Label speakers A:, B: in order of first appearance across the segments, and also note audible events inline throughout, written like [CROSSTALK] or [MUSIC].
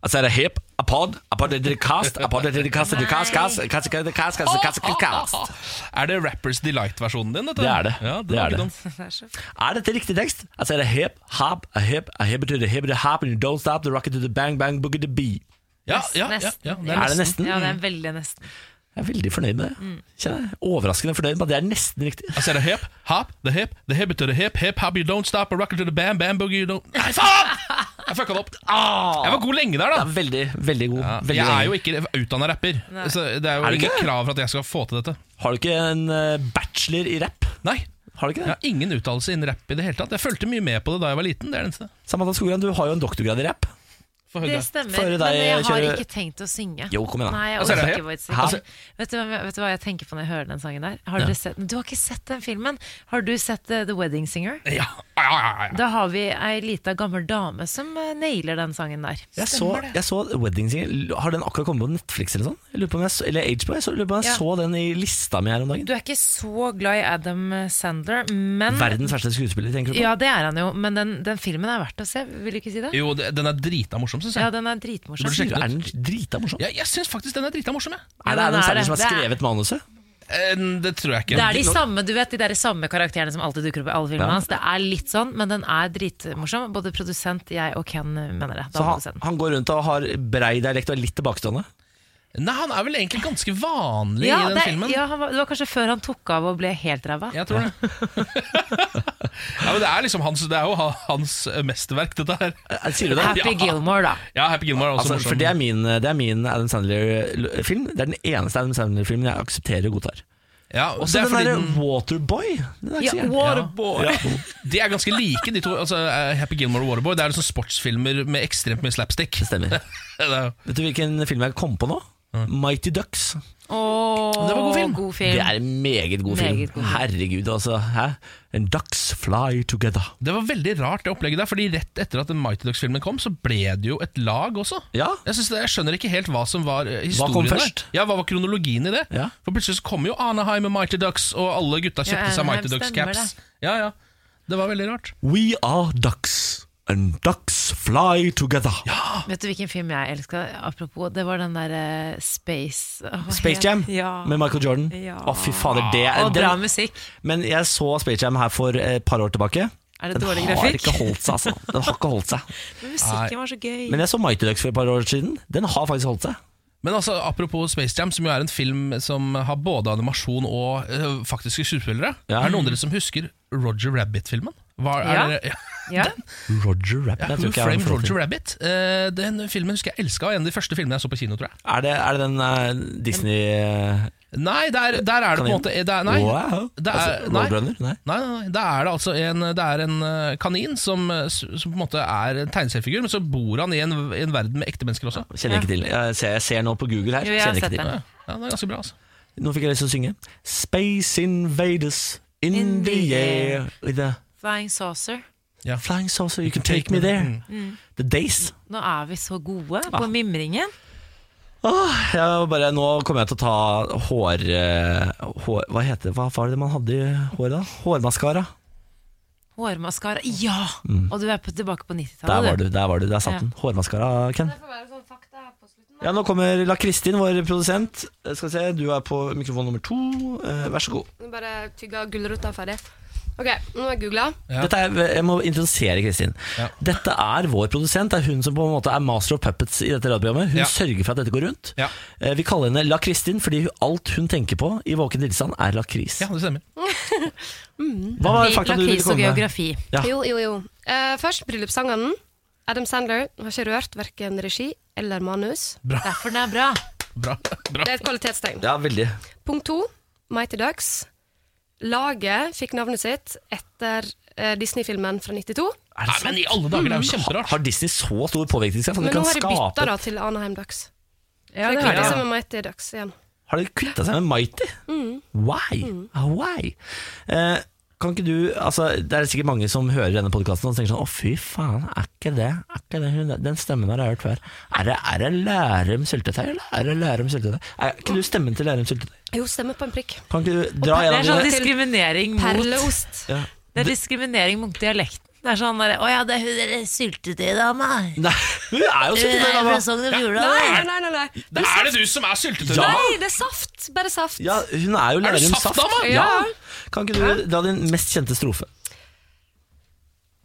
A: Og så er det hep, apod, apod er det kast, apod er det kast, er det kast, kast, kast, kast, kast, kast, kast, kast, kast.
B: Er det Rappers Delight-versjonen din? Dette?
A: Det er det.
B: Ja,
A: Det
B: var ikke
A: [LAUGHS] er det.
B: dumt.
C: Det er så f-
A: Er dette riktig tekst? Altså er det hep, hop, a hip, a hip to the hip, the hop, and you don't stop, the rocket to the bang, bang, boogie the bee.
B: Ja, ja, ja,
C: Nesten. Mm.
B: ja, det
A: Er
B: er
A: det
B: nesten.
A: nesten? Mm.
C: Ja, det er veldig nesten.
A: Jeg er veldig fornøyd med det. Kjenner jeg. Overraskende fornøyd med at det er nesten riktig.
B: Altså er det hip, hop, the hip, the hip to the hip, hip hop, you don't stop, a rocket to the bam, bam, boogie, you don't Nei, faen! Jeg fucka det opp.
A: Ah.
B: Jeg var god lenge der,
A: Det
B: da.
A: er veldig, veldig god. Veldig
B: Jeg er
A: god.
B: jo ikke utdanna rapper, så det er jo
A: Er du
B: ingen
A: ikke?
B: krav for at jeg skal få til dette.
A: Har du ikke en eh, bachelor i rap?
B: Nei.
A: Har du ikke
B: Jeg
A: det?
B: har ingen utdannelse innen rap i det hele tatt. Jeg fulgte mye med på det da jeg var liten. Det er det eneste.
A: Samantha Skogran, du har jo en doktorgrad i rap.
B: Få høre det.
C: Det
A: Få
C: stemmer,
A: høre deg
C: men jeg har
A: kjøre-
C: ikke tenkt å synge.
A: Jo, kom igjen da.
C: Nei, jeg
B: Altså, er
C: orker
B: det-
C: ikke Void
A: Hæ?
C: Sikker. Vet, du hva- vet du hva jeg tenker på når jeg hører den sangen der? Har dere sett, men du har ikke sett den filmen. Har du sett eh, The Wedding Singer?
B: Ja, ja, ja, ja.
C: Da har vi ei lita gammel dame som eh, nailer den sangen der.
A: Jeg så, jeg så Wedding Singer. Har den akkurat kommet på Netflix eller sånn? Jeg lurer på om jeg så, eller HBO. Jeg, så, lurer på om jeg
C: Ja.
A: så den i lista mi her om dagen.
C: Du er ikke så glad i Adam Sandler, men
A: Verdens verste skuespiller, tenker du på?
C: Ja, det er han jo, men den, den filmen er verdt å se, vil du ikke si det?
B: Jo, det- den er drita morsom, syns jeg.
C: Ja, den er dritmorsom.
B: Du burde sjekke
A: Er den drita morsom?
B: Ja, jeg syns faktisk den er drita morsom, jeg.
C: Ja,
A: Er det
C: den
A: Adam
C: er
A: Sandler
C: det.
A: som har
C: Det er-
A: skrevet manuset?
B: Eh, Det tror jeg ikke.
C: Det er de samme, du vet, de der samme karakterene som alltid dukker opp i alle filmene
A: Ja.
C: hans. Det er litt sånn, men den er dritmorsom. Både produsent, jeg og Ken eh, mener det. Da
A: Så
C: må du se
A: han,
C: den.
A: han går rundt og har brei dialekt og er litt tilbakestående?
B: Nei, han er vel egentlig ganske vanlig
C: Ja,
B: i den
C: det,
B: filmen.
C: ja, han var, det var kanskje før han tok av og ble helt ræva.
B: Jeg tror det. ja, men det er liksom hans Det er jo ha- hans mesterverk, dette her.
A: Eh, Sier du det?
C: Happy
B: Ja.
C: Gilmore, da.
B: Ja, Happy Gilmore er også
A: Altså, for
B: morsom.
A: det er min, det er min Adam Sandler-film. Det er den eneste Adam Sandler-filmen jeg aksepterer og godtar.
B: ja,
A: Og
B: det
A: så
B: er
A: den
B: fordi
A: derre
B: den-
A: Waterboy. Den er ikke
C: Ja,
A: så gæren.
C: Waterboy.
B: De er ganske like, de to. Altså, eh, Happy Gilmore og Waterboy Det er liksom sportsfilmer med ekstremt mye slapstick.
A: Det stemmer.
B: [LAUGHS] Det er-
A: Vet du hvilken film jeg kom på nå? Mighty Ducks.
C: Åh,
B: Det var god film.
C: God
A: Det
C: film.
A: er en meget god film.
C: Meget god film.
A: Herregud, altså. Hæ? And ducks fly together.
B: Det var veldig rart, det opplegget der. Fordi rett etter at den Mighty Ducks-filmen kom, så ble det jo et lag også.
A: Ja.
B: Jeg, synes det, jeg skjønner ikke helt hva som var eh, historien
A: kom
B: der.
A: først?
B: Ja, hva var kronologien i det?
A: Ja.
B: For plutselig så kom jo Anaheim med Mighty Ducks, og alle gutta kjøpte seg
C: Anaheim
B: Mighty
C: stemmer
B: Ducks-caps. Ja, ja. Det var veldig rart.
A: We are ducks, and ducks fly together.
C: Vet du hvilken film jeg elska? Apropos, det var den der eh, Space Åh, hva
A: Space
C: het-
A: Jam
C: Ja.
A: med Michael Jordan. Å,
C: Ja.
A: fy fader. Det er
C: Og bra musikk.
A: Men jeg så Space Jam her for et par år tilbake.
C: Er det
A: Den har
C: dårlig grafikk?
A: ikke holdt seg, altså. Den har ikke holdt
C: [LAUGHS]
A: seg.
C: Men musikken var så gøy.
A: Men jeg så Mighty Ducks for et par år siden. Den har faktisk holdt seg.
B: Men altså, apropos Space Jam, som jo er en film som har både animasjon og eh, faktiske skuespillere.
A: Ja.
B: Er det noen av dere som husker Roger Rabbit-filmen? Hva er
C: Ja.
B: det- ja.
C: ja.
A: Roger Rabbit.
B: Ja,
A: jeg tror
B: Who
A: ikke jeg har
B: Framed
A: noe forhold til.
B: Roger Rabbit? Eh, den filmen husker jeg elska. En av de første filmene jeg så på kino, tror jeg.
A: Er det, er det den eh, Disney eh,
B: Nei, der, der er det på en
A: Kanin?
B: måte der, Nei,
A: Wow.
B: det er,
A: altså,
B: nei, nei,
A: Roadrunner? Nei.
B: nei, nei. Da er det altså en, det er en eh, kanin som, eh, s- som på en måte er en tegneseriefigur, men så bor han i en, i en verden med ekte mennesker også.
A: Kjenner ikke til. Jeg ser, jeg ser nå på Google her.
C: Jo, jeg har
A: kjenner ikke
C: sett
A: til.
C: den.
B: Ja, ja, det er ganske bra, altså.
A: Nå fikk jeg lyst til å synge. Space invaders in,
C: In
A: the
C: the
A: air with a
C: Flying Saucer.
A: flying saucer, you can take me there.
C: Mm.
A: The days.
C: Nå er vi så gode
A: Ah.
C: på mimringen.
A: Åh, jeg var bare, nå kommer jeg til å ta hår, eh, hår Hva heter det? Hva var det man hadde i håret da? Hårmaskara.
C: Hårmaskara. Ja! Og du er på, tilbake på
A: Mm. Der
C: 90-tallet,
A: var du, der var du, der satt den. Hårmaskara, Ken.
D: Det får være sånn fakta her på slutten. da.
A: Ja, nå kommer La Kristin, vår produsent. Eh, Skal vi se, du er på mikrofon nummer to. Eh, Vær så god.
D: Nå Bare tygge gulrota ferdig. Ok, nå har jeg googla.
B: Ja.
A: Dette er, jeg må introdusere Kristin.
B: Ja.
A: Dette er vår produsent. Det er hun som på en måte er master of puppets i dette radioprogrammet. Hun
B: Ja.
A: sørger for at dette går rundt.
B: Ja.
A: Eh, Vi kaller henne La Kristin fordi hun- alt hun tenker på i våken tilstand, er lakris.
B: Ja, det stemmer.
A: Hva var fakta du ville
C: Mm. Lakris og
A: komme med?
C: geografi.
A: Ja.
D: Jo, jo, jo. Eh, først bryllupssangene. Adam Sandler har ikke rørt verken regi eller manus.
C: Derfor den er bra.
B: Bra. bra.
D: Det er et kvalitetstegn.
A: Ja, veldig.
D: Punkt to, Mighty Ducks. Laget fikk navnet sitt etter eh, Disney-filmen fra 92.
A: Er det
B: Nei,
A: sant? Mm.
B: men i alle dager, det er jo
A: Har,
B: kjemperart.
A: har Disney så stor påvirkningskraft at de
D: Men nå
A: kan
D: har de
A: skape
D: bytta da til Anaheim Ducks. Så
C: Ja, det
D: de
C: har
D: kvitta
C: de.
D: seg med Mighty Ducks igjen.
A: Har de kvitta seg med Mighty?
D: Mm.
A: Why? Ah, Why? Eh, kan ikke du, altså Det er sikkert mange som hører denne podkasten og tenker sånn Å, fy faen, er ikke det, er ikke det hun, den stemmen har jeg hørt før. Er det, er det Lærum syltetøy, eller er det Lærum syltetøy? Er ikke du stemmen til Lærum syltetøy?
D: Jo, stemmer på en prikk.
A: Kan ikke du
C: Det
A: dra en
C: er
A: av
C: sånn
A: dine
C: diskriminering mot
D: Perleost.
A: ja.
C: Det er diskriminering mot dialekten. Det er sånn der, Å ja, det er hun derre syltetøydama.
A: Nei, hun er jo
D: Eh,
C: Hun er sånn fra
A: syltetøydama!
C: Sogn og
D: Nei,
C: Fjordane.
D: nei, nei. nei.
B: Det er det du som er syltetøy!
A: Ja.
D: Nei, det er saft. Bare saft.
A: Ja, hun er jo
B: Er du
A: Lærum
B: saft,
A: Saft.
B: dama?
A: Ja.
D: Ja.
A: Kan ikke du dra din mest kjente strofe?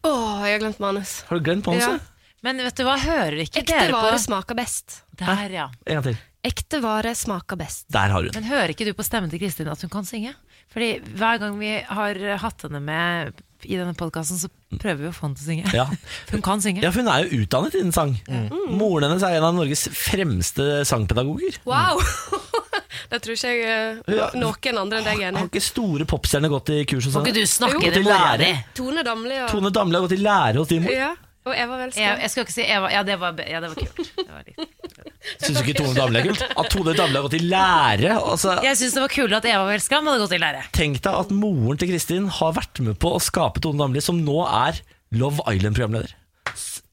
D: Å, jeg har glemt manus.
A: Har du glemt manuset?
D: Ja.
C: Men vet du hva, hører ikke
D: Ekte
C: dere
D: vare
C: på
D: smaker best.
C: Der, ja.
A: En gang til.
D: Ekte vare smaker best.
A: Der har hun.
C: Men hører ikke du på stemmen til Kristin at hun kan synge? Fordi hver gang vi har hatt henne med i denne podkasten, så prøver vi å få henne til å synge.
A: Mm. Ja.
C: [LAUGHS] Hun kan synge.
A: ja, for hun er jo utdannet innen sang. Moren hennes er en av Norges fremste sangpedagoger.
D: Wow! [LAUGHS] det tror ikke jeg eh,
A: Ja.
D: noen andre enn deg er
A: Har
D: enig i.
A: ikke store popstjerner gått i kurs hos
C: Kan
A: henne?
C: ikke du snakke
D: Jo,
C: til
A: til
C: mora
A: lærer.
C: di?
D: Tone Damli og,
A: Tone Damli har gått i lære hos din mor.
D: ja, og Eva Welske.
C: Jeg, jeg skal ikke si Eva. Ja, det var, be- ja, det var kult.
A: [LAUGHS]
C: Det var litt.
A: Syns du ikke Tone Damli er kult? At Tone Damli har gått i lære? Altså,
C: Jeg syns det var kulere at Eva Welskam hadde gått i lære.
A: tenk deg at moren til Kristin har vært med på å skape Tone Damli, som nå er Love Island-programleder.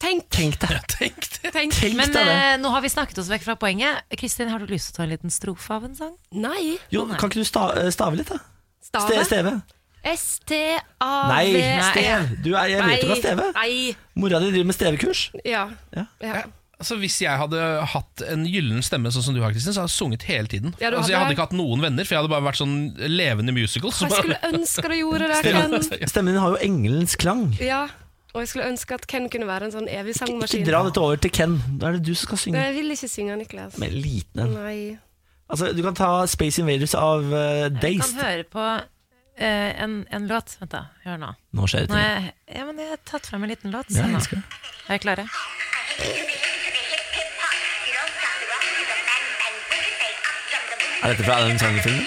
D: Tenk,
A: Tenk
C: [LAUGHS]
A: deg [LAUGHS]
B: Tenk det!
D: tenk.
A: Tenk
C: Men
A: deg det!
C: eh, nå har vi snakket oss vekk fra poenget. Kristin, har du lyst til å ta en liten strofe av en sang?
D: Nei.
A: Jo, kan ikke du sta eh, stave litt, da? Ste
D: Stave.
A: steve. Nei,
D: S-T-A-V-E.
A: Stev. Du er, jeg vet du kan steve.
D: E. Nei.
A: Mora di driver med stevekurs.
D: Ja.
A: Ja.
D: ja.
B: Altså, hvis jeg hadde hatt en gyllen stemme sånn som du har, Kristin, så hadde jeg sunget hele tiden.
D: Ja, du
B: altså,
D: hadde
B: jeg hadde
D: det.
B: ikke hatt noen venner, for jeg hadde bare vært sånn levende musical.
D: Og
B: som
D: jeg
B: bare-
D: skulle ønske du gjorde det, Ken.
A: Stemmen din har jo engelens klang.
D: Ja. Og jeg skulle ønske at Ken kunne være en sånn evig
A: Ikke
D: sangmaskin.
A: dra dette over til Ken. Da er det du som skal
D: Nei,
A: synge.
D: Jeg vil ikke synge, Niklas.
A: Med en liten en.
D: Nei.
A: Altså, du kan ta Space Invaders av uh,
C: Vi kan
A: Dazed.
C: høre på eh, en, en låt. Vent, da. Hør nå.
A: Nå skjer det
C: nå
A: ting.
C: er jeg, ja, men jeg har tatt frem en liten låt.
A: Ja,
C: Se
A: jeg
C: nå.
A: elsker det.
C: Er dere klare?
A: Er dette fra den sangfilmen?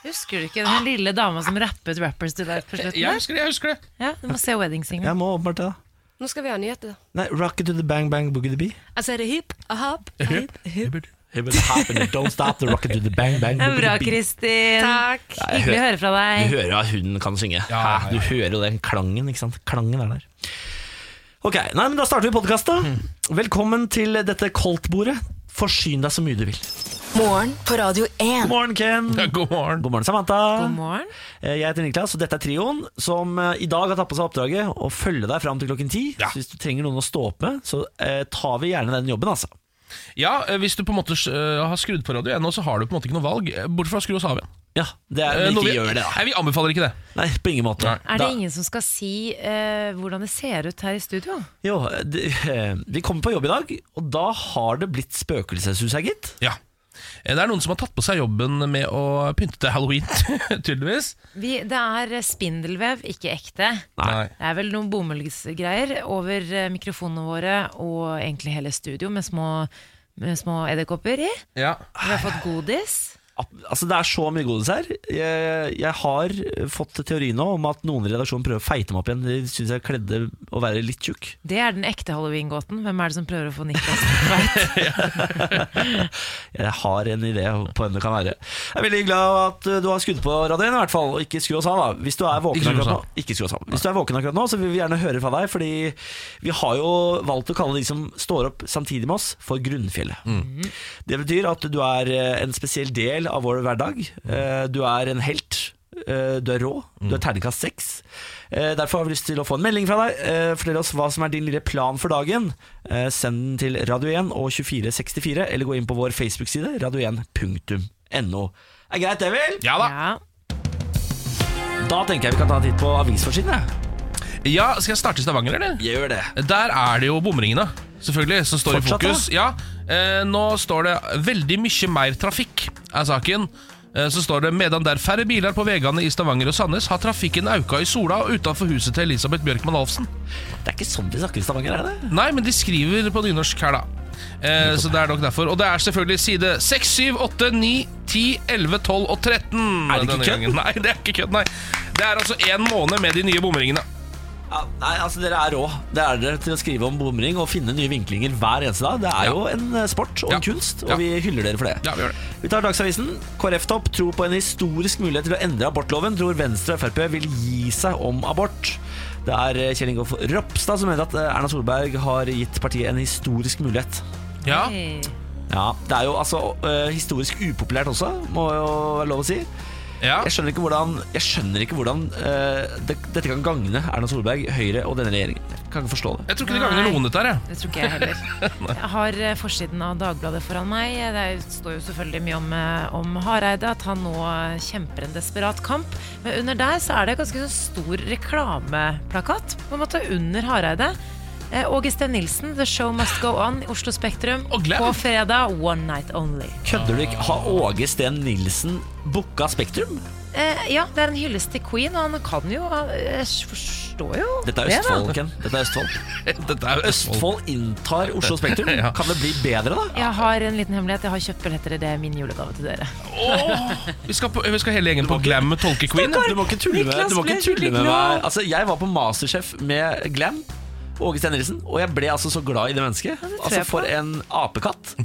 C: Husker du ikke den lille dama som rappet 'Rappers Do Life' på slutten?
B: Jeg
C: der?
B: husker det, jeg husker det.
C: Ja, du må se Wedding Singer.
A: Jeg må åpenbart det, da.
D: Nå skal vi ha nyheter.
A: Nei, Rocket to the Bang Bang Boogie the Bee.
D: Altså er det hip, a hop, a hip.
A: It will happen, don't stop the rocket to the bang bang
C: Det er bra,
A: boogie the bee.
C: Kristin.
D: Takk.
A: Ja, jeg
C: Hyggelig å
A: hører-
C: høre fra
A: Du
C: deg.
A: hører jo at hun kan synge.
B: Ja, ja,
A: Hæ?
B: ja.
A: Du hører jo den klangen, ikke sant? Klangen er der. Ok, nei, men Da starter vi podkastet. Velkommen til dette koldtbordet. Forsyn deg så mye du vil.
E: Morgen på Radio 1.
A: God morgen, Ken.
B: Ja, god morgen.
A: God morgen, Samantha.
C: God morgen.
A: Eh, Jeg heter Niklas, og dette er trioen som eh, i dag har tatt på seg oppdraget å følge deg fram til klokken ti.
B: Ja.
A: Så hvis du trenger noen å stå opp med, så eh, tar vi gjerne den jobben, altså.
B: Ja, eh, hvis du på en måte eh, har skrudd på radio ennå, så har du på en måte ikke noe valg, eh, bortsett fra å skru oss av igjen.
A: Ja, det er,
B: Eh,
A: men
B: noe
A: ikke
B: vi-
A: gjør det, da.
B: Nei, vi anbefaler ikke det.
A: Nei, på ingen måte.
B: Nei.
C: Er det
A: Da-
C: ingen som skal si eh, hvordan det ser ut her i studio?
A: Jo, det, eh, vi kommer på jobb i dag, og da har det blitt spøkelseshus her, gitt.
B: Ja. Eh, Det er noen som har tatt på seg jobben med å pynte til halloween, [LAUGHS] tydeligvis.
C: Vi, det er spindelvev, ikke ekte. Det er vel noen bomullsgreier over eh, mikrofonene våre og egentlig hele studio med små, med små edderkopper i.
B: Ja.
C: Vi har fått godis.
A: Ab- Altså, det er så mye godis her. Jeg, jeg har fått teori nå om at noen i redaksjonen prøver å feite meg opp igjen. De syns jeg kledde å være litt tjukk.
C: Det er den ekte halloween-gåten. Hvem er det som prøver å få Niklas til å være-
A: Jeg har en idé på hvem det kan være. Jeg er veldig glad at uh, du har skudd på radioen, i hvert fall. Og ikke skru oss av, da. Hvis du er våken
B: Ikke skru oss
A: akkurat nå, ikke skru oss av. Hvis du er våken akkurat nå, så vil vi gjerne høre fra deg. Fordi vi har jo valgt å kalle de som står opp samtidig med oss, for Grunnfjellet.
B: Mm.
A: Det betyr at du er uh, en spesiell del av vår hverdag.
B: Mm.
A: Uh, Du er en helt. Uh, Du er rå. Du er terningkast seks. Eh, Derfor har vi lyst til å få en melding fra deg. Eh, Fortell oss hva som er din lille plan for dagen. Eh, Send den til Radio1 og 2464, eller gå inn på vår Facebook-side, radio1.no. Er greit, det vel?
B: ja da.
C: Ja.
A: Da tenker jeg vi kan ta en titt på avisforsiden. jeg.
B: Ja, Skal jeg starte i Stavanger, eller?
A: Gjør det.
B: Der er det jo bomringene, selvfølgelig, som står
A: Fortsatt,
B: i fokus. Ja, eh, nå står det 'veldig mye mer trafikk', er saken. Eh, Så står det medan det er færre biler på veiene i Stavanger og Sandnes, har trafikken auka i Sola og utenfor huset til Elisabeth Bjørkman Alfsen.
A: Det er ikke sånn de snakker i Stavanger, er det?
B: Nei, men de skriver på nynorsk her, da. Eh, så det er nok derfor. Og det er selvfølgelig side 6, 7, 8, 9, 10, 11, 12 og 13.
A: Er det ikke
B: denne
A: kødd?
B: gangen. Nei, det er ikke kødd, nei. Det er altså én måned med de nye bomringene.
A: Ja, nei, altså Dere er rå. Det er dere til å skrive om bomring og finne nye vinklinger hver eneste dag. Det er
B: Ja.
A: jo en eh, sport og en
B: Ja.
A: kunst, og
B: Ja.
A: vi hyller dere for det.
B: Ja, vi gjør det.
A: Vi tar Dagsavisen. KrF-topp tror på en historisk mulighet til å endre abortloven. Tror Venstre og Frp vil gi seg om abort. Det er eh, Kjell Ingolf Ropstad som mener at eh, Erna Solberg har gitt partiet en historisk mulighet.
B: Ja.
C: Hei.
A: Ja, Det er jo altså eh, historisk upopulært også, må jo være lov å si.
B: Ja.
A: Jeg skjønner ikke hvordan, jeg skjønner ikke hvordan eh, det, dette kan gagne Erna Solberg, Høyre og denne regjeringen. Jeg kan ikke forstå det.
B: Jeg tror ikke det gagner
C: Nei.
B: noen dette her, jeg.
C: Det tror ikke jeg heller. Jeg har eh, forsiden av Dagbladet foran meg. Det er- står jo selvfølgelig mye om, eh, om Hareide, at han nå eh, kjemper en desperat kamp. Men under der så er det ganske sånn stor reklameplakat, på en måte, under Hareide. Eh, Åge Steen Nilsen, 'The Show Must Go On', Oslo Spektrum.
B: Og Glenn.
C: På fredag, 'One Night Only'.
A: Kødder du ikke? Har Åge Steen Nilsen booka Spektrum?
C: Eh, ja, det er en hyllest til Queen, og han kan jo han- Jeg forstår jo
A: Dette er
C: det, da.
A: Østfold, Ken. Dette er Østfold.
B: [LAUGHS] Dette er jo Østfold.
A: Østfold inntar Oslo Spektrum.
B: [LAUGHS] Ja.
A: Kan det bli bedre, da?
C: Jeg har en liten hemmelighet. Jeg har kjøpt billetter. Det er min julegave til dere.
B: Åh, vi, skal på, vi skal hele gjengen på Glam tolke Queen.
A: Du må ikke tulle med,
C: Niklas
A: du må ikke
C: ble
A: tulle
C: veldig
A: med
C: glad.
A: meg. Altså, jeg var på Masterchef med Glam. Åge Steen Nilsen. Og jeg ble altså så glad i det mennesket.
C: det tror
A: Altså,
C: jeg på.
A: for en apekatt.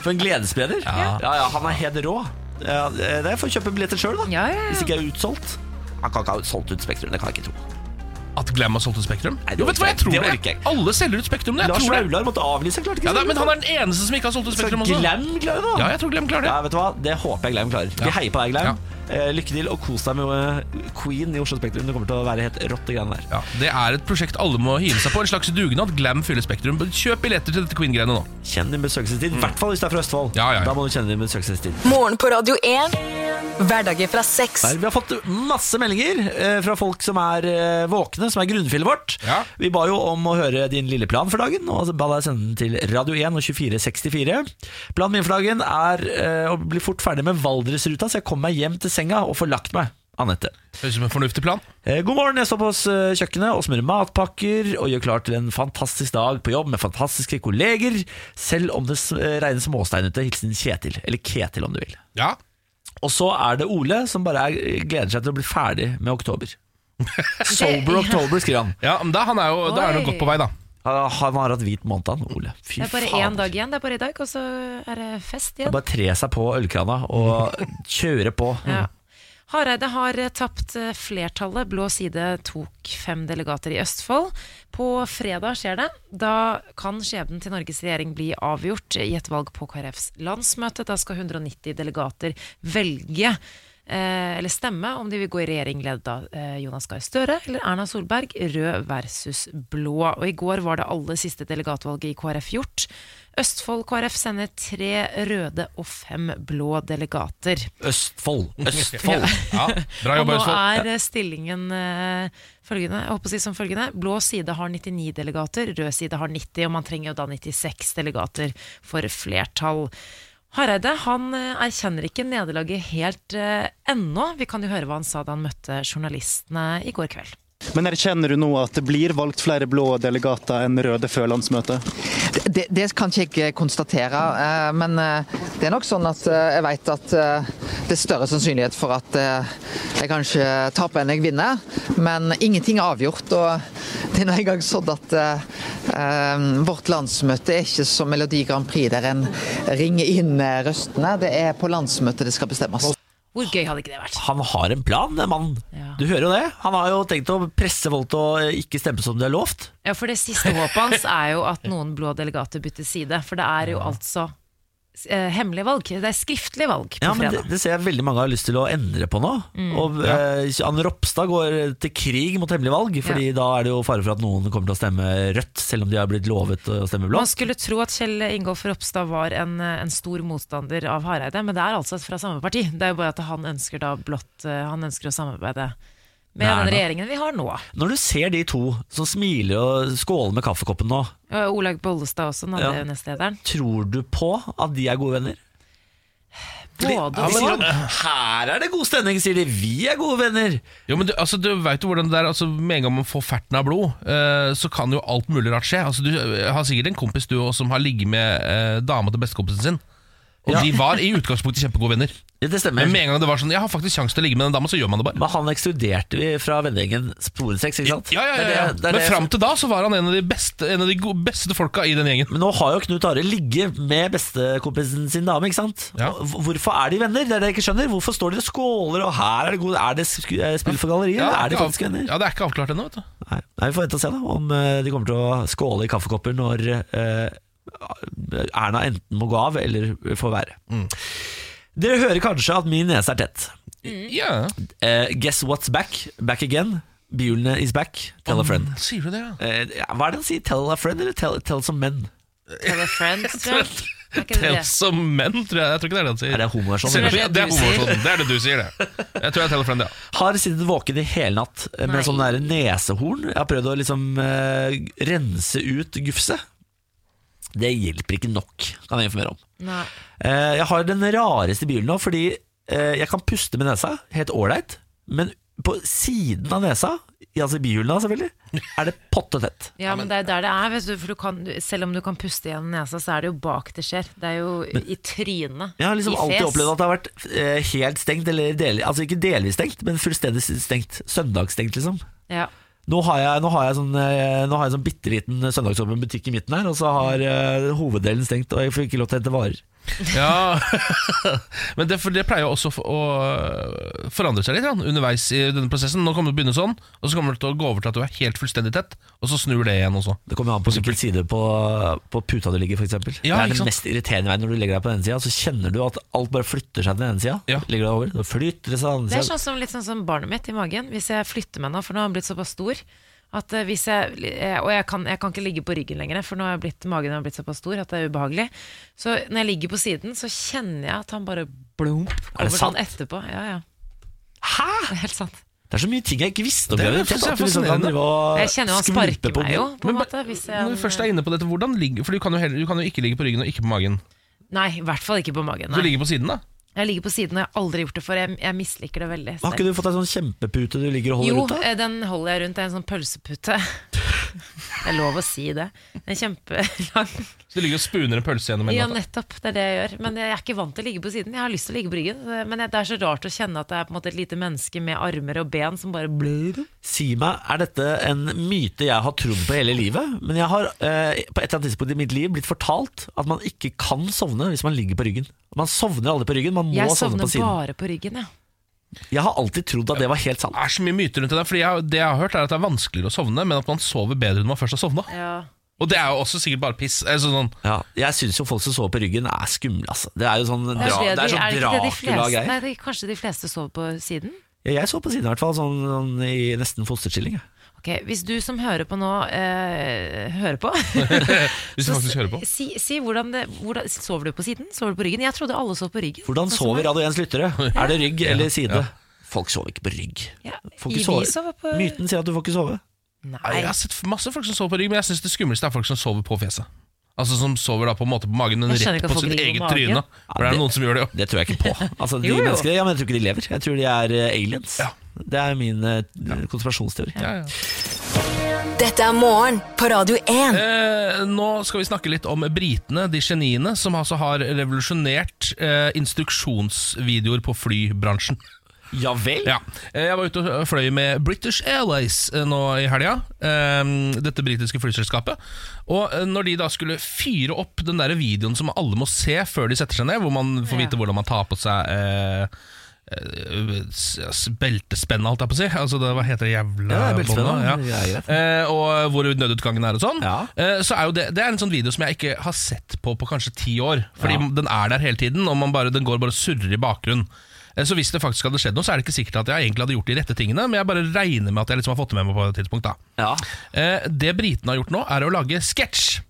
A: For en gledesspreder. Ja. Ja, han er helt rå. Ja, det får jeg kjøpe billetter sjøl, da.
C: Ja, ja, ja.
A: Hvis ikke jeg er utsolgt. Han kan ikke ha solgt ut Spektrum, det kan jeg ikke tro.
B: At Glam har solgt ut Spektrum?
A: Nei, det
B: Jo, vet du hva, jeg
A: orker
B: tror
A: jeg-
B: det.
A: det orker jeg ikke.
B: Alle selger ut Spektrum. det, Jeg
A: Lars
B: tror det.
A: Vaular måtte avlyse, klarte ikke
B: Ja,
A: å
B: da,
A: selge
B: men han
A: ut.
B: er den eneste som ikke har solgt ut
A: Så
B: Spektrum også.
A: Glam klarer det, da.
B: Ja, jeg tror Glam klarer det.
A: Ja, vet du hva? Det håper jeg Glam klarer. Vi heier på deg, Glam. Eh, lykke til, og kos deg med eh, Queen i Oslo Spektrum. Det kommer til å være helt rått, det greiene der.
B: Ja, Det er et prosjekt alle må hive seg på. En slags dugnad. Glam fyller Spektrum. Kjøp billetter til dette Queen-greiene nå.
A: Kjenn din besøkelsestid, i hvert fall hvis du er fra Østfold.
B: Ja, ja, ja.
A: Da må du kjenne din besøkelsestid.
E: Morgen på Radio 1. Hverdager fra seks.
A: Der, vi har fått masse meldinger eh, fra folk som er eh, våkne, som er grunnfjellet vårt.
B: Ja.
A: Vi ba jo om å høre din lille plan for dagen, og ba deg sende den til Radio 1 og 2464. Planen min for dagen er eh, å bli fort ferdig med Valdresruta, så jeg kommer meg hjem til senga og får lagt meg. Anette.
B: Høres ut som en fornuftig plan.
A: Eh, God morgen, jeg står på s- eh, kjøkkenet og smører matpakker og gjør klar til en fantastisk dag på jobb med fantastiske kolleger, selv om det s- eh, regner småstein ute. Hilsen Kjetil, eller Ketil om du vil.
B: Ja.
A: Og så er det Ole som bare er, gleder seg til å bli ferdig med
C: [LAUGHS]
A: oktober. Sober oktober, skriver han.
B: ja, men da, han er jo, da er han jo
C: Oi.
B: godt på vei, da.
A: Han han har hatt hvit måned, han, Ole. Fy
C: Det er bare én dag igjen, det er bare i dag, og så er det fest
A: Det er
C: igjen.
A: Bare tre seg på ølkrana og
C: [LAUGHS]
A: kjøre på.
C: Ja. Hareide har eh, tapt eh, flertallet. Blå side tok fem delegater i Østfold. På fredag skjer det. Da kan skjebnen til Norges regjering bli avgjort i et valg på KrFs landsmøte. Da skal 190 delegater velge eh, eller stemme om de vil gå i regjering ledet av eh, Jonas Gahr Støre eller Erna Solberg, rød versus blå. Og i går var det aller siste delegatvalget i KrF gjort. Østfold KrF sender tre røde og fem blå delegater.
A: Østfold,
B: [LAUGHS]
A: Østfold.
B: Ja, Bra
C: Og
B: jobba,
C: nå
B: Østfold.
C: er eh, stillingen eh, følgende, jeg håper å si som følgende. Blå side har 99 delegater, rød side har 90, og man trenger jo da 96 delegater for flertall. Hareide han eh, erkjenner ikke nederlaget helt eh, ennå. Vi kan jo høre hva han sa da han møtte journalistene i går kveld.
F: Men erkjenner du nå at det blir valgt flere blå delegater enn røde før landsmøtet?
G: Det, det kan ikke jeg konstatere, eh, men eh, det er nok sånn at eh, jeg vet at eh, det er større sannsynlighet for at eh, jeg kanskje taper enn jeg vinner, men ingenting er avgjort. og Det er nå engang sånn at eh, eh, vårt landsmøte er ikke som Melodi Grand Prix, der en ringer inn eh, røstene. Det er på landsmøtet det skal bestemmes.
C: Hvor gøy hadde ikke det vært?
A: Han har en plan, den mannen.
C: Ja.
A: Du hører jo det. Han har jo tenkt å presse folk til å ikke stemme som de har lovt.
C: Ja, for det siste håpet
B: [LAUGHS]
C: hans er jo at noen blå delegater bytter side. For det er jo altså eh, hemmelig valg. Det er skriftlig valg på
A: Ja, men
C: fredag. Mm.
A: det, det ser jeg veldig mange har lyst til å endre på nå. Og eh, Anne Ropstad går til krig mot hemmelig valg, Fordi da er det jo fare for at noen kommer til å stemme rødt, selv om de har blitt lovet å stemme
C: Man
A: blått.
C: skulle tro at Kjell Ingolf Ropstad var en, en stor motstander av Hareide, men det er altså fra samme parti. Det er jo bare at han ønsker da blått eh, Han ønsker å samarbeide med
A: Nei,
C: den
A: nei.
C: regjeringen vi har nå.
A: Når du ser de to som smiler og skåler med kaffekoppen nå,
C: Og Olaug Bollestad også, den andre
A: Ja.
C: nestlederen.
A: tror du på at de er gode venner?
C: Både
A: De sier
C: og.
A: at her er det god stemning, sier de. Vi er gode venner.
B: Jo, men du, altså, du vet jo hvordan det er altså, Med en gang man får ferten av blod eh, Så kan jo alt mulig rart skje altså, Du eh, har sikkert en kompis du også, som har ligget med eh, Dama til bestekompisen sin Og
A: Ja.
B: de var i utgangspunktet kjempegode venner
A: Ja, det stemmer.
B: Men med en gang det var sånn Jeg har faktisk sjanse til å ligge med den dama Så gjør man det bare
A: Men han ekskluderte vi fra vennegjengen sporensex, ikke sant?
B: ja, ja, ja,
A: Det
B: ja.
A: er det- det er
B: Men
A: det-
B: frem til da så var han en av de beste, en av de go- beste folka i den gjengen
A: Men nå har jo Knut Are ligget med bestekompisen sin dame, ikke sant?
B: Ja.
A: Og h- Hvorfor er de venner? Det er det jeg ikke skjønner. Hvorfor står de og skåler, og her er det god Er det sku- eh, spill for galleriet, eller er de
B: ikke av-
A: faktisk venner?
B: Ja, det er ikke avklart ennå, vet du
A: Nei. Nei, vi får vente og se da om eh, de kommer til å skåle i kaffekopper når eh,
B: Mm.
A: Erna enten må gå av eller får være. Dere hører kanskje at min nese er tett.
B: Mm. Ja.
A: Eh, guess what's back? Back again? Bjulene is back. Tell a friend.
B: Sier du det, ja?
A: Eh, ja, hva er det han sier? Tell a friend, eller tell, tell some men?
C: Tell a
A: [LAUGHS]
C: friend, tror jeg. Er ikke det
B: Tell
C: det?
B: some men, tror jeg. Jeg tror ikke det er det han sier.
A: Er det homoversjonen?
B: Selv om-
C: Det er det
B: det er
C: du sier.
B: homoversjonen. Det er det du sier, det. Jeg tror jeg teller frem det. ja.
A: Har sittet våken i hele natt eh, med
C: Nei.
A: sånn der nesehorn. Jeg har prøvd å liksom eh, rense ut gufse. Det hjelper ikke nok, kan jeg informere om.
C: Nei.
A: Eh, jeg har den rareste bilen nå, fordi eh, jeg kan puste med nesa, helt ålreit, men på siden av nesa, i- altså i bihulene selvfølgelig, er det pottetett.
C: Ja, men det er jo der det er, vet du, for du kan, selv om du kan puste gjennom nesa, så er det jo bak det skjer. Det er jo i trynet.
A: Jeg har liksom
C: i
A: alltid
C: fjes.
A: opplevd at det har vært eh, helt stengt, eller del, altså ikke delvis stengt, men fullstendig stengt. Søndagsstengt, liksom.
C: Ja.
A: Nå har jeg, nå har jeg sånn, eh, nå har jeg sånn bitte liten søndagsåpen butikk i midten her, og så har eh, hoveddelen stengt, og jeg får ikke lov til å hente varer.
B: ja. [LAUGHS] Men det, for det pleier jo også å å forandre seg litt grann, underveis i denne prosessen. Nå kommer det til å begynne sånn, og så kommer det til å gå over til at du er helt fullstendig tett, og så snur det igjen også.
A: Det kommer jo an på hvilken side på, på puta du ligger, f.eks.
B: Ja,
A: det
B: ikke
A: er det
B: sant?
A: mest irriterende veien når du legger deg på den ene sida, så kjenner du at alt bare flytter seg til den ene sida.
B: Ja.
A: Ligger deg over, så flytter det seg til den
C: Det
A: andre
C: er
A: sida.
C: sånn som, litt sånn som barnet mitt i magen. Hvis jeg flytter meg nå, for nå har han blitt såpass stor. At eh, hvis jeg, eh, og jeg kan, jeg kan ikke ligge på ryggen lenger, for nå har jeg blitt, magen har blitt såpass stor at det er ubehagelig. Så når jeg ligger på siden, så kjenner jeg at han bare blump
A: Er
C: kommer
A: det sant?
C: sånn etterpå. Ja, ja. Det er helt sant.
A: Det er så mye ting jeg ikke visste om.
B: Det er sånn
A: Bjørn.
B: faktisk
A: At du liksom kan
B: fascinerende.
A: drive og
C: Jeg kjenner jo han
A: skvulpe
C: sparker
A: på
C: meg jo,
A: den.
C: på en
B: Men-
C: måte. Hvis
B: Når
C: jeg,
B: vi først er inne på dette, hvordan ligger, for du kan, jo heller, du kan jo ikke ligge på ryggen og ikke på magen.
C: nei, i hvert fall ikke på magen.
B: Du
C: Nei.
B: ligger på siden, da.
C: Jeg ligger på siden, og jeg har aldri gjort det før. Jeg, jeg misliker det veldig.
A: Har ikke du fått deg sånn kjempepute du ligger og holder
C: Jo,
A: rundt av?
C: eh, den holder jeg rundt. Det er en sånn pølsepute. [LAUGHS] Det er lov å si det. Den er kjempelang.
B: Så du ligger og spooner en pølse gjennom
C: Ja,
B: en natt.
C: nettopp. Det er det jeg gjør. Men jeg er ikke vant til å ligge på siden. Jeg har lyst til å ligge på ryggen. Men det er så rart å kjenne at det er på en måte et lite menneske med armer og ben som bare blør.
A: Si meg, er dette en myte jeg har trodd på hele livet? Men jeg har eh, på et eller annet tidspunkt i mitt liv blitt fortalt at man ikke kan sovne hvis man ligger på ryggen. Man sovner aldri på ryggen, man må
C: Jeg
A: sovne
C: sovner
A: på siden.
C: bare på ryggen, jeg.
A: Jeg har alltid trodd at det var helt sant.
B: Det er så mye myter rundt det der, fordi jeg, det jeg har hørt er at det er vanskeligere å sovne, men at man sover bedre når man først har sovna.
C: Ja.
B: Og det er jo også sikkert bare piss. Altså sånn,
A: Ja, jeg syns jo folk som sover på ryggen er skumle, altså. Det er jo sånn, dra,
C: Det er,
A: det er
C: de,
A: sånn
C: er det ikke det de fleste
A: Dracula-greier.
C: Nei, det er kanskje de fleste sover på siden?
A: Ja, Jeg sov på siden i hvert fall, sånn, sånn i nesten fosterstilling. jeg.
C: Ok, Hvis du som hører på nå, eh, hører på
B: [LAUGHS] hvis du faktisk hører på.
C: Si, si hvordan det, hvordan, Sover du på siden? Sover du på ryggen? Jeg trodde alle sov på ryggen.
A: Hvordan
C: Sånn som
A: sover
C: meg.
A: Radio 1s lyttere? Er det rygg eller side?
B: ja.
A: Folk sover ikke på rygg.
C: Ja,
A: Får
C: vi
A: ikke sove.
C: sover på
A: Myten sier at du får ikke sove.
B: Nei,
C: Nei.
B: Jeg har sett masse folk som sover på rygg, men jeg syns det skumleste er folk som sover på fjeset. Altså Som sover da på en måte på magen, men
C: Jeg skjønner
B: rett
C: ikke
B: på
C: at folk
B: sitt
C: ligger
B: eget
C: på magen.
B: tryne. For det
A: det-
B: er noen som gjør det, jo.
A: Det tror jeg ikke på. Altså, de
C: Jo, jo.
A: menneskene, ja, men Jeg tror ikke de lever. Jeg tror de er eh, aliens.
B: Ja.
A: Det er min eh, konspirasjonsteori.
E: Dette er morgen på Radio 1.
B: Eh, nå skal vi snakke litt om britene, de geniene, som altså har revolusjonert eh, instruksjonsvideoer på flybransjen.
A: Ja vel?
B: Ja. Eh, Jeg var ute og fløy med British Airways eh, nå i helga. eh, Dette britiske flyselskapet. Og eh, når de da skulle fyre opp den der videoen som alle må se før de setter seg ned, hvor man får vite
C: Ja.
B: hvordan man tar på seg eh, eh, s- s- Beltespennet, holdt jeg på å si. Altså, det, hva heter det jævla
A: Ja, det er beltespennet,
B: båndet?
A: det er greit.
B: Eh, og hvor nødutgangen er og sånn.
A: Ja.
B: Eh, så er jo det, det er en sånn video som jeg ikke har sett på på kanskje ti år. Fordi
A: Ja.
B: den er der hele tiden, og man bare, den går bare og surrer i bakgrunnen. Eh, Så hvis det faktisk hadde skjedd noe, så er det ikke sikkert at jeg egentlig hadde gjort de rette tingene, men jeg bare regner med at jeg liksom har fått det med meg på et tidspunkt. da.
A: Ja.
B: Eh, Det britene har gjort nå, er å lage sketsj.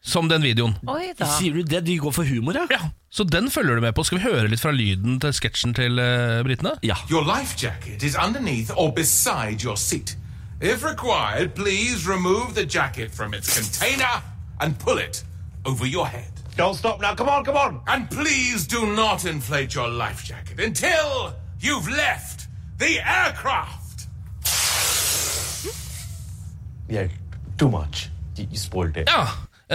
B: Som den videoen.
C: Oi da.
A: Sier du det? De går for humor, ja?
B: Ja, Så den følger du med på. Skal vi høre litt fra lyden til sketsjen til eh, britene?
A: Ja.
H: Your life jacket is underneath or beside your seat. If required, please remove the jacket from its container and pull it over your head. Don't stop now. Come on, come on. And please do not inflate your life jacket until you've left the aircraft.
I: Yeah, too much. You, you spoiled it.
B: Ja,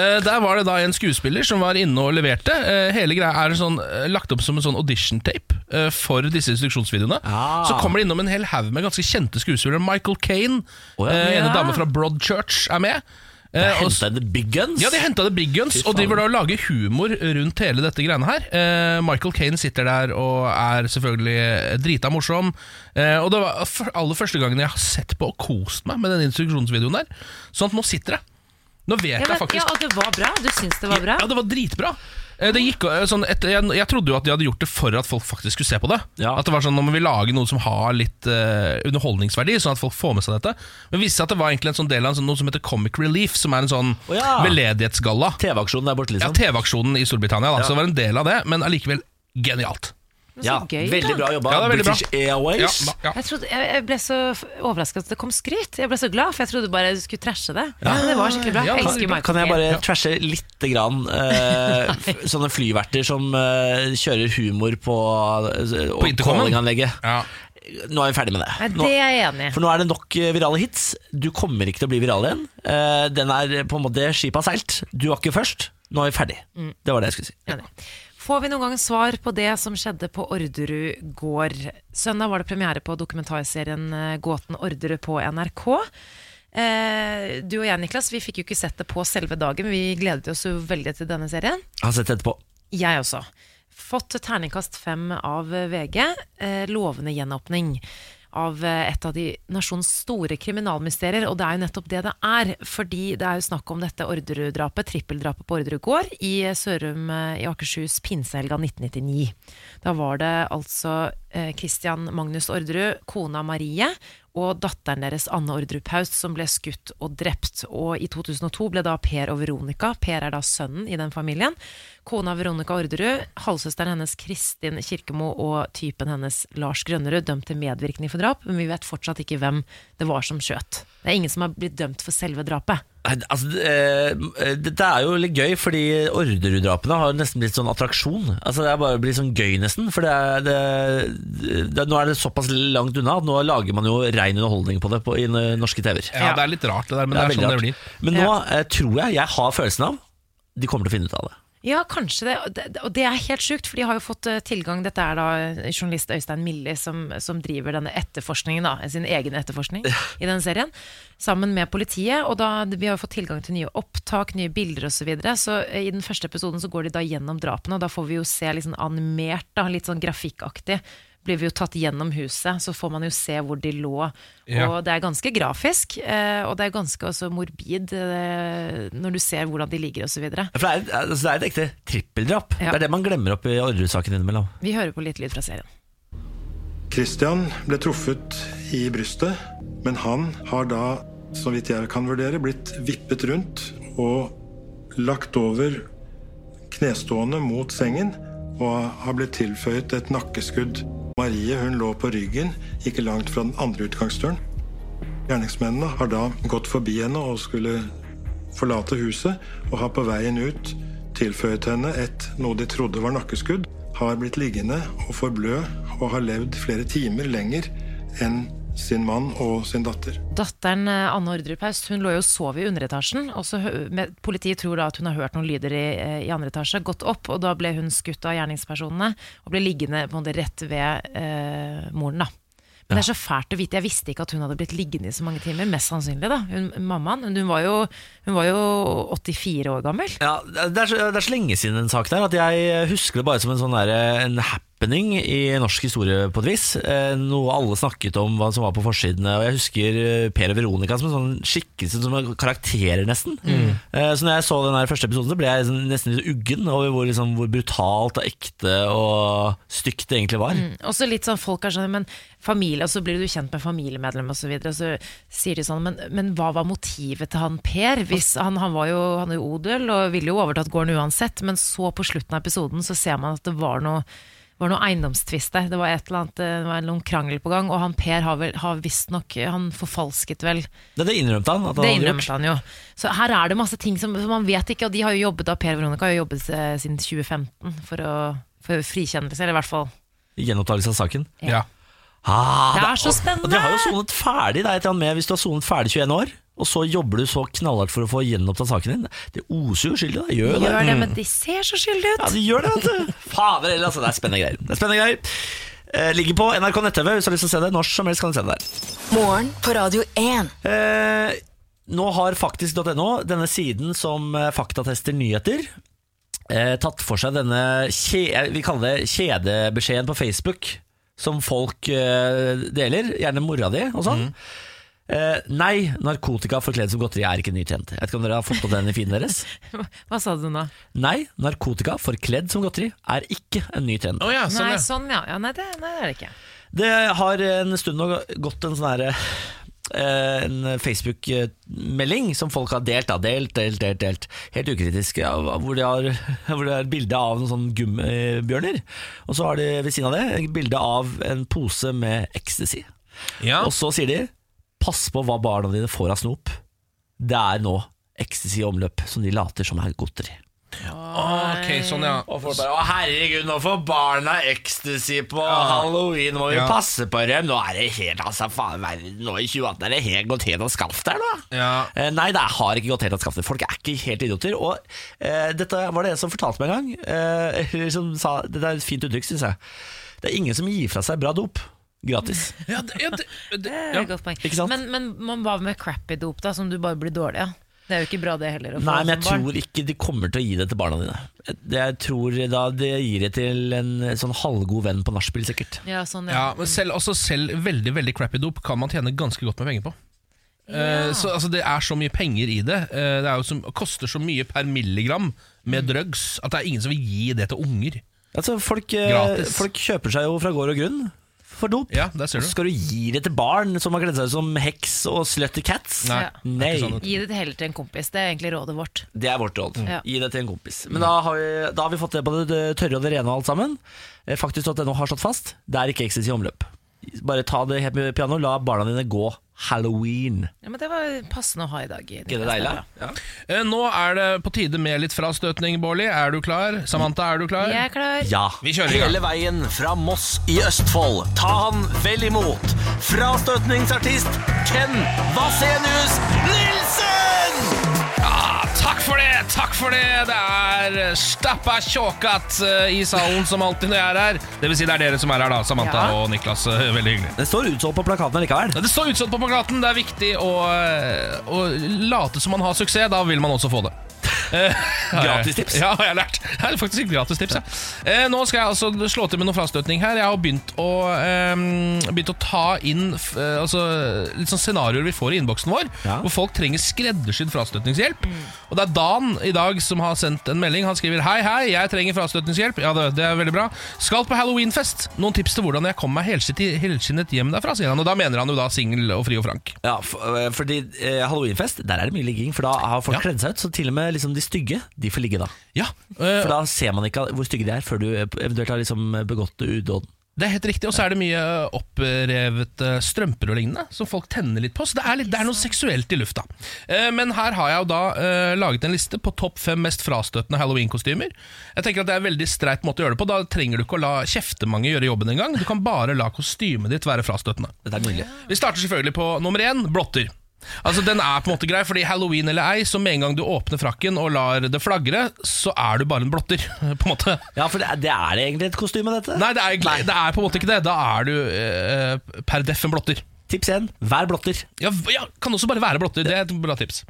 B: eh, der var det da en skuespiller som var inne og leverte. Eh, hele greia er sånn, eh, lagt opp som en sånn audition-tape eh, for disse instruksjonsvideoene.
A: Ah.
B: Så kommer det innom en hel haug med ganske kjente skuespillere. Michael Kane,
A: Å, ja.
B: eh,
C: Ja.
B: ene dame fra Broadchurch, er med. Eh, og s-
A: Henta inn The Big Guns?
B: ja, De henta det Big Guns
A: Fy
B: og
A: faen.
B: driver da og lager humor rundt hele dette greiene her. Eh, Michael Kane sitter der og er selvfølgelig drita morsom. Eh, og Det var f- aller første gangen jeg har sett på og kost meg med den instruksjonsvideoen der. Sånn at nå sitter jeg. Nå vet
C: Ja, men,
B: jeg faktisk
C: ja, og det var bra. Du syns det var bra?
B: Ja, det var dritbra. Eh, Det gikk eh, sånn et, jeg, jeg trodde jo at de hadde gjort det for at folk faktisk skulle se på det.
A: Ja.
B: At det var sånn, Nå må vi lage noe som har litt eh, underholdningsverdi, sånn at folk får med seg dette. Men det viste seg at det var egentlig en sånn del av en sånn, noe som heter Comic Relief, som er en sånn
A: Å ja.
B: veldedighetsgalla.
A: TV-aksjonen der borte,
B: Ja,
A: liksom.
B: TV-aksjonen i Storbritannia. Da.
A: Ja.
B: Så det var en del av det, men allikevel genialt.
C: Men
A: Ja,
C: Så gøy.
A: veldig
C: da.
A: bra jobba,
B: Ja, det er veldig bra.
A: British Airways.
B: Ja, da- ja.
C: Jeg, trodde, jeg, jeg ble så overraska at det kom skryt. Jeg ble så glad, for jeg trodde bare du skulle trashe det. Men det var skikkelig bra.
B: Ja,
C: Jeg
B: kan-
C: elsker Michael
A: Kan jeg
C: Caine.
A: bare trashe lite grann
C: [LAUGHS]
A: eh, f- sånne flyverter som eh, kjører humor på, uh,
B: På intercomen?
A: callinganlegget?
B: Ja.
A: Nå er vi ferdig med det.
C: Nei,
A: Nå,
C: det er jeg enig i.
A: for nå er det nok eh, virale hits. Du kommer ikke til å bli viral igjen. Eh, den er eh, på en måte skipet har seilt. Du var ikke først. Nå er vi ferdig.
C: Mm.
A: Det var det jeg skulle si.
C: Enig. Får vi noen gang svar på det som skjedde på Orderud gård? Søndag var det premiere på dokumentarserien eh, Gåten Orderud på NRK. Eh, du og jeg, Niklas, vi fikk jo ikke sett det på selve dagen, men vi gledet oss jo veldig til denne serien.
A: Jeg har sett det etterpå.
C: Jeg også. Fått terningkast fem av eh, VG. Eh, lovende gjenåpning av eh, et av de nasjonens store kriminalmysterier. Og det er jo nettopp det det er. Fordi det er jo snakk om dette Orderud-drapet, trippeldrapet på Orderud gård i eh, Sørum eh, i Akershus pinsehelga 1999. Da var det altså eh, Christian Magnus Orderud, kona Marie og datteren deres Anne Orderud Paust som ble skutt og drept. Og i 2002 ble da Per og Veronica, Per er da sønnen i den familien, kona Veronica Orderud, halvsøsteren hennes Kristin Kirkemo og typen hennes Lars Grønnerud dømt til medvirkning for drap, men vi vet fortsatt ikke hvem det var som skjøt. Det er ingen som har blitt dømt for selve drapet.
A: Nei, Altså, eh, dette er jo litt gøy, fordi Orderud-drapene har nesten blitt sånn attraksjon. Altså, det er bare blitt sånn gøy, nesten. For det er, det, det, nå er det såpass langt unna at nå lager man jo rein underholdning på det på, i n- norske TV-er.
B: ja, det er litt rart, det der, men det er, sånn det
A: veldig
B: blir.
A: rart. Men nå eh, tror jeg jeg har følelsen av de kommer til å finne ut av det.
C: Ja, kanskje det. Og det- Og det er helt sjukt, for de har jo fått eh, tilgang Dette er da eh, journalist Øystein Milli som, som driver denne etterforskningen, da, sin egen etterforskning i den serien, sammen med politiet. Og da, vi har jo fått tilgang til nye opptak, nye bilder osv. Så, videre. så eh, i den første episoden så går de da gjennom drapene, og da får vi jo se liksom animert, da, litt sånn grafikkaktig. Blir vi jo tatt gjennom huset, så får man jo se hvor de lå.
B: Ja.
C: Og det er ganske grafisk, eh, og det er ganske også morbid eh, når du ser hvordan de ligger osv.
A: For det er, altså, det er et ekte trippeldrap.
C: Ja.
A: Det er det man glemmer opp i Orderud-saken innimellom.
C: Vi hører på litt lyd fra serien.
J: Christian ble truffet i brystet, men han har da, så vidt jeg kan vurdere, blitt vippet rundt og lagt over knestående mot sengen og har blitt tilføyet et nakkeskudd. Marie hun lå på ryggen, ikke langt fra den andre utgangsdøren. Gjerningsmennene har da gått forbi henne og skulle forlate huset, og har på veien ut tilføyet henne et noe de trodde var nakkeskudd, har blitt liggende og forblø og har levd flere timer lenger enn sin mann og sin datter.
C: Datteren eh, Anne Ordrup Haust hun lå jo og sov i underetasjen. og så hø- med- Politiet tror da at hun har hørt noen lyder i, eh, i andre etasje, gått opp, og da ble hun skutt av gjerningspersonene og ble liggende på en måte rett ved eh, moren. da. Men det er så fælt å vite. Jeg visste ikke at hun hadde blitt liggende i så mange timer. Mest sannsynlig, da. Hun, mammaen hun var, jo, hun var jo 84 år gammel.
A: Ja, det er, så, det er så lenge siden den saken her at jeg husker det bare som en sånn der, en happening i norsk historie på et vis. Eh, Noe alle snakket om hva som var på forsidene. Og jeg husker eh, Per og Veronica som en sånn skikkelse, som en karakterer nesten. Eh, Så når jeg så den her første episoden, så ble jeg liksom nesten litt uggen over hvor, liksom, hvor brutalt og ekte og stygt det egentlig var.
C: Og så litt sånn folk er sånn, men familie, og så blir du kjent med familiemedlem og så videre, og så sier de sånn, men, men hva var motivet til han Per? Hvis han, han var jo han er jo odel og ville jo overtatt gården uansett, men så på slutten av episoden så ser man at det var noe var noe eiendomstvist der. Det var et eller annet, eh, det var noen krangel på gang, og han Per har, vel, har visstnok Han forfalsket vel
A: Det, det innrømte han. At han
C: det
A: hadde
C: innrømmer
A: gjort.
C: han jo. Så her er det masse ting som, som man vet ikke, og de har jo jobbet da Per og Veronica har jo jobbet eh, siden 2015 for, å, for frikjennelse, eller i hvert fall
A: Gjenopptakelse av saken.
B: Ja.
A: Ah,
C: Det er så spennende!
A: Og de har jo sonet ferdig, det er et eller annet med hvis du har sonet ferdig 21 år, og så jobber du så knallhardt for å få gjenopptatt saken din. Det oser jo uskyldig, det gjør jo det.
C: Gjør det, men de ser så skyldige ut.
A: Ja, det gjør det, vet
C: [LAUGHS]
A: du. Fader heller, altså. Det er spennende greier. Det er spennende greier. Eh, ligger på NRK nett-TV hvis du har lyst til å se det. Når som helst kan du se det der.
E: Morgen på Radio 1.
A: Eh, nå har faktisk.no, denne siden som eh, faktatester nyheter, eh, tatt for seg denne kje, eh, vi kaller det
C: Mm.
A: kjedebeskjeden på Facebook, som folk eh, deler, gjerne mora di og sånn. Eh, nei, narkotika forkledd som godteri er ikke nytjent. Jeg vet ikke om dere har fått på den i feeden deres?
C: [LAUGHS] Hva sa du nå?
A: Nei, narkotika forkledd som godteri er ikke en ny trend.
C: nei, sånn, ja. ja nei, det, nei, det er det ikke.
A: Det har en stund nå gått en sånn herre en Facebook-melding som folk har delt, da. delt, delt, delt, delt helt ukritisk. ja, Hvor de har, hvor det er et bilde av noen sånne gummibjørner. Og så har de ved siden av det et bilde av en pose med ecstasy. Og så sier de 'pass på hva barna dine får av snop'. Det er nå ecstasy i omløp, som de later som er godteri.
B: Ok, sånn ja
A: Og folk bare, å herregud, nå får barna ecstasy på halloween, må vi
B: Ja.
A: passe på dem. Nå er det helt, altså, faen, verden, nå i 2018 er det helt gått helt av skaft der, da. Eh, Nei, det har ikke gått helt av skaftet. Folk er ikke helt idioter. Og eh, dette var det en som fortalte meg en gang, eh, eller som sa, dette er et fint uttrykk, synes jeg. Det er ingen som gir fra seg bra dop, gratis.
B: [LAUGHS] Ja, det,
C: [LAUGHS]
B: ja, det, det
C: er et godt poeng.
A: Ikke sant?
C: Men, men man var med crappy dop, da, som du bare blir dårlig av. Det er jo ikke bra, det heller. å få
A: Nei, men jeg
C: som barn.
A: tror ikke de kommer til å gi det til barna dine. Jeg tror da de gir det til en sånn halvgod venn på nachspiel, sikkert.
C: Ja, sånn, ja.
B: Ja, men selv, også selv veldig veldig crappy dop kan man tjene ganske godt med penger på. Eh, så altså, Det er så mye penger i det. Eh, det er jo som, koster så mye per milligram
C: Mm.
B: med drugs at det er ingen som vil gi det til unger.
A: Altså, folk, eh,
B: Gratis.
A: folk kjøper seg jo fra gård og grunn for dop.
B: Ja, der ser
A: Og
B: du.
A: så skal du gi det til barn som har kledd seg ut som heks og slutty cats?
B: Nei,
A: Nei.
B: det er ikke sånn.
C: Gi det heller til en kompis. Det er egentlig rådet vårt.
A: Det er vårt råd.
C: Ja.
A: Gi det til en kompis. Men da har, vi, da har vi fått det på det- det tørre og det rene og alt sammen. Eh, Faktisk at det nå har slått fast. Det er ikke eksist i omløp. Bare ta det helt med piano. La barna dine gå halloween.
C: Ja, men Det var passende å ha i dag. i
A: Ikke det
C: neste
A: deilig?
C: dag.
B: Eh, nå er det på tide med litt frastøtning, Bårli. Er du klar? Samantha, er du klar?
C: Jeg er klar.
A: Ja.
B: Vi kjører i gang.
K: Hele veien fra Moss i Østfold. Ta han vel imot. Frastøtningsartist Ken Vasenius Nilsen!
B: Ja, takk for det! Takk for det! Det er eh, stappa tjåkat eh, i salen som alltid når jeg er her. Det vil si det er dere som er her, da. Samantha
A: Ja.
B: og Niklas. eh, Veldig hyggelig.
A: Det står utsolgt på plakaten likevel.
B: Ja, Det står utsatt på plakaten. Det er viktig å, eh, å late som man har suksess. Da vil man også få det. Eh, [LAUGHS] har jeg-
A: Gratistips.
B: Ja, har jeg lært. Det er faktisk et gratistips. Ja. Eh, nå skal jeg altså slå til med noe frastøtning her. Jeg har begynt å, eh, begynt å ta inn f- eh, altså, litt sånn scenarioer vi får i innboksen vår, hvor folk trenger skreddersydd frastøtningshjelp. Og det er Dan i dag som har sendt en melding. Han skriver Hei, hei, jeg trenger frastøtningshjelp. Ja, det, det er veldig bra. Skal på halloweenfest. Noen tips til hvordan jeg kommer meg helskinnet helskinnet hjem derfra, sier han. Og da mener han jo da singel og fri og frank.
A: Ja, for, eh, fordi eh, halloweenfest, der er det mye ligging. For da har folk kledd seg ut. Så til og med liksom, de stygge, de får ligge da.
B: eh,
A: for da ser man ikke hvor stygge de er, før du eventuelt har liksom, begått udåden.
B: Det er helt riktig, og så er det mye opprevet eh, strømper og lignende som folk tenner litt på. Så det er, litt, det er noe seksuelt i lufta. Eh, Men her har jeg jo da eh, laget en liste på topp fem mest frastøtende halloweenkostymer. Jeg tenker at Det er en veldig streit måte å gjøre det på. Da trenger du ikke å la kjeftemange gjøre jobben engang. Du kan bare la kostymet ditt være frastøtende. Vi starter selvfølgelig på nummer én blotter. Altså Den er på en måte grei, fordi halloween eller ei, så med en gang du åpner frakken og lar det flagre, så er du bare en blotter. [LAUGHS] på en måte
A: Ja, for det er, det er det egentlig et kostyme, dette?
B: Nei, det er, egentlig- det er på en måte ikke det. Da er du eh, per deff en blotter.
A: Tips én vær blotter.
B: Ja, v- ja, kan også bare være blotter. Det er et bra tips.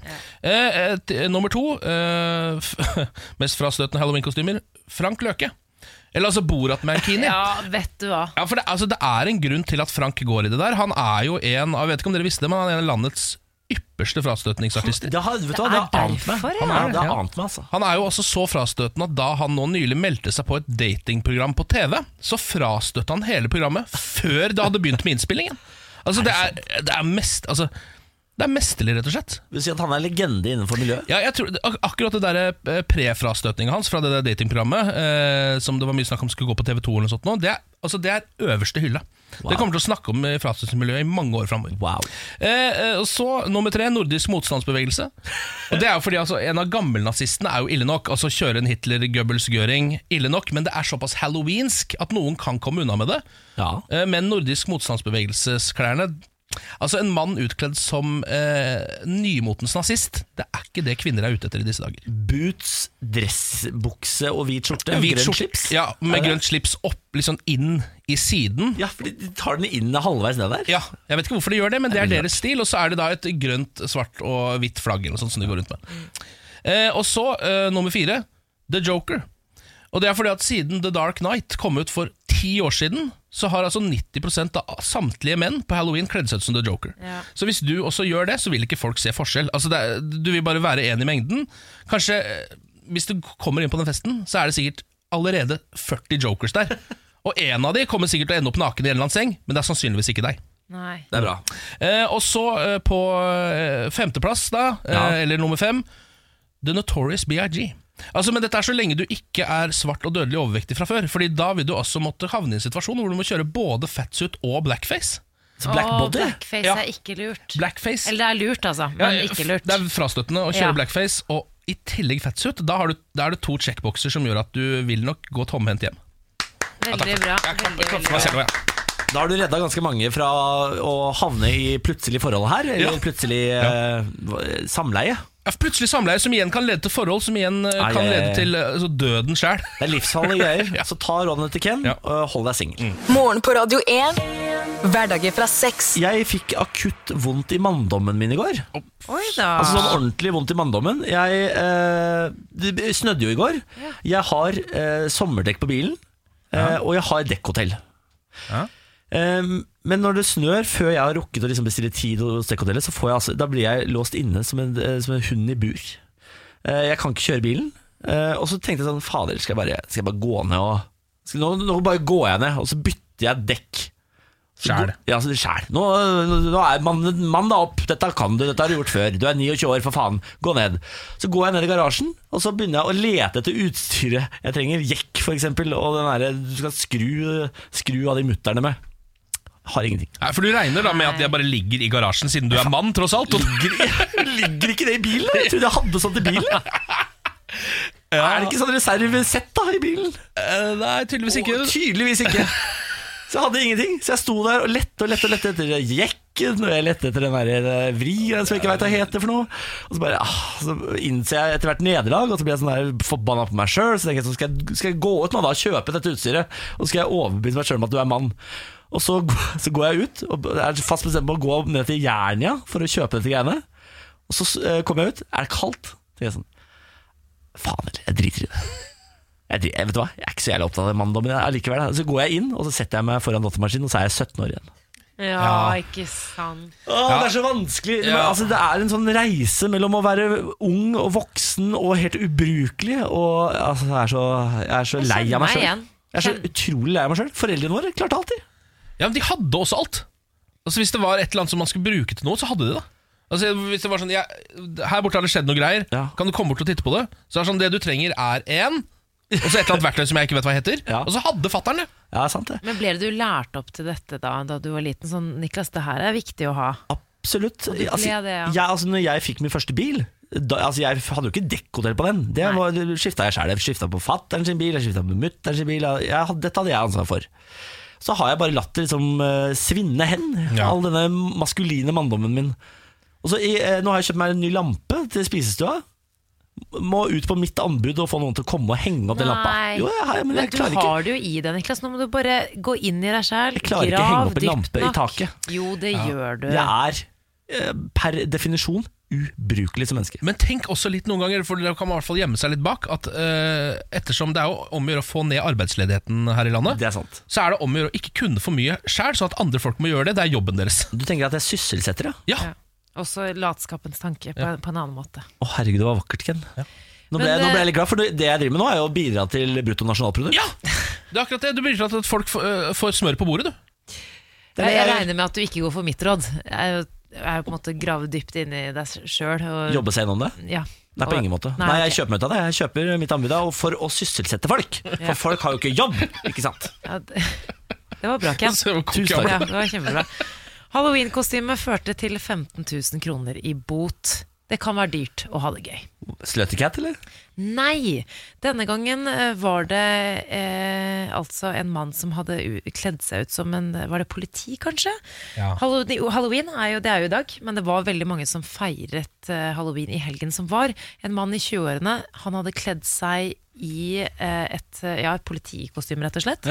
B: Eh, eh, t- nummer to, eh, [LAUGHS] f mest frastøtende halloweenkostymer, Frank Løke. Eller altså Borat-mankini.
C: Ja, vet du hva.
B: Ja, for det, altså, det er en grunn til at Frank går i det der. Han er jo en av, jeg vet ikke om dere visste det, men han er en av landets ypperste frastøtningsartister.
A: Det har, vet du hva, det har ant meg. Han er, det har ant meg, altså.
B: Han er jo også så frastøtende at da han nå nylig meldte seg på et datingprogram på TV, så frastøtte han hele programmet før det hadde begynt med innspillingen. Altså, det er, det er mest Altså det er mesterlig, rett og slett.
A: Vil si at han er legende innenfor miljøet?
B: Ja, jeg tror, ak akkurat det der, eh, pre-frastøtninga hans fra det der datingprogrammet, eh, som det var mye snakk om skulle gå på TV2, eller noe sånt nå, det, er, altså, det er øverste hylle. Det kommer til å snakke om eh, frastøtningsmiljøet i mange år framover. Eh, eh, og så nummer tre, nordisk motstandsbevegelse. Og det er jo fordi altså, En av gammelnazistene er jo ille nok. Altså Kjøre en Hitler, Goebbels, Göring, ille nok. Men det er såpass halloweensk at noen kan komme unna med det. Eh, men nordisk motstandsbevegelsesklærne Altså En mann utkledd som eh, nymotens nazist, det er ikke det kvinner er ute etter i disse dager.
A: Boots, dressbukse og hvit skjorte.
B: Hvit
A: grønt
B: skjorte-
A: slips.
B: Ja,
A: Er
B: Med
A: det?
B: grønt slips opp, liksom inn i siden.
A: Ja, for de tar den inn halvveis ned der.
B: Ja, Jeg vet ikke hvorfor de gjør det, men det er deres stil. Og så er det da et grønt, svart og hvitt flagg eller noe sånt som de går rundt med. Eh, og så eh, nummer fire, The Joker. Og det er fordi at siden The Dark Knight kom ut for ti ti år siden så har altså 90 av samtlige menn på halloween kledd seg ut som The Joker.
L: Ja.
B: Så hvis du også gjør det, så vil ikke folk se forskjell. Altså det er, du vil bare være en i mengden. Kanskje eh, hvis du kommer inn på den festen, så er det sikkert allerede 40 jokers der. Og en av de kommer sikkert til å ende opp naken i en eller annen seng, men det er sannsynligvis ikke deg.
C: Nei.
B: Det er bra. Eh, og så eh, på eh, femteplass, da, eh,
L: Ja.
B: eller nummer fem, The Notorious BIG. Altså, men dette er så lenge du ikke er svart og dødelig overvektig fra før. Fordi da vil du også måtte havne i en situasjon hvor du må kjøre både fatsuit og blackface.
C: Åh, blackface er ikke lurt.
B: Blackface
C: Eller det er lurt, altså,
B: Ja,
C: men ikke lurt.
B: Det er frastøtende å kjøre
C: Ja.
B: blackface og i tillegg fatsuit. Da, har du, da er det to checkboxer som gjør at du vil nok gå tomhendt hjem.
C: Veldig bra. Veldig, veldig
B: Hva
C: bra.
B: skjer nå, ja?
A: Da har du redda ganske mange fra å havne i plutselig forhold her, eller
B: Ja.
A: plutselig eh, hva- samleie.
B: Ja, Plutselig samleie som igjen kan lede til forhold som igjen eh,
A: Ai,
B: kan
A: ai, ai.
B: lede til eh, altså, døden sjæl.
A: [LAUGHS] Det er livsfarlige
B: [LAUGHS]
A: greier. Så ta rådene til Ken, og hold deg singel.
E: Morgen på Radio 1. Mm. Hverdager fra seks.
A: Jeg fikk akutt vondt i manndommen min i går.
C: Oi da.
A: Altså sånn ordentlig vondt i manndommen. Jeg eh, Det snødde jo i går. Jeg har eh, sommerdekk på bilen, eh, og jeg har dekkhotell. Em, men når det snør, før jeg har rukket å liksom bestille tid hos dekkhotellet, så får jeg, altså, da blir jeg låst inne som en, eh, som en hund i bur. Eh, jeg kan ikke kjøre bilen. Eh, og så tenkte jeg sånn Fader, skal jeg bare, skal jeg bare gå ned og skal, nå, nå bare går jeg ned, og så bytter jeg dekk. Sjæl. Ja, så det er sjæl. Nå, nå er mann, mann da opp. Dette kan du, dette har du gjort før. Du er 29 år, for faen. Gå ned. Så går jeg ned i garasjen, og så begynner jeg å lete etter utstyret. Jeg trenger jekk, for eksempel, og den derre du skal skru, skru av de mutterne med. Har ingenting.
B: Nei, For du regner da med at jeg bare ligger i garasjen, siden du er mann, tross alt? [LAUGHS]
A: Ligger, ikke det i bilen? Jeg trodde jeg hadde sånt i bilen. Er det ikke sånn reservesett da i bilen?
B: Eh, nei, tydeligvis ikke.
A: tydeligvis
B: [LAUGHS]
A: ikke. Så jeg hadde ingenting. Så jeg sto der og lette og lette og lette etter jekken, og jeg lette etter den der eh, vrien som jeg ikke veit hva heter for noe. Og så bare ah, Så innser jeg etter hvert nederlag, og så blir jeg sånn der forbanna på meg sjøl. Så tenker jeg sånn, skal jeg, skal jeg gå ut nå da og kjøpe dette utstyret, og så skal jeg overbevise meg sjøl om at du er mann. Og så, [LAUGHS] g- så går jeg ut, og er fast bestemt på å gå ned til Jernia for å kjøpe dette greiene. Og så eh, kommer jeg ut, er det kaldt? Så tenker jeg sånn Faen heller, jeg driter i det. Jeg, dri- jeg, vet du hva? jeg er ikke så jævlig opptatt av manndommen jeg- allikevel. da. Så går jeg inn, og så setter jeg meg foran datamaskinen, og så er jeg 17 år igjen.
C: Ja, ikke sant.
A: Åh, Det er så vanskelig. Men, altså, det er en sånn reise mellom å være ung og voksen og helt ubrukelig. Og altså, jeg, er så, jeg er så lei av meg
C: meg
A: sjøl.
C: igjen.
A: Jeg er så utrolig lei av meg sjøl. Foreldrene våre klarte alltid.
B: Ja, men de hadde også alt. Altså Hvis det var et eller annet som man skulle bruke til noe, så hadde de det. Altså hvis det var sånn jeg, Her borte har det skjedd noe greier, kan du komme bort og titte på det? Så er det sånn, det du trenger er en og så et eller annet verktøy som jeg ikke vet hva heter. Og så hadde fatteren det.
A: Ja, sant det
C: Men ble du lært opp til dette da Da du var liten? Sånn, Niklas, det her er viktig å ha.
A: Absolutt.
C: Og du ble
A: Altså,
C: det, ja.
A: jeg, altså, når jeg fikk min første bil da, altså, Jeg hadde jo ikke dekkhotell på den. Det var- det skifta jeg sjøl. Jeg skifta på fattern sin bil, jeg skifta på mutter'n sin bil. Jeg, hadde- dette hadde jeg ansvar for. Så har jeg bare latt det liksom eh, svinne hen, all denne maskuline manndommen min. Og så i, eh, Nå har jeg kjøpt meg en ny lampe til spisestua. Må ut på mitt anbud og få noen til å komme og henge opp den lampa. Jo, jeg, har- men jeg
C: du
A: klarer ikke.
C: har det jo i deg, Niklas. Nå må du bare gå inn i deg sjæl.
A: Jeg klarer ikke å henge opp en lampe i taket.
C: Jo, det gjør du.
A: Jeg er eh, per definisjon ubrukelig som menneske.
B: Men tenk også litt noen ganger, for dere kan i hvert fall gjemme seg litt bak, at eh, ettersom det er jo om å gjøre å få ned arbeidsledigheten her i landet, så er det om å gjøre å ikke kunne for mye sjæl, sånn at andre folk må gjøre det. Det er jobben deres.
A: Du tenker at jeg sysselsetter,
B: ja?
C: Ja. Også latskapens tanke på, på en annen måte.
A: Å herregud, det var vakkert, Ken. Nå, ble,
C: Men,
A: jeg- nå
C: eh,
A: ble jeg litt glad, for det jeg driver med nå, er jo å bidra til bruttonasjonalprodukt. Ja!
B: Det er akkurat det. Du blir til at folk får, eh, får smør på bordet, du.
A: er det
C: Jeg, jeg
A: jeg-
C: regner med at du ikke går for mitt råd. Jeg er jo- jeg er jo på en måte grave dypt inni deg sjøl.
A: Jobbe seg gjennom det?
C: Ja.
A: Nei, på
C: Og-
A: ingen måte.
C: Nei,
A: Nei, jeg kjøper meg ut av det. Jeg kjøper mitt anbud da, og for å sysselsette folk. For folk har jo ikke jobb, ikke sant?
C: Ja, det, [LAUGHS] det var bra,
A: [LAUGHS]
C: Ken.
A: Så kokk jeg opp.
C: Ja, det var kjempebra. Halloween-kostyme førte til 15 000 kroner i bot. Det kan være dyrt å ha det gøy.
A: Sluttycat, eller?
C: Nei! Denne gangen eh, var det eh, altså en mann som hadde u- kledd seg ut som en Var det politi, kanskje?
L: Ja.
C: Hallow- Halloween er jo, det er jo i dag, men det var veldig mange som feiret eh, halloween i helgen som var. En mann i 20-årene, han hadde kledd seg i eh, et, eh, ja, et politikostyme, rett og slett.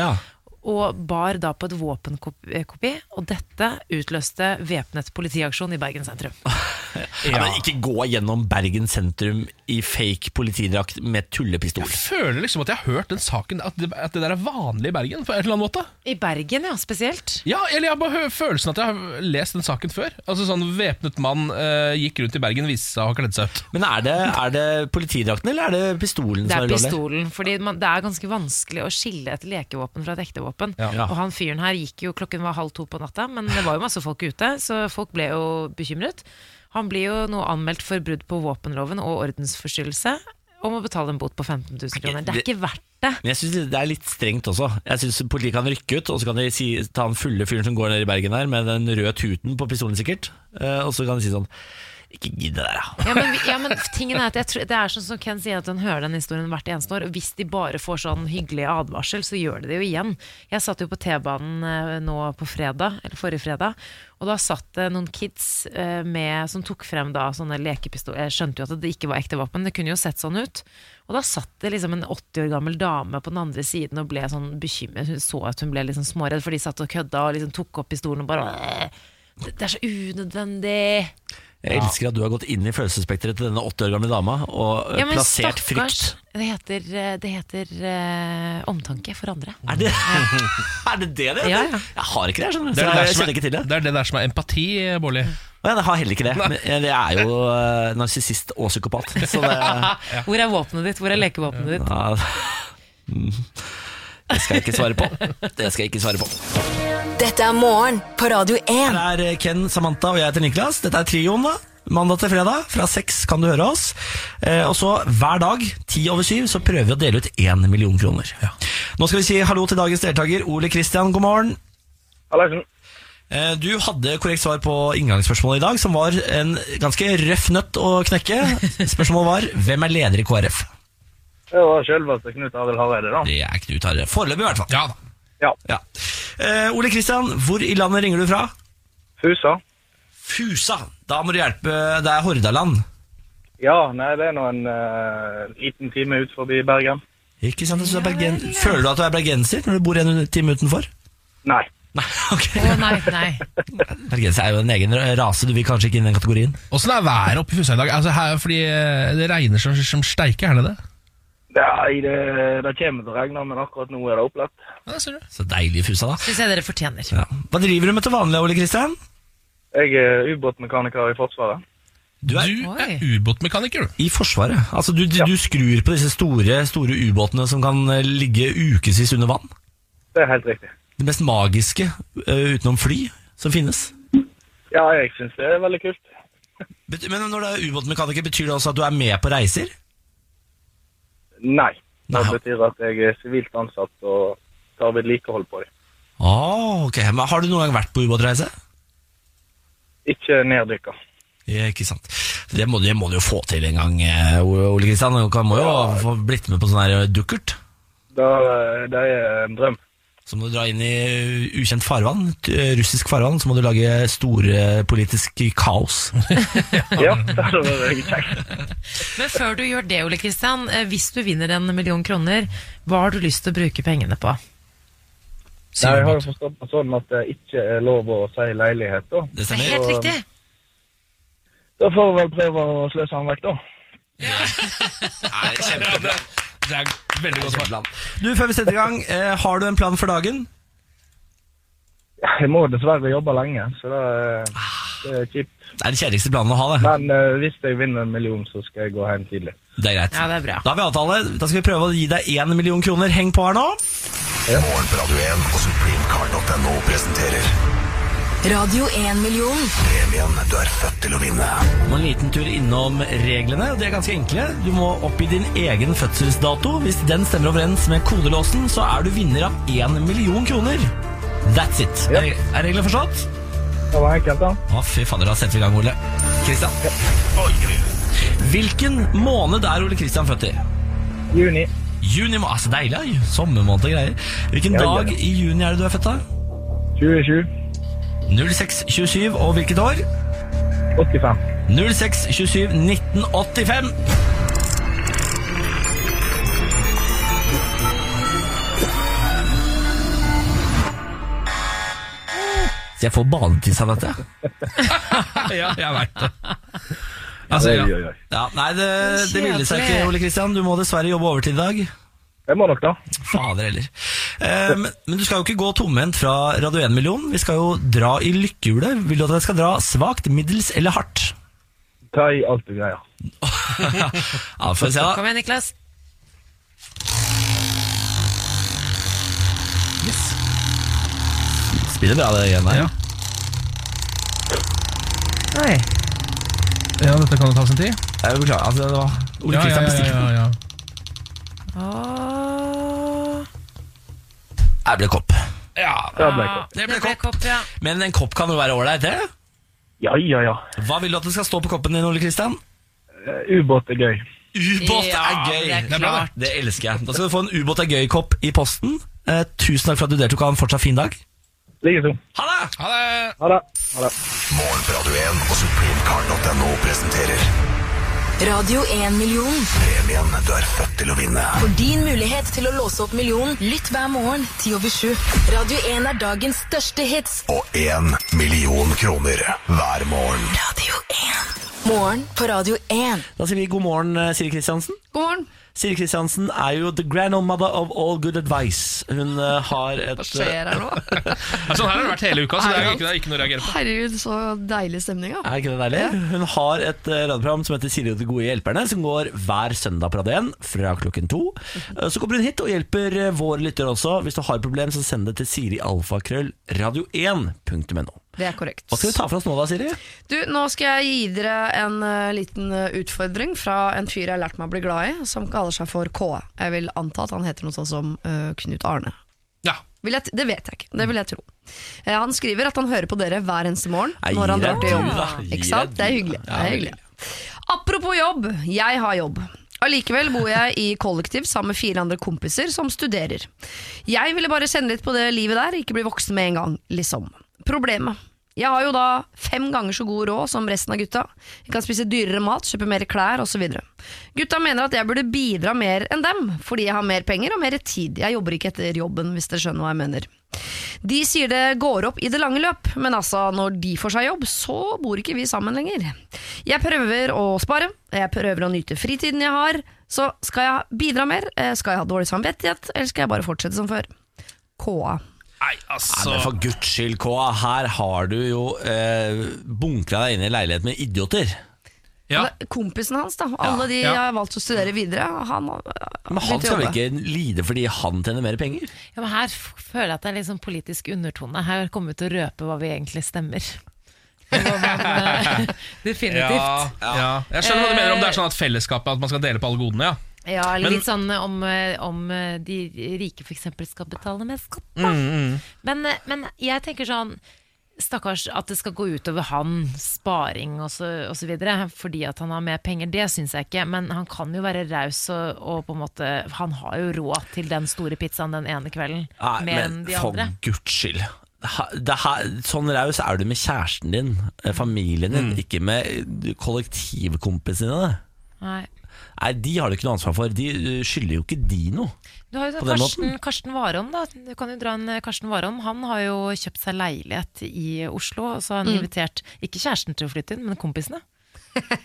C: og bar da på et våpenkopi. Og dette utløste væpnet politiaksjon i Bergen sentrum.
A: Ja. men ikke gå gjennom Bergen sentrum i fake politidrakt med tullepistol.
B: Føler liksom at jeg har hørt den saken, at det, at det der er vanlig i Bergen på en eller annen måte.
C: I Bergen, ja, spesielt.
B: Ja, eller jeg har bare hø- følelsen at jeg har lest den saken før. Altså sånn væpnet mann eh, gikk rundt i Bergen, viste seg å ha kledd seg ut.
A: Men er det, er det politidrakten eller er det pistolen
C: Det
A: som
C: er
A: er ulovlig?
C: pistolen, fordi man, det er ganske vanskelig å skille et lekevåpen fra et ekte våpen.
A: Ja.
C: Og han fyren her gikk jo, klokken var halv to på natta, men det var jo masse folk ute, så folk ble jo bekymret. Han blir jo nå anmeldt for brudd på våpenloven og ordensforstyrrelse, og må betale en bot på 15 000 kroner. Det er ikke verdt det.
A: Men jeg synes det er litt strengt også. Jeg synes Politiet kan rykke ut, og så kan de si, ta den fulle fyren som går ned i Bergen her med den røde tuten på pistolen sikkert, eh, og så kan de si sånn Ikke gidd det der, da.
C: Ja, men, ja, men tingen er at jeg tror, Det er sånn som Ken sier, at han hører den historien hvert eneste år. Og hvis de bare får sånn hyggelig advarsel, så gjør de det jo igjen. Jeg satt jo på T-banen eh, nå på fredag, eller forrige fredag, og da satt det noen kids eh, med, som tok frem da sånne lekepistoler. Jeg skjønte jo at det ikke var ekte våpen, det kunne jo sett sånn ut. Og da satt det liksom en 80 år gammel dame på den andre siden og ble sånn bekymret. Hun så at hun ble liksom småredd, for de satt og kødda og liksom tok opp pistolen og bare «Åh, Det det er så unødvendig.
A: Jeg
C: Ja.
A: elsker at du har gått inn i følelsesspekteret til denne åtte år gamle dama og eh,
C: Ja, men
A: plassert
C: stakkars,
A: frykt.
C: Det heter, eh, det heter eh, omtanke for andre.
A: Er det [LAUGHS] er det, det det heter?
C: Ja, ja.
A: Jeg har ikke det, skjønner du.
B: Det er det
A: Så
B: der
A: jeg
B: som er-
A: kjenner ikke til det.
B: Det er det der som er empati, Bårli.
A: Og jeg har heller ikke det. Men jeg er jo eh, narsissist og psykopat. Så det
C: [LAUGHS] Hvor er våpenet ditt? Hvor er lekevåpenet ditt?
A: ja, mm. Det skal jeg ikke svare på. Det skal jeg ikke svare på.
E: Dette er morgen på Radio 1.
A: Her er Ken, Samantha og jeg heter Niklas. Dette er trioen, da. Mandag til fredag fra seks kan du høre oss. Eh, og så hver dag, ti over syv, så prøver vi å dele ut én million kroner. Nå skal vi si hallo til dagens deltaker. Ole Kristian, god morgen.
L: Hallaisen.
A: Eh, Du hadde korrekt svar på inngangsspørsmålet i dag, som var en ganske røff nøtt å knekke. Spørsmålet var 'Hvem er leder i KrF?'
L: Det var selveste Knut Arild Hareide, da.
A: Det er Knut Arild. Foreløpig, i hvert fall.
B: Ja da.
L: Ja.
A: Eh, Ole Kristian, hvor i landet ringer du fra?
L: Fusa.
A: Fusa. Da må du hjelpe. Det er Hordaland.
L: Ja, nei, det er nå en eh, liten time ut forbi Bergen.
A: Ikke sant, så du er bergen... Føler du at du er bergenser når du bor en time utenfor?
L: Nei.
C: Å, nei, nei.
A: Bergenser er jo en egen rase, du vil kanskje ikke inn i den kategorien?
B: Åssen er været oppe i Fusa i dag? Altså her, fordi eh, Det regner som, som steike, er det det?
L: Nei, det, det kommer til å regne, men akkurat nå er det opplagt.
A: Så deilig Fusa, da.
C: Syns jeg dere fortjener.
A: Hva driver du med til vanlig, Ole Kristian?
L: Jeg er ubåtmekaniker i Forsvaret.
A: Du er,
B: ubåtmekaniker, du.
A: I Forsvaret. Altså, du, du, du skrur på disse store, store ubåtene som kan eh, ligge ukevis under vann.
L: Det er helt riktig.
A: Det mest magiske eh, utenom fly som finnes.
L: Ja, jeg syns det er veldig kult.
A: Bet- Men når du er ubåtmekaniker, betyr det også at du er med på reiser?
L: Nei. Det
A: Nei.
L: betyr at jeg er sivilt ansatt og tar vedlikehold på dem.
A: Ah, ok. Men har du noen gang vært på ubåtreise?
L: Ikke neddykka.
A: Ja, ikke sant. Det må, du- det må du jo få til en gang, eh, Ole Kristian. Du kan- må jo få blitt med på sånn her dukkert.
L: Det, det er en drøm.
A: Så må du dra inn i ukjent farvann, t- eh, russisk farvann, så må du lage store eh, politisk
C: [LAUGHS]
A: kaos.
L: Ja, det hadde vært kjekt.
C: Men før du gjør det, Ole Kristian, eh, hvis du vinner en million kroner, hva har du lyst til å bruke pengene på?
L: Nei, jeg har jo forstått det sånn at det ikke er lov å si leilighet, da.
A: Det
C: Det er helt riktig.
L: Da får vi vel prøve å sløse han vekk, da.
A: Nei,
B: kjempebra. Det er veldig godt svar.
A: Du, Før vi setter i gang, eh, har du en plan for dagen?
L: Jeg må dessverre jobbe lenge, så det er, det er kjipt.
A: Det er den kjedeligste planen å ha, det.
L: Men eh, hvis jeg vinner en million, så skal jeg gå hjem tidlig.
A: Det er greit.
C: Ja, det er bra.
A: Da har vi avtale. Da skal vi prøve å gi deg én million kroner. Heng på her nå.
M: Morgen på Radio 1 og supremecard.no presenterer
E: Radio 1 million.
M: premien du er født til å vinne.
A: Og en liten tur innom reglene. De er ganske enkle. Du må oppgi din egen fødselsdato. Hvis den stemmer overens med kodelåsen, så er du vinner av én million kroner. That's it. Er, er reglene forstått?
L: Det var enkelt, da.
A: Å, fy fader, da setter vi i gang, Ole. Kristian. Hvilken måned er Ole Kristian født i?
L: Juni.
A: Juni må, altså Deilig, ja. sommermåned og greier. Hvilken
L: Ja, ja.
A: dag i juni er det du er født, da?
L: 27.
A: 0627, og hvilket år?
L: 85.
A: 0627 1985. Så jeg får banetiss av dette.
B: [LAUGHS] ja, jeg veit det.
A: Altså,
L: oi, oi,
A: ja. Ja, nei, det, det ville seg
L: Kjedelig.
A: ikke, Ole Kristian. Du må dessverre jobbe overtid i dag.
L: Jeg må nok da.
A: Fader heller. Eh, men, men du skal jo ikke gå tomhendt fra Radio 1-millionen. Vi skal jo dra i lykkehjulet. Vil du at jeg skal dra svakt, middels eller hardt?
L: Ta i alt du greier.
A: [LAUGHS] ja, får vi se,
C: Kom
A: da.
C: igjen, Niklas.
A: Spiller bra, det igjen her.
B: Nei. Ja, dette kan jo ta sin tid.
A: Jeg beklager. Altså, det var Ole
B: Ja, ja,
A: Kristian
B: ja,
A: bestilte
B: ja, ja.
A: Jeg ble kopp. Ja,
L: det ble kopp.
A: Det ble kopp. Men en kopp kan jo være ålreit, det?
L: Ja, ja, ja.
A: Hva vil du at det skal stå på koppen din, Ole Kristian?
L: Eh, Ubåt er gøy.
A: Ubåt
L: Ja,
A: er gøy!
L: det er
A: Det, bra, det. det elsker jeg. Da skal du få en Ubåt er gøy-kopp i posten. Eh, tusen takk for at du deltok. Ha en fortsatt fin dag.
L: Likeså.
A: Ha det!
B: Ha det!
L: Ha det. Ha det.
M: Morgen på Radio 1 og supremecard.no presenterer
E: Radio 1 million.
M: premien du er født til å vinne.
E: For din mulighet til å låse opp millionen, lytt hver morgen 10 over 7. Radio 1 er dagens største hits.
M: Og én million kroner hver morgen.
E: Morgen på Radio 1.
A: Da sier vi god morgen, eh, Siri Kristiansen.
D: God morgen.
A: Siri Kristiansen er jo the grandmother of all good advice. Hun eh, har et eh, Hva
N: skjer her nå?
B: [LAUGHS] Sånn her har det vært hele uka, så det er jo ikke, det er ikke noe å reagere på.
N: Herregud, så deilig stemning, da.
A: Er ikke det deilig? Hun har et eh, radioprogram som heter Siri og de gode hjelperne, som går hver søndag på Radio 1 fra klokken to. Eh, Så kommer hun hit og hjelper eh, våre lyttere også. Hvis du har et problem, så send det til sirialfakrøllradio1.no.
N: Det er korrekt.
A: Hva skal vi ta for oss nå da, Siri?
N: Du, nå skal jeg gi dere en eh, liten eh, utfordring fra en fyr jeg har lært meg å bli glad i, som kaller seg for KA. Jeg vil anta at han heter noe sånt som eh, Knut Arne. Vil jeg, t- det vet jeg ikke, det vil jeg tro. Eh, han skriver at han hører på dere hver eneste morgen
O: Nei,
N: når han
O: gi
N: drar
O: deg
N: til
O: du, da.
N: jobb.
O: Gi
N: Ikke sant?
O: deg
N: Det er
O: du, da.
N: hyggelig. Det
O: Ja,
N: er hyggelig. Apropos jobb, jeg har jobb. Allikevel bor jeg i kollektiv sammen med fire andre kompiser som studerer. Jeg ville bare kjenne litt på det livet der, ikke bli voksen med en gang, liksom. Problemet. Jeg har jo da fem ganger så god råd som resten av gutta. Jeg kan spise dyrere mat, kjøpe mer klær osv. Gutta mener at jeg burde bidra mer enn dem, fordi jeg har mer penger og mer tid. Jeg jobber ikke etter jobben, hvis dere skjønner hva jeg mener. De sier det går opp i det lange løp, men altså, når de får seg jobb, så bor ikke vi sammen lenger. Jeg prøver å spare, jeg prøver å nyte fritiden jeg har, så skal jeg bidra mer, eh, skal jeg ha dårlig samvittighet, eller skal jeg bare fortsette som før? KA.
B: Nei, altså
A: Nei, men For guds skyld, K.A. Her har du jo eh, bunkra deg inn i leilighet med idioter.
N: Men Kompisen hans, da, alle de
A: Ja.
N: jeg har valgt å studere videre, han eh,
A: Men han
N: begynte å
A: skal vel
N: jobbe.
A: ikke lide fordi han tjener mer penger?
C: Ja, men her f- føler jeg at det er litt sånn politisk undertone. Her kommer vi til å røpe hva vi egentlig
A: [LAUGHS]
C: stemmer. [LAUGHS] eh, Definitivt.
B: Ja, ja. Jeg skjønner hva du
C: Eh,
B: mener om det er sånn at fellesskapet At man skal dele på alle godene, ja.
C: Ja, eller
B: Men-
C: litt sånn eh, om, eh, om eh, de rike f.eks. skal betale mer skatt. Da.
B: Mm, mm.
C: Men, eh, men jeg tenker sånn Stakkars at det skal gå utover han, sparing og så, og så videre, fordi at han har mer penger. Det syns jeg ikke, men han kan jo være raus og, og på en måte Han har jo råd til den store pizzaen den ene kvelden,
A: Nei,
C: mer
A: men
C: enn de
A: for
C: andre.
A: guds skyld. Ha- Det her, sånn raus er du med kjæresten din, eh, familien din, ikke med eh, kollektivkompisene dine.
C: Nei.
A: Nei, de har du ikke noe ansvar for. De eh, skylder jo ikke de noe.
C: Du har jo
A: På
C: sånn
A: den
C: Karsten,
A: måten.
C: Karsten Warholm, da. Du kan jo dra en eh, Karsten Warholm. Han har jo kjøpt seg leilighet i Oslo, og så har han
N: Mm.
C: invitert ikke kjæresten til å flytte inn, men kompisene.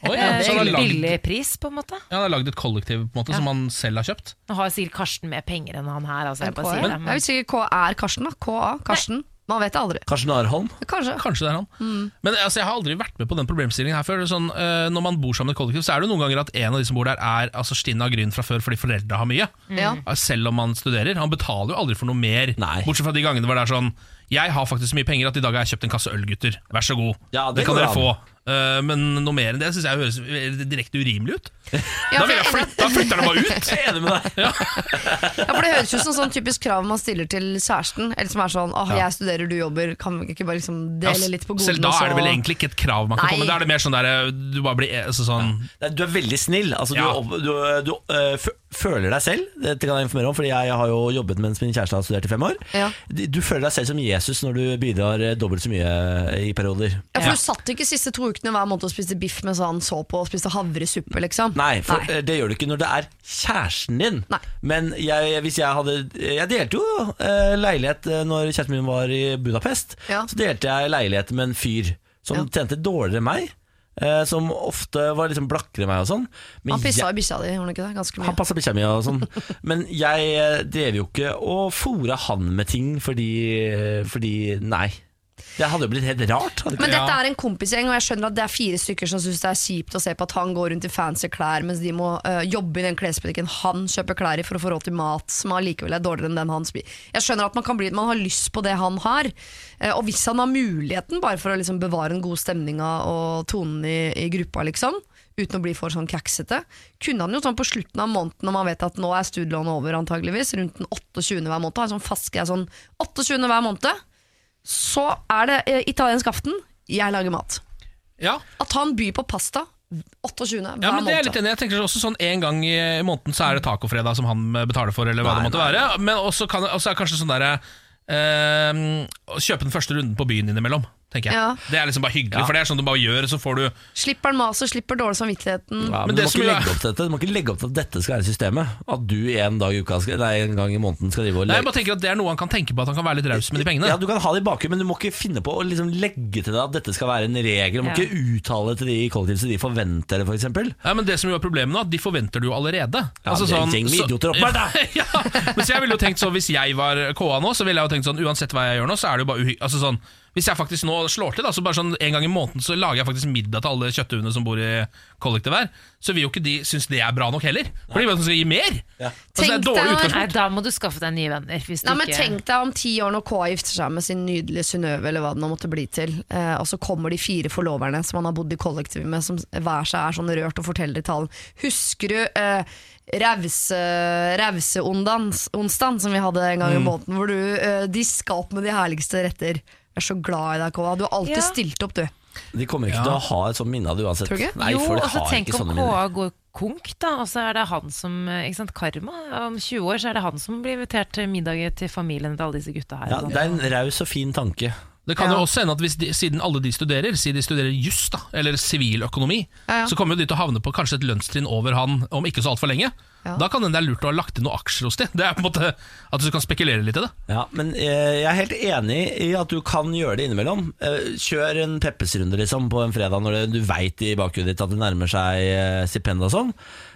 B: Oi, ja,
C: Eh,
B: så han har lagd-
C: Billig pris, på en måte.
B: Ja, Han har lagd et kollektiv på en måte som han selv har kjøpt.
C: Nå har sikkert Karsten mer penger enn han her, altså. Jeg bare
N: KA.
C: sier det.
N: Jeg vet ikke hva er Karsten, da. KA. Karsten. Man vet det aldri.
A: Karsten Arholm?
N: Kanskje.
B: Kanskje det er han.
N: Mm.
B: Men altså, Jeg har aldri vært med på den problemstillingen her før. Det er Sånn, eh, når man bor sammen i et kollektiv, så er det noen ganger at en av de som bor der, er altså, stinn av gryn fra før fordi foreldra har mye. Mm.
N: Ja.
B: Selv om man studerer. Han betaler jo aldri for noe mer. Bortsett fra de gangene hvor det er sånn Jeg har faktisk så mye penger at i dag har jeg kjøpt en kasse øl, gutter. Vær så god.
A: Ja,
B: det,
A: det
B: kan dere
A: går an.
B: få. Eh, men noe mer enn det syns jeg høres eh, direkte urimelig
A: [LAUGHS]
B: ut. da
N: Ja, for
B: vil jeg
N: jeg-
B: flytte, da flytter han bare ut!
A: Jeg er enig med deg.
N: Ja, for Det høres ut som sånn typisk krav man stiller til kjæresten. Eller som er sånn åh,
B: Ja.
N: jeg studerer, du jobber, kan vi ikke bare liksom dele litt på godene?
B: Selv da
N: og så-
B: er det vel egentlig ikke et krav man kan
N: Nei.
B: komme. Da er det mer sånn der eh, Du bare blir eh, altså, sånn
A: Nei, Du er veldig snill. Altså, du,
B: Ja.
A: opp- du, du eh, f- føler deg selv Dette kan jeg informere om, Fordi jeg har jo jobbet mens min kjæreste har studert i fem år.
N: Ja.
A: Du føler deg selv som Jesus når du bidrar eh, dobbelt så mye eh, i perioder.
N: Ja, for Du satt ikke siste to ukene hver måned og spiste biff mens han så på og spiste havresuppe, liksom.
A: Nei, for eh, det gjør du ikke når det er kjæresten din. Men jeg, hvis jeg hadde Jeg delte jo eh, leilighet eh, når kjæresten min var i Budapest. Så delte jeg leilighet med en fyr som tjente dårligere enn meg. eh, som ofte var liksom blakkere enn meg og sånn. Men
N: Han pissa
A: jeg-
N: i bikkja di, gjorde han ikke det? Ganske
A: Han
N: mye.
A: passa bikkja mi og sånn. Men jeg eh, drev jo ikke og fôra han med ting fordi, fordi Nei. Det hadde jo blitt helt rart. hadde
N: Men
A: ikke-
N: dette er en kompisgjeng, og jeg skjønner at det er fire stykker som syns det er kjipt å se på at han går rundt i fancy klær, mens de må øh, jobbe i den klesbutikken han kjøper klær i for å få råd til mat, som allikevel er dårligere enn den han spiser. Jeg skjønner at man, kan bli, man har lyst på det han har, eh, og hvis han har muligheten, bare for å liksom bevare en god stemning av- og tonen i, i gruppa, liksom. Uten å bli for sånn kaksete. Kunne han jo sånn på slutten av måneden, når man vet at nå er studielånet over, antageligvis, rundt den 28. hver måned, ha en sånn fast greie sånn 28. hver måned så er det eh, italiensk aften. Jeg lager mat.
B: Ja.
N: At han byr på pasta 28. hver
B: Ja, men det er jeg
N: måned.
B: litt enig i. Jeg tenker også sånn En gang i i måneden så er det tacofredag som han eh, betaler for, eller hva
K: Nei,
B: det måtte
K: nei.
B: være. Men også, kan, også er det kanskje sånn derre eh, å Kjøpe den første runden på byen innimellom, tenker jeg.
N: Ja.
B: Det er liksom bare hyggelig, for det er sånn du bare gjør, så får du
N: Slipper han maset, slipper dårlig samvittigheten.
A: Ja, men du, må ikke legge opp til dette. du må ikke legge opp til at dette skal være systemet. At du en, dag i uka skal, nei, en gang i måneden skal drive og
B: Nei, jeg
A: legge
B: bare tenker at Det er noe han kan tenke på, at han kan være litt raus med de pengene.
A: Ja, Du kan ha det i bakgrunnen, men du må ikke finne på å liksom legge til deg at dette skal være en regel. Du må
B: Ja.
A: ikke uttale til de i kollektivet så de forventer det, f.eks. For
B: Nei, men det som jo er problemet nå, at de forventer det jo allerede. Altså sånn,
A: Ja, det er en gjeng med idioter oppe her, da.
B: [LAUGHS] ja, men så jeg ville jo tenkt sånn, Hvis jeg var KA nå, så ville jeg jo tenkt sånn Uansett hva jeg gjør nå, så er det jo bare uhy... Altså sånn, hvis jeg faktisk nå slår til, da, så bare sånn en gang i måneden så lager jeg faktisk middag til alle kjøtthuene som bor i kollektivet her, så vil jo ikke de synes det er bra nok heller. For de vet at de skal gi mer. Altså, det er et dårlig
C: Nei,
B: utgangspunkt.
C: da må du skaffe deg nye venner. Hvis du
N: Nei, men
C: ikke...
N: Tenk deg om ti år når K gifter seg med sin nydelige Synnøve, eller hva det nå måtte bli til, eh, og så kommer de fire forloverne som han har bodd i kollektiv med, som hver seg er sånn rørt og forteller i talen. Husker du eh, Rause- Rauseondans- onsdagen som vi hadde en gang i
O: Mm.
N: måneden, hvor du eh, diska opp med de herligste retter? Jeg er så glad i deg, KA. Du har alltid
C: Ja.
N: stilt opp, du.
A: De kommer ikke til å ha et sånt minne av det uansett.
N: Tror du ikke?
A: Nei,
C: jo,
A: folk
C: og så
A: har
C: tenk
A: ikke
C: om
A: sånne
C: KA
A: minner.
C: går konk, da. Og så er det han som eh, ikke sant, Karma. Om 20 år så er det han som blir invitert til middager til familien til alle disse gutta her. sånn.
A: Ja, det er en raus og fin tanke.
B: Det kan jo også hende at hvis de, siden alle de studerer, si de studerer juss da, eller siviløkonomi,
C: Ja, ja.
B: så kommer jo de til å havne på kanskje et lønnstrinn over han om ikke så altfor lenge.
A: Ja.
B: Da kan det hende det er lurt å ha lagt inn noen aksjer hos de. Det er på en måte At du kan spekulere litt i det.
A: Ja, men eh, jeg er helt enig i at du kan gjøre det innimellom. Eh, Kjør en Peppes-runde liksom, på en fredag når det- du veit i bakhodet ditt at det nærmer seg eh, stipend og sånn.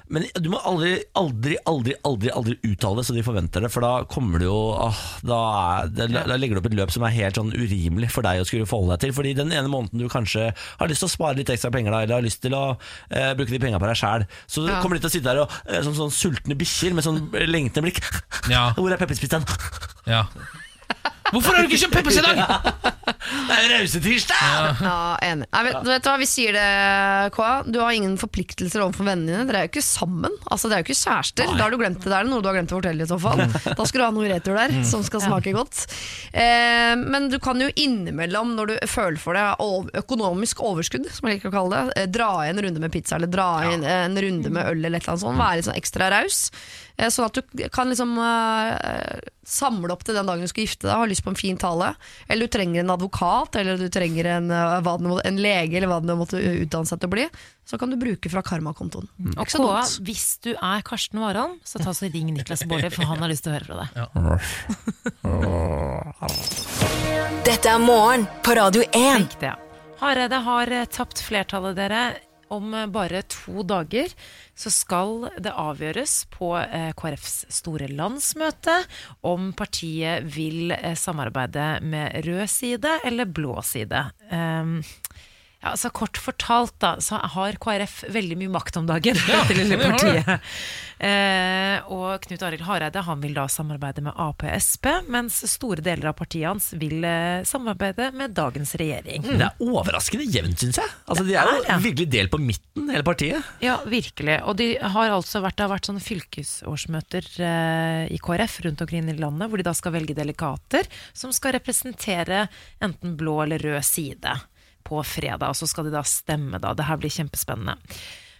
A: Men du må aldri, aldri, aldri aldri, aldri uttale det så de forventer det, for da kommer du jo åh, da, er, det, da legger du opp et løp som er helt sånn urimelig for deg å skulle forholde deg til. Fordi den ene måneden du kanskje har lyst til å spare litt ekstra penger, da, eller har lyst til å eh, bruke de penga på deg sjæl, så
B: Ja.
A: kommer de til å sitte der og, eh, som sånn sultne bikkjer med sånn lengtende blikk. [LAUGHS] Hvor er pepperspisseren?
B: Ja. Hvorfor har du ikke kjøpt Peppers i dag?
A: [LAUGHS] Det er rause tirsdag!
N: Ja, enig. Nei, vet, vet du hva, vi sier det, KA. Du har ingen forpliktelser overfor vennene dine. Dere er jo ikke sammen. Altså, Dere er jo ikke kjærester. Da har du glemt det. Det er noe du har glemt å fortelle i så fall. Da skal du ha noe i retur der
O: Mm.
N: som skal smake godt. Eh, men du kan jo innimellom, når du føler for det, ov- økonomisk overskudd, som jeg liker å kalle det, eh, dra i en runde med pizza eller dra i en, en runde med øl eller et eller annet sånt. Være litt sånn ekstra raus. Eh, sånn at du kan liksom eh, samle opp til den dagen du skal gifte deg, har lyst på en fin tale, eller du trenger en advokat, eller du trenger en, eh, hva det nå må- en lege, eller hva det nå måtte utdanne seg til å bli, så kan du bruke fra karmakontoen.
C: Mm. Og
N: Ikke så
C: KA,
N: dumt.
C: hvis du er Karsten Warholm, så ta så ring Niklas Baarli, for han har lyst til å høre fra deg.
E: Dette er morgen på Radio 1.
C: Tenk det. Hareide har eh, tapt flertallet, dere. Om eh, bare to dager så skal det avgjøres på eh, KrFs store landsmøte om partiet vil eh, samarbeide med rød side eller blå side. Ehm, ja, altså Kort fortalt da, så har KrF veldig mye makt om dagen. [LAUGHS] dette lille
O: det har det.
C: partiet. Eh, og Knut Arild Hareide han vil da samarbeide med Ap og Sp, mens store deler av partiet hans vil eh, samarbeide med dagens regjering.
A: Mm. Det er overraskende jevnt, syns jeg. Altså, de er jo virkelig delt på midten, hele partiet.
C: Ja, virkelig. Og de har altså vært, det har vært sånne fylkesårsmøter eh, i KrF rundt omkring i landet, hvor de da skal velge delegater som skal representere enten blå eller rød side på fredag. Og så skal de da stemme, da. Det her blir kjempespennende.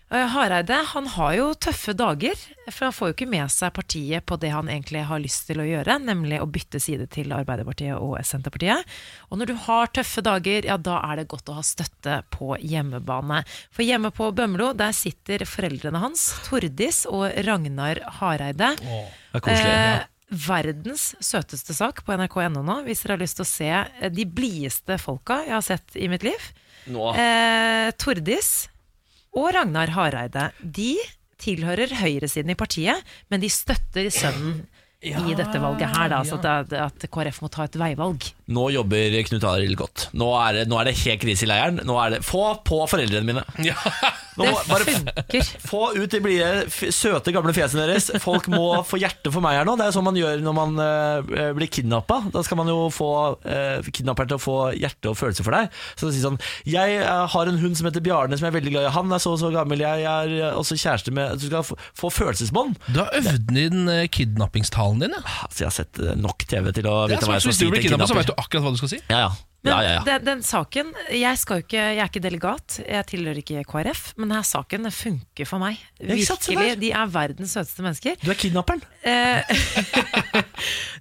C: Eh, Hareide han har jo tøffe dager, for han får jo ikke med seg partiet på det han egentlig har lyst til å gjøre, nemlig å bytte side til Arbeiderpartiet og Senterpartiet. Og når du har tøffe dager, ja da er det godt å ha støtte på hjemmebane. For hjemme på Bømlo, der sitter foreldrene hans, Tordis og Ragnar Hareide.
A: det er koselig, ja.
C: Eh, Verdens søteste sak på nrk.no nå, hvis dere har lyst til å se eh, de blideste folka jeg har sett i mitt liv.
A: Nå.
C: Eh, Tordis og Ragnar Hareide De tilhører høyresiden i partiet, men de støtter sønnen i dette valget her, da, så at, at KrF må ta et veivalg.
A: Nå jobber Knut Arild godt. Nå er, det, nå er det helt krise i leiren. Nå er det Få på foreldrene mine! Nå må- bare få ut de blide, f- søte, gamle fjesene deres. Folk må få hjerte for meg her nå. Det er sånn man gjør når man eh, blir kidnappa. Da skal man jo få uh, kidnapperen til å få hjerte og følelse for deg. Så si sånn Jeg eh, har en hund som heter Bjarne, som jeg er veldig glad i. Han er så og så gammel. Jeg er eh, også kjæreste med Du skal få, få følelsesbånd.
B: Du har øvd inn eh, kidnappingstalen din, ja.
A: Altså, jeg har sett eh, nok TV til å
B: Det er
A: vite
B: som
A: hva
B: hvis
A: jeg skal
B: du
A: si
B: blir
A: til
B: kidnappet, så
A: kidnapper.
B: vet du akkurat hva du skal si.
A: Ja, ja. ja, ja, ja.
C: Den, den saken jeg, skal jo ikke, jeg er ikke delegat, jeg tilhører ikke KrF, men denne saken funker for meg.
A: Ja, ikke sant, se
C: Virkelig,
A: der.
C: De er verdens søteste mennesker.
A: Du er kidnapperen.
C: Eh, [LAUGHS]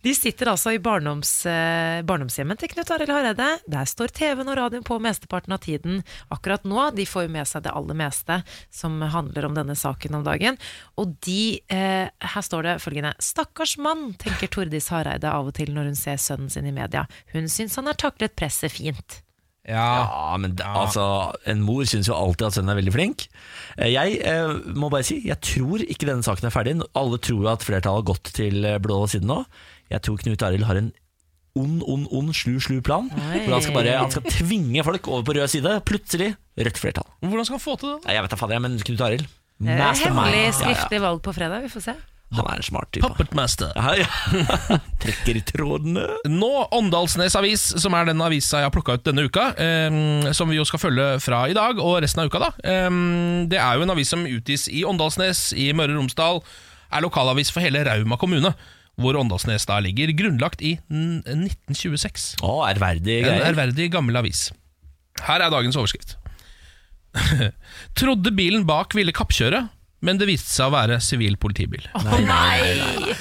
C: de sitter altså i barndoms, eh, barndomshjemmet til Knut Arild Hareide. Der står TV-en og radioen på mesteparten av tiden akkurat nå. De får jo med seg det aller meste som handler om denne saken om dagen. Og de eh, Her står det følgende Stakkars mann, tenker Tordis Hareide av og til når hun ser sønnen sin i media. Hun syns han har taklet presset fint.
A: Ja, men det, altså En mor syns jo alltid at sønnen er veldig flink. Eh, Jeg eh, må bare si, jeg tror ikke denne saken er ferdig. Alle tror jo at flertallet har gått til eh, blå siden nå. Jeg tror Knut Arild har en ond, ond, ond, slu, slu plan.
B: Oi.
A: Hvor han skal bare han skal tvinge folk over på rød side. Plutselig rødt flertall.
B: Hvordan skal han få til det?
A: Nei, jeg vet da fader, jeg, men Knut Arild
B: Eh,
C: Det er
A: mastermind.
C: Eh,
A: Ja,
C: Hemmelig
A: ja.
C: skriftlig valg på fredag, vi får se.
A: Han er en smart type.
B: Puppetmaster.
A: [LAUGHS] Trekker i trådene.
B: Nå Åndalsnes Avis, som er den avisa jeg har plukka ut denne uka, eh, som vi jo skal følge fra i dag og resten av uka, da. Eh, det er jo en avis som utgis i Åndalsnes i Møre og Romsdal. Er lokalavis for hele Rauma kommune, hvor Åndalsnes da ligger. Grunnlagt i n- 1926.
A: Å, ærverdig
B: En
A: greier.
B: ærverdig gammel avis. Her er dagens overskrift. [LAUGHS] Trodde bilen bak ville kappkjøre, men det viste seg å være sivil politibil.
A: Nei, nei,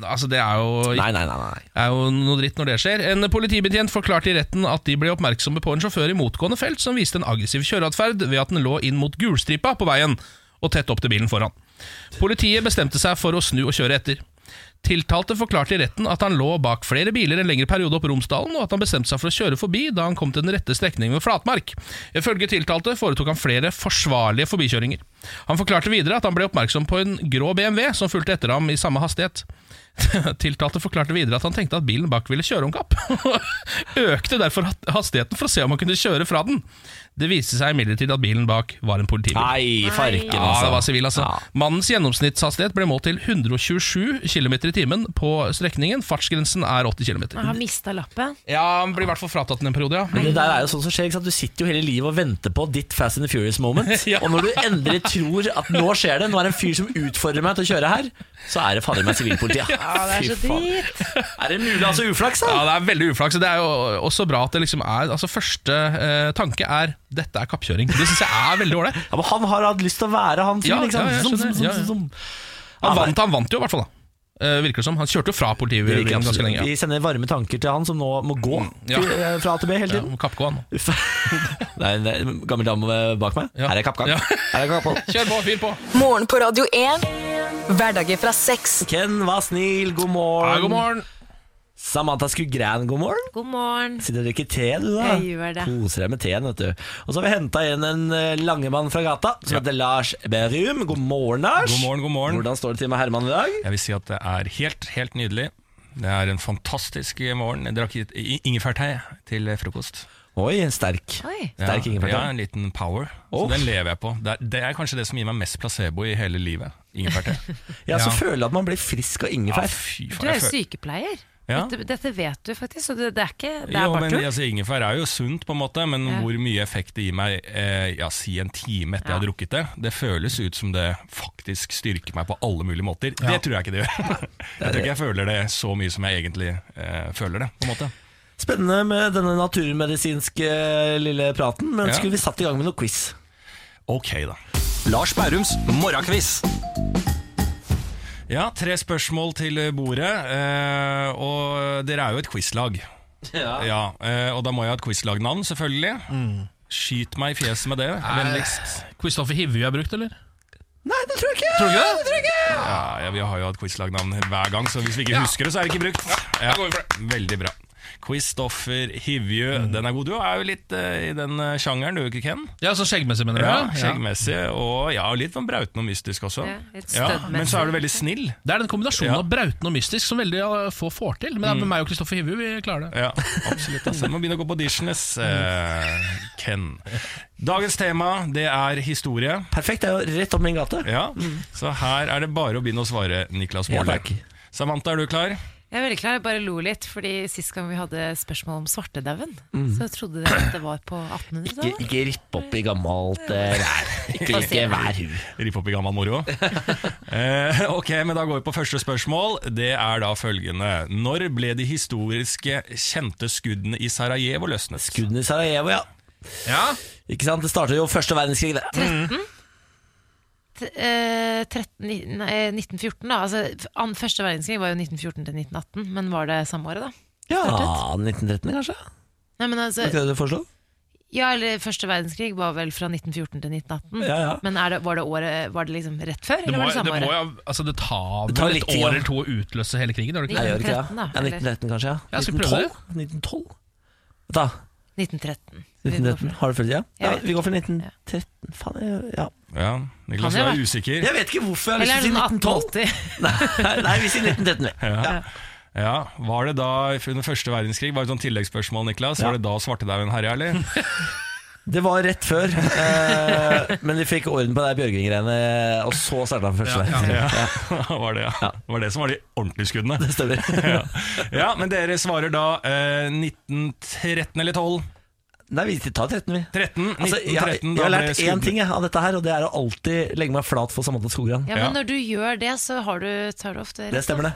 B: Altså, det er jo
A: nei, nei, nei, nei.
B: er jo noe dritt når det skjer. En politibetjent forklarte i retten at de ble oppmerksomme på en sjåfør i motgående felt som viste en aggressiv kjøreatferd ved at den lå inn mot gulstripa på veien og tett opp til bilen foran. Politiet bestemte seg for å snu og kjøre etter. Tiltalte forklarte i retten at han lå bak flere biler en lengre periode opp Romsdalen, og at han bestemte seg for å kjøre forbi da han kom til den rette strekningen ved Flatmark. Ifølge tiltalte foretok han flere forsvarlige forbikjøringer. Han forklarte videre at han ble oppmerksom på en grå BMW som fulgte etter ham i samme hastighet. [LAUGHS] Tiltalte forklarte videre at han tenkte at bilen bak ville kjøre om kapp, [LAUGHS] og økte derfor hat- hastigheten for å se om han kunne kjøre fra den. Det viste seg imidlertid at bilen bak var en politibil.
A: Nei, farken,
B: Ja,
A: altså.
B: det var sivil, altså. Mannens gjennomsnittshastighet ble målt til 127 km i timen på strekningen. Fartsgrensen er 80
C: Jeg har
B: km.
C: mista lappen.
B: Ja, han blir i hvert fall fratatt den en periode, ja.
A: Men det der er jo sånn som skjer, ikke sant? Du sitter jo hele livet og venter på ditt Fast and the
B: [LAUGHS]
A: Furious moment. Og når du endelig tror at nå skjer det, nå er det en fyr som utfordrer meg til å kjøre her, så er det fader meg sivilpolitiet.
C: [LAUGHS] Ja, det er så
A: Fy faen.
C: dritt.
A: Er det mulig? Altså uflaks, da.
B: Ja, det er veldig uflaks. og Det er jo også bra at det liksom er Altså, første eh, tanke er 'dette er kappkjøring'. Det syns jeg er veldig ålreit.
A: Ja, men han har hatt lyst til å være han fyren,
B: Ja,
A: ikke sant?
B: ja, jeg
A: Som- som-
B: skjønner. Ja,
A: som-
B: ja.
A: som-
B: Han vant, han vant jo i hvert fall da Eh, Virker det som Han kjørte jo fra
A: Det virker
B: politibilen ganske
A: absolutt.
B: lenge
A: Vi
B: ja. Mm,
A: sender varme tanker til han som nå må gå
B: Ja.
A: til- eh, fra A til B hele
B: Ja,
A: tiden.
B: må kappgå
A: [LAUGHS]
B: han
A: Uff. Det er en eh, gammel dame bak meg. Her er kappgang. Her er kappgang.
B: [LAUGHS] Kjør på, fyr på
E: Morgen på Radio 1. Hverdager fra seks.
A: Ken var snill, god morgen.
E: Ja, god morgen.
A: Samantha Skugran, god morgen.
C: God morgen.
A: Sitter og drikker te, du da?
C: Jeg gjør det.
A: Koser deg med teen, vet du. Og så har vi henta igjen en eh, langemann fra gata som heter Lars Berrum. God morgen, Lars.
O: God morgen, god morgen.
A: Hvordan står det til med Herman i dag?
O: Jeg vil si at det er helt, helt nydelig. Det er en fantastisk morgen. Jeg drakk i- i- ingefærtei til frokost.
A: Oi, en sterk.
C: Oi.
A: Sterk ingefærtei.
O: Ja, en liten power.
A: Åh.
O: Så den lever jeg på. Det er, det er kanskje det som gir meg mest placebo i hele livet. Ingefærte.
A: [LAUGHS] Ja, så føler jeg at man blir frisk av ingefær.
O: Ja, fy faen.
C: Du er
O: jeg
C: jo
O: føler-
C: sykepleier.
O: Ja.
C: Dette, dette vet du faktisk, så det, det er ikke det er
O: Jo,
C: bare
O: men
C: tull.
O: altså, Ingefær er jo sunt, på en måte, men
C: Ja.
O: hvor mye effekt det gir meg eh, ja, si en time etter jeg har drukket det, det føles ut som det faktisk styrker meg på alle mulige måter.
B: Ja.
O: Det tror jeg ikke det gjør.
C: [LAUGHS]
O: jeg tror ikke jeg føler det så mye som jeg egentlig eh, føler det. på en måte.
A: Spennende med denne naturmedisinske lille praten, men
O: Ja.
A: skulle vi satt i gang med noe quiz?
O: Ok, da.
K: Lars Bærums morgenquiz.
O: Ja, tre spørsmål til bordet. eh, Og dere er jo et quizlag.
K: Ja.
O: eh, og da må jeg ha et quizlagnavn, selvfølgelig. Skyt meg i fjeset med det, vennligst.
B: Kristoffer Hivju er brukt, eller?
A: Nei, det tror jeg ikke!
B: Tror du ikke det?
O: Ja, ja, vi har jo hatt quizlagnavn hver gang, så hvis vi ikke
B: Ja.
O: husker det, så er det ikke brukt. Ja, Veldig bra. Quizstoffer Hivju, den er god. Du er jo litt eh, i den eh, sjangeren, du, ikke Ken?
B: Mm. Ja, så skjeggmessig, mener du?
O: Ja,
B: ja.
O: skjeggmessig, og ja, litt sånn brauten og mystisk også.
B: Ja, litt stødmessig.
O: men så er du veldig snill.
B: Det er den kombinasjonen av brauten og mystisk som veldig eh, få får til. Men det er
O: Mm.
B: med meg og Kristoffer Hivju vi klarer det. Mm.
O: Ja, absolutt. Altså. Må begynne å gå på audition, ass. Eh, Ken. Dagens tema, det er historie.
A: Perfekt, det er jo rett opp min gate. Mm.
O: Ja, Så her er det bare å begynne å svare, Niklas Baarli. Samantha, er du klar?
C: Jeg er veldig klar, jeg bare lo litt, fordi sist gang vi hadde spørsmål om svartedauden, så trodde dere at det var på 1800-tallet.
A: Mm. Ikke, ikke ripp opp i gammelt eh, rær. Ikke,
C: Få se.
A: ikke vær hu.
O: Ripp opp i gammel moro. eh, ok, men da går vi på første spørsmål. Det er da følgende. Når ble de historiske kjente skuddene i Sarajevo løsnet?
A: Skuddene i Sarajevo, ja. Ikke sant? Det startet jo første verdenskrig. det. Mm.
C: 13? T eh, 13 ni- nei, 1914, da. Altså, an- første verdenskrig var jo 1914 til 1918, men var det samme året, da?
A: Ja,
C: Startet?
A: 1913 kanskje?
C: Nei, men altså,
A: Var ikke det du foreslo?
C: ja, eller Første verdenskrig var vel fra 1914 til 1918.
A: Ja, ja.
C: Men er det, var, det året, var det liksom rett før,
B: Det
C: eller
B: må,
C: var det
B: det,
C: samme
B: må,
C: året?
B: jo- altså, det tar vel
A: Det tar litt
B: et år
A: tid, ja.
B: eller to å utløse hele krigen? Gjør det
A: Nei,
B: ikke?
A: jeg gjør ikke det.
C: 1913
A: ja,
C: da, eller?
A: 1913 kanskje, ja.
B: Jeg skal prøve det.
A: 1912? Vet du hva?
C: 1913.
A: 1913. Har du følt det? Ja,
C: Jeg vet
A: vi går for 1913. Faen, jeg- ja.
O: Ja, Niklas
A: Kan det
O: var
A: være?
O: usikker.
A: Jeg vet ikke hvorfor jeg
C: Eller
A: har lyst
C: er det
A: til å si 1912.
C: 1880?
A: [LAUGHS] [LAUGHS] Nei, nei, vi sier 1913, vi.
O: Ja. ja, Var det da under første verdenskrig Var det sånn tilleggsspørsmål, Niklas? Var det da svartedauden herja,
A: [LAUGHS]
O: eller?
A: Det var rett før,
C: [LAUGHS]
A: eh, men vi fikk orden på det Bjørgvin-greiene, og så starta han første
O: Ja,
A: verdenskrig.
O: ja. [LAUGHS] var det, ja. Det var det som var de ordentlige skuddene.
A: Det stemmer.
O: [LAUGHS] ja. ja, men dere svarer da eh, 1913 eller 12?
A: Nei, vi tar 13, vi.
O: 13, 1913,
A: Altså, jeg, har- jeg
O: Mm, da
A: har
O: ble
A: lært én
O: skuddene-
A: ting jeg, av dette her, og det er å alltid legge meg flat for Samantha Skogran.
C: Ja, men når du gjør det, så har du, tar du ofte rett.
A: Det stemmer, det.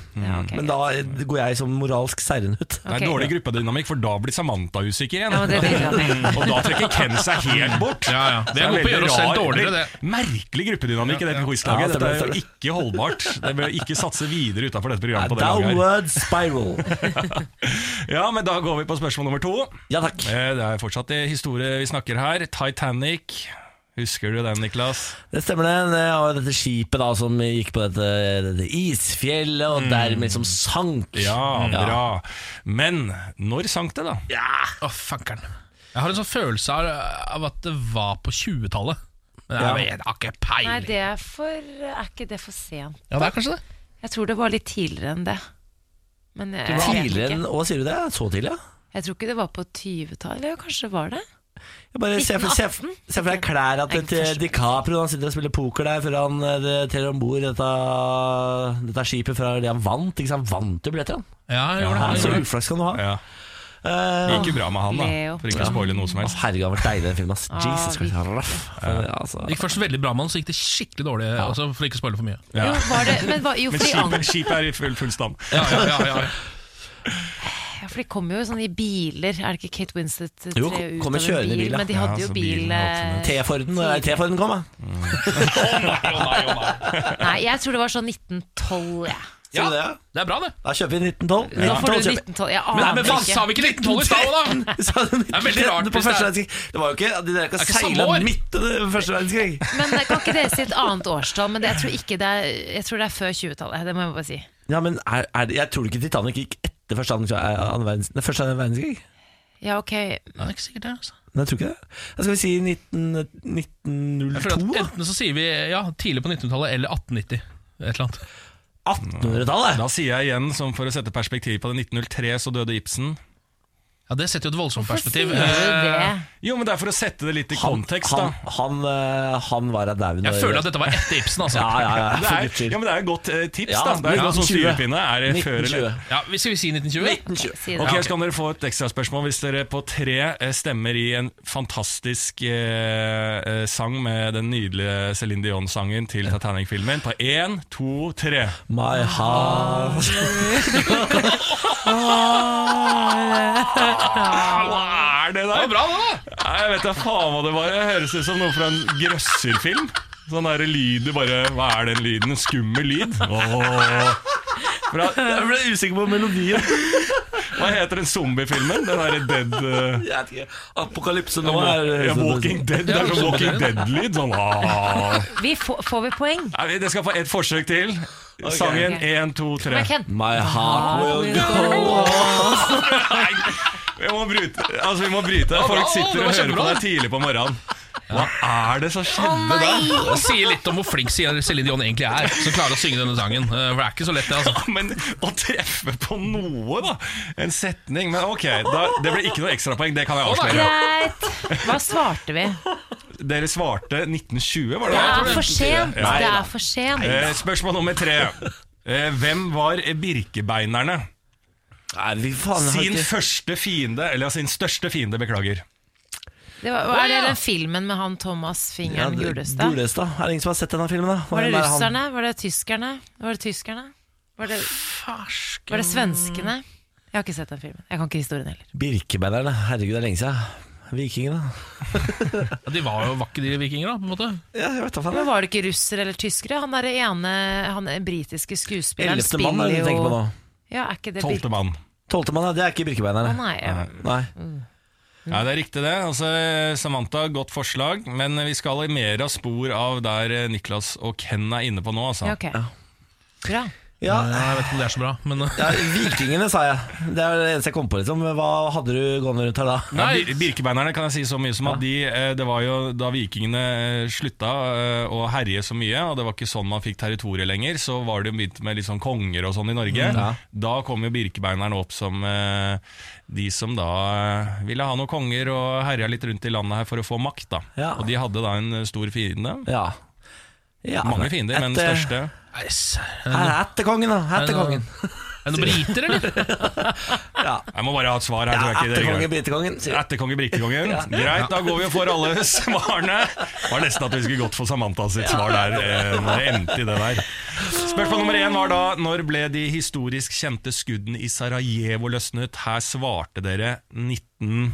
A: men da eh, går jeg som moralsk seirende ut.
O: Det er dårlig gruppedynamikk, for da blir Samantha usikker igjen.
A: Ja, men det blir det.
O: [LAUGHS] og da trekker Ken seg helt bort.
B: Ja, ja. Vi er gode på å
O: Så veldig
B: gjøre oss selv
O: rar-
B: dårligere, det.
O: Merkelig gruppedynamikk i
B: Ja,
O: dette
B: ja.
A: Ja,
O: quizlaget.
A: det
O: Dette
A: stemmer,
O: er jo ikke holdbart. Det bør ikke satse videre utafor dette programmet. på det laget her.
A: Downward spiral.
O: Ja, men da går vi på spørsmål nummer to.
A: Ja, takk
O: Det er fortsatt eh, historie vi snakker her. Titanic. Husker du den, Niklas?
A: Det stemmer det. Det var dette skipet da som gikk på dette, dette isfjellet, og dermed som sank.
O: Mm. Ja, bra. Men når sank det, da?
A: Ja,
B: Å, fankeren. Jeg har en sånn følelse av, av at det var på 20-tallet. Men jeg,
A: Ja.
B: vet- jeg har ikke peiling.
C: Nei, det er, for, er ikke det for sent?
B: Ja, det er kanskje det.
C: Jeg tror det var litt tidligere enn det. Men jeg, jeg, vet
A: Tidligere enn
C: ikke.
A: Å, sier du det? Så tidlig, ja?
C: jeg tror ikke det var på 20-tallet. Eller kanskje det var det?
A: Jeg bare ser for, ser, for- ser for deg klærne til- til eh, DiCaprio. Han sitter og spiller poker der før han eh, trer om bord dette, dette skipet fra det han vant. Ikke sant? Han vant jo billetter, han.
B: Ja, jeg gjorde det.
A: Ja,
B: Jeg
A: så
B: gjorde det.
A: uflaks kan du ha.
O: Ja.
A: Det
O: gikk jo bra med han, da, Leo. for ikke å spoile noe som helst.
A: Herregud, han var deilig den filmen. ass.
B: Ah,
A: Jesus Christ, han var raff. For,
B: Det
A: altså.
B: gikk først veldig bra med han, så gikk det skikkelig dårlig. Eh, altså. Også, for ikke å spoile for mye.
O: Ja.
C: Jo, var det, men, var, jo,
O: Men
C: fordi
O: skipet,
C: an-
O: skipet er i full, full stand.
B: [LAUGHS] Ja, ja, ja, ja, ja.
C: Ja, for de kom jo sånn i biler. Er det ikke Kate Winslet eh, tre
A: Jo,
C: ut
A: kommer
C: av en
A: kjørende i
C: bil?
A: bil, ja.
C: Men de hadde
A: Ja,
C: jo
A: så bilen
C: bil
A: var
C: eh,
A: T-Forden nei, T-Forden kom, da.
C: [LAUGHS] Nei, jeg tror det var sånn 1912, jeg.
A: Sier du det? ja?
B: Det er bra, det.
A: Da kjøper vi 1912.
C: Nå får
A: 1912
C: du
A: kjøper vi.
C: 1912.
B: Men,
C: Jeg
B: nei,
C: aner
B: men hva sa vi ikke 1912 i
A: [LAUGHS]
B: stad, da?
A: Så er det
B: Det er veldig rart.
A: 1913 på
B: hvis det
A: første
B: er-
A: verdenskrig. Det var jo ikke at de der
B: Det er
A: kan
B: ikke samme
A: seile
B: år.
A: midt under første verdenskrig.
C: [LAUGHS] Men eh, kan ikke dere si et annet årstall? Men det, jeg, tror ikke det er, jeg tror det er før 20-tallet. Det må jeg bare si.
A: Ja, men er, er, det- Jeg tror ikke Titanic gikk etter første andre- andre verdens- nei, første verdenskrig.
C: Ja, ok.
B: Nei, det er ikke sikkert det. altså
A: Nei, jeg tror ikke det. Da skal vi si 19,
B: Jeg føler
A: 1902,
B: at
A: da.
B: Enten så sier vi ja, tidlig på 1900-tallet eller 1890. Et eller annet.
A: 1800-tallet?
O: Da sier jeg igjen, som for å sette perspektiv på det, 1903 så døde Ibsen.
B: Ja, Det setter jo et voldsomt
O: Hvorfor
B: perspektiv.
O: sier du det?
B: Eh,
O: Jo, men det er for å sette det litt i kontekst,
A: han,
O: da.
A: han, eh, han var av dauen.
B: Jeg føler at dette var
C: [LAUGHS]
B: etter Ibsen, altså.
A: Ja, ja, ja,
O: Det
A: for
O: er,
A: guds skyld.
O: ja, men det er et godt eh, tips,
A: Ja,
O: da. Det er en sånn
A: 1920.
O: styrepinne. Er det før eller
A: 1920.
B: Ja, vi- Skal vi si 1920?
A: 1920.
O: Ok, Så kan dere få et ekstraspørsmål hvis dere på tre eh, stemmer i en fantastisk eh, eh, sang med den nydelige Céline Dion-sangen til Titanic-filmen. På én, to, tre.
A: My heart
O: [LAUGHS]
H: Ah,
O: Hva
H: Ah,
O: er det der?
H: Oh,
B: Det var bra, det, da!
O: Nei, jeg vet da faen hva det var. Det høres ut som noe fra en grøsserfilm. Sånn der lyd du bare Hva er den lyden? En skummel lyd? Åh. Bra. Jeg ble usikker på melodien. Hva heter den zombiefilmen? Den derre Dead Apokalypse
A: nå er-
O: ja, Walking Dead. Det er sånn Walking Dead-lyd. Sånn ah.
C: Vi får, får vi poeng?
O: Nei, Det skal få et forsøk til. Sangen én, to, tre.
C: Men Ken-
O: My heart will go Nei, vi må bryte. Altså, vi må bryte.
B: Ja, bra.
O: Folk
B: Det
O: sitter
B: var
O: og hører på
B: kjempebra.
O: deg tidlig på morgenen. Hva er det som skjedde Altså, da?
B: Det sier litt om hvor flink Celine Dion egentlig er, som klarer å synge denne sangen. Eh, For det er ikke så lett, det, altså.
O: Men å treffe på noe, da! En setning. Men ok, da, det ble ikke noe ekstrapoeng. Det kan jeg avsløre.
C: Greit. Hva svarte vi?
O: Dere svarte 1920, var det?
C: Det
O: Jeg tror
C: er for sent.
O: Ja.
C: Det er for sent.
O: Eh, spørsmål nummer tre. Eh, hvem var Birkebeinerne?
A: faen, jeg har
O: sin
A: ikke-
O: første fiende, eller sin største fiende, beklager.
C: Det var, er det den filmen med han Thomas
A: Ja,
C: Fingeren
A: det-
C: Gulestad?
A: Gulestad. Er det ingen som har sett denne filmen? da?
C: Var det
A: Hvem er han?
C: russerne? Var det tyskerne? Var det tyskerne? Var det, var det svenskene? Jeg har ikke sett den filmen. Jeg kan ikke historien heller.
A: Birkebeinerne. Herregud, det er lenge siden. Vikingene.
B: [LAUGHS] Ja, De var jo vakke, de vikinger, da, på en måte.
A: Ja, jeg vet da faen.
C: Men Var det ikke russere eller tyskere? Han der ene han britiske skuespilleren
A: Ellevte mann er
C: spiller
A: det du
C: jo
A: tenker på nå.
C: Ja, er ikke det
O: Tolvte mann.
A: Tolvte mann, ja, det er ikke Birkebeinerne.
C: Å, nei, ja.
A: Nei.
C: Mm.
O: Ja, Det er riktig, det. Altså, Samantha, godt forslag. Men vi skal i mer av spor av der eh, Niklas og Ken er inne på nå. Altså.
C: Ja, ok. Bra.
A: Ja.
B: Eh, Jeg vet ikke om det er så bra, men eh,
A: Ja, Vikingene, sa jeg. Det er det eneste jeg kom på. liksom Hva hadde du gående rundt her da?
O: Ja, Bir- Birkebeinerne kan jeg si så mye som at de, eh, det var jo da vikingene eh, slutta eh, å herje så mye, og det var ikke sånn man fikk territoriet lenger, så var det jo begynt med litt sånn konger og sånn i Norge.
A: Mm, ja.
O: Da kom jo birkebeinerne opp som eh, de som da eh, ville ha noen konger og herja litt rundt i landet her for å få makt, da.
A: Ja.
O: Og de hadde da en eh, stor fiende.
A: Ja. Ja,
O: Mange fiender, men
A: et, eh,
O: største.
A: Her er etterkongen, da.
B: Er det noe-
A: Etterkongen.
B: Er det noen briter, eller?
A: [LAUGHS]
O: Jeg må bare ha et svar her.
A: Ja,
O: tror jeg ikke det
A: etterkonge,
O: går.
A: britekongen, sier du.
O: Etterkonge, britekongen.
A: Ja.
O: Greit, da går vi og får alle [LAUGHS] svarene. Det var nesten at vi skulle gått for Samantha sitt svar der. eh, Når det endte i det der. Spørsmål nummer én var da når ble de historisk kjente skuddene i Sarajevo løsnet? Her svarte dere 19...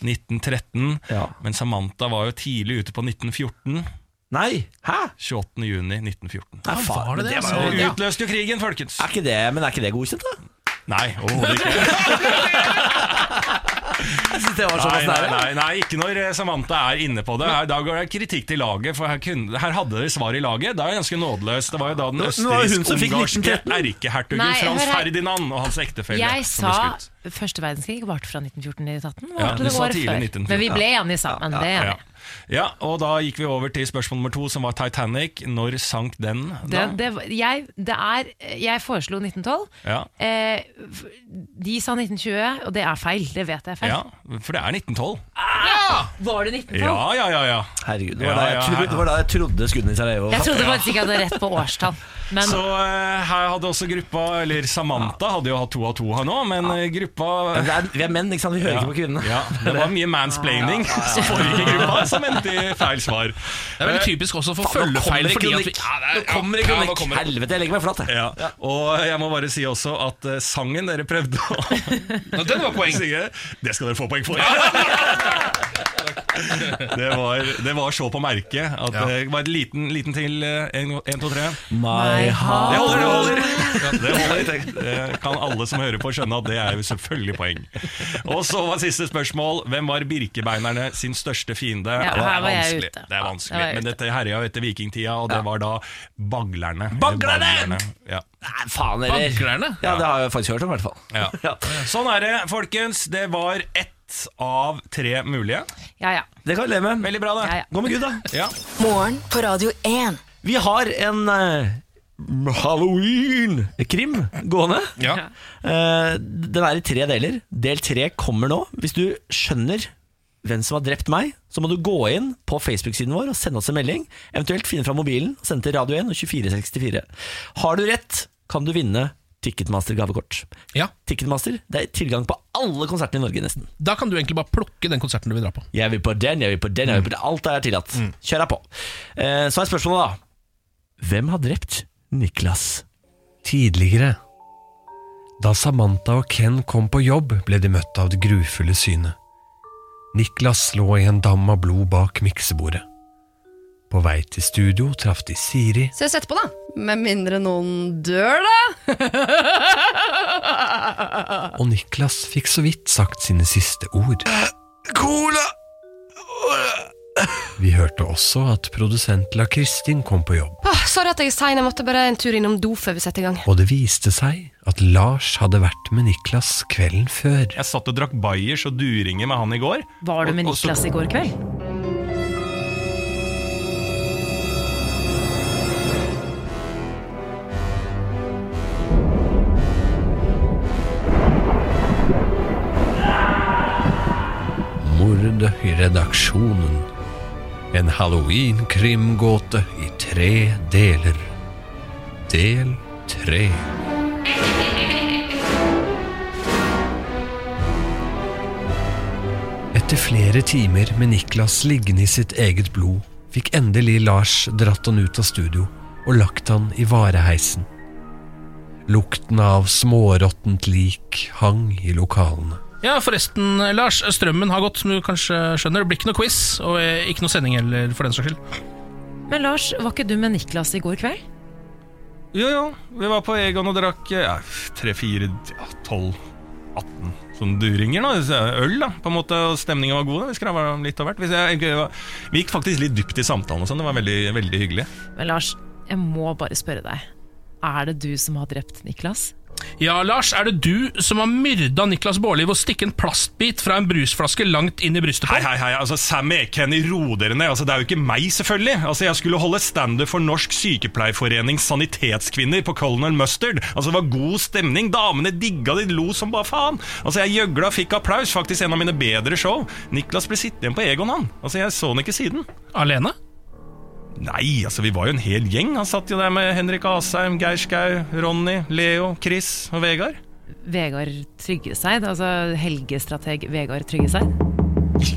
O: 1913. Men Samantha var jo tidlig ute på 1914.
A: Nei, hæ?
O: 28. juni 1914.
A: Nei, faen,
O: var det
A: men
O: det,
A: var jo-
O: altså? Det utløste jo krigen, folkens.
A: Er ikke det, men er ikke det godkjent, da?
O: Nei, overhodet ikke.
A: [LAUGHS] Jeg synes det var
O: Nei,
A: såpass
O: nei,
A: nære.
O: nei, nei, ikke når eh, Samantha er inne på det. Her, da går det kritikk til laget, for her, kunne, her hadde dere svar i laget. Det er jo ganske nådeløst. Det var jo da den
A: Nå- nå var det hun som fikk
O: østerriksk-ungarske
A: 1913.
O: erkehertugen
C: Nei,
O: Frans
C: hør her.
O: Ferdinand og hans ektefelle
C: Jeg sa
O: som ble skutt.
C: første verdenskrig varte fra 1914 til 1918.
O: Ja,
C: varte
O: du
C: det
O: sa
C: året
O: tidlig
C: før.
O: 1914,
C: Men vi ble
O: ja.
C: enige sammen.
O: Ja,
C: Det er jeg
O: ja.
C: enig i.
O: ja, og da gikk vi over til spørsmål nummer to, som var Titanic. Når sank den?
C: det,
O: Da?
C: det, var- jeg, det er, jeg foreslo 1912.
O: Ja.
C: Eh, f- de sa 1920, og det er feil. Det vet jeg er feil.
O: ja, for det er 1912.
C: Ah, Var det 1912?
O: Ja, ja, ja. ja.
A: Herregud, det
O: Ja,
A: var, da jeg
O: ja,
A: trodde,
O: ja.
A: det var da jeg trodde skuddene i Sarajevo
C: Jeg trodde faktisk ikke jeg hadde rett på årstall. Men
O: Så eh, her hadde også gruppa, eller Samantha hadde jo hatt to av to her nå, men eh, gruppa
A: Men det er, Vi er menn, ikke sant? Vi hører ikke på kvinnene.
O: Ja, det var mye mansplaining som foregikk i gruppa, som endte i feil svar.
B: Det er veldig typisk også for
A: Faen, nå kommer
B: følgefeil.
A: det
B: ikke at vi-
A: kronikk!
B: Ja, det er-
A: Nå kommer det
B: ja, nå
A: kronikk!
B: kommer det.
A: Helvete, jeg legger meg flat, jeg.
O: Ja. Og jeg må bare si også at eh, sangen dere prøvde å
A: [LAUGHS]
B: Nå, Den var poeng.
O: synge, det skal dere få poeng for. [LAUGHS] Det var, det var så på merket at eh,
B: Ja.
O: det var en liten, liten til. eh, En, en, to, tre.
A: My heart
O: Det holder, det holder! Det holder. Det kan alle som hører på skjønne at det er jo selvfølgelig poeng. Og så var siste spørsmål Hvem var birkebeinerne sin største fiende?
C: Ja,
O: Og det er
C: her var jeg
O: vanskelig.
C: ute.
O: Det er
C: Ja,
O: vanskelig.
C: her var jeg
O: Men
C: ute.
O: dette herja jo etter vikingtida, og det var da baglerne. Eller
A: Baglerne!
O: Ja.
A: Nei, faen heller.
B: Baglerne?
A: Ja, det har jeg faktisk hørt om, i hvert fall.
C: [LAUGHS]
O: Ja. Sånn er det, folkens. Det var ett av tre mulige.
C: ja, ja.
A: Det kan vi leve med.
O: Veldig bra, det.
C: Ja, ja.
A: Gå med Gud, da.
O: Ja.
E: Morgen på Radio 1.
A: Vi har en eh, Halloween-krim gående.
B: Ja.
A: Eh, den er i tre deler. Del tre kommer nå. Hvis du skjønner hvem som har drept meg, så må du gå inn på Facebook-siden vår og sende oss en melding. Eventuelt finne fram mobilen og sende til Radio 1 og 2464. Har du rett, kan du vinne Ticketmaster-gavekort.
B: Ja.
A: Ticketmaster det er tilgang på alle konsertene i Norge, nesten.
B: Da kan du egentlig bare plukke den konserten du vil dra på.
A: Jeg vil på den, jeg vil på den, jeg vil på den. Alt er tillatt. Kjør deg på. Eh, Så er spørsmålet, da. Hvem har drept Niklas?
P: Tidligere Da Samantha og Ken kom på jobb, ble de møtt av det grufulle synet. Niklas lå i en dam av blod bak miksebordet. På vei til studio traff de Siri
N: Så jeg setter på, da. Med mindre noen dør,
D: [LAUGHS]
A: [LAUGHS]
N: da.
P: og Niklas fikk så vidt sagt sine siste ord.
K: Cola!
P: Vi hørte også at produsent La Kristin kom på jobb,
D: Åh, Ah, sorry at jeg er sein, jeg måtte bare en tur innom do før vi setter i gang.
P: og det viste seg at Lars hadde vært med Niklas kvelden før.
O: Jeg satt og drakk bayers og duringer med han i går.
C: Var du med
O: Og- og så-
C: Niklas i går kveld?
P: Mord i redaksjonen. En halloween-krimgåte i tre deler. Del tre. Etter flere timer med Niklas liggende i sitt eget blod, fikk endelig Lars dratt han ut av studio og lagt han i vareheisen. Lukten av småråttent lik hang i lokalene.
B: Ja, forresten, Lars. Strømmen har gått, som du kanskje skjønner. Det blir ikke noe quiz, og eh, ikke noe sending heller, for den saks skyld.
C: Men Lars, var ikke du med Niklas i går kveld?
O: Jo, jo, vi var på Egon og drakk eh, ja, 3, 4, 12, 18 sånn duringer. Da. så eh, Øl, da, på en måte. Og stemningen var god. da. Vi skravla om litt av hvert. Hvis jeg- jeg var- Vi gikk faktisk litt dypt i samtalen og sånn. Det var veldig, veldig hyggelig.
C: Men Lars, jeg må bare spørre deg. Er det du som har drept Niklas?
B: Ja, Lars, er det du som har myrda Niklas Baarli ved å stikke en plastbit fra en brusflaske langt inn i brystet på
O: Hei, hei, hei, altså Sammy Ekenny, ro dere ned. Altså, det er jo ikke meg, selvfølgelig. Altså, Jeg skulle holde standup for Norsk Sykepleierforenings sanitetskvinner på Colonel Mustard. Altså, Det var god stemning. Damene digga det, de lo som bare faen. Altså, Jeg gjøgla, fikk applaus. Faktisk en av mine bedre show. Niklas ble sittende igjen på Egon, han. Altså, Jeg så han ikke siden.
B: Alene?
O: Nei, altså, vi var jo en hel gjeng. Han satt jo der med Henrik Asheim, Geir Skau, Ronny, Leo, Chris og Vegard.
C: Vegard Tryggeseid, altså helgestrateg Vegard Tryggeseid.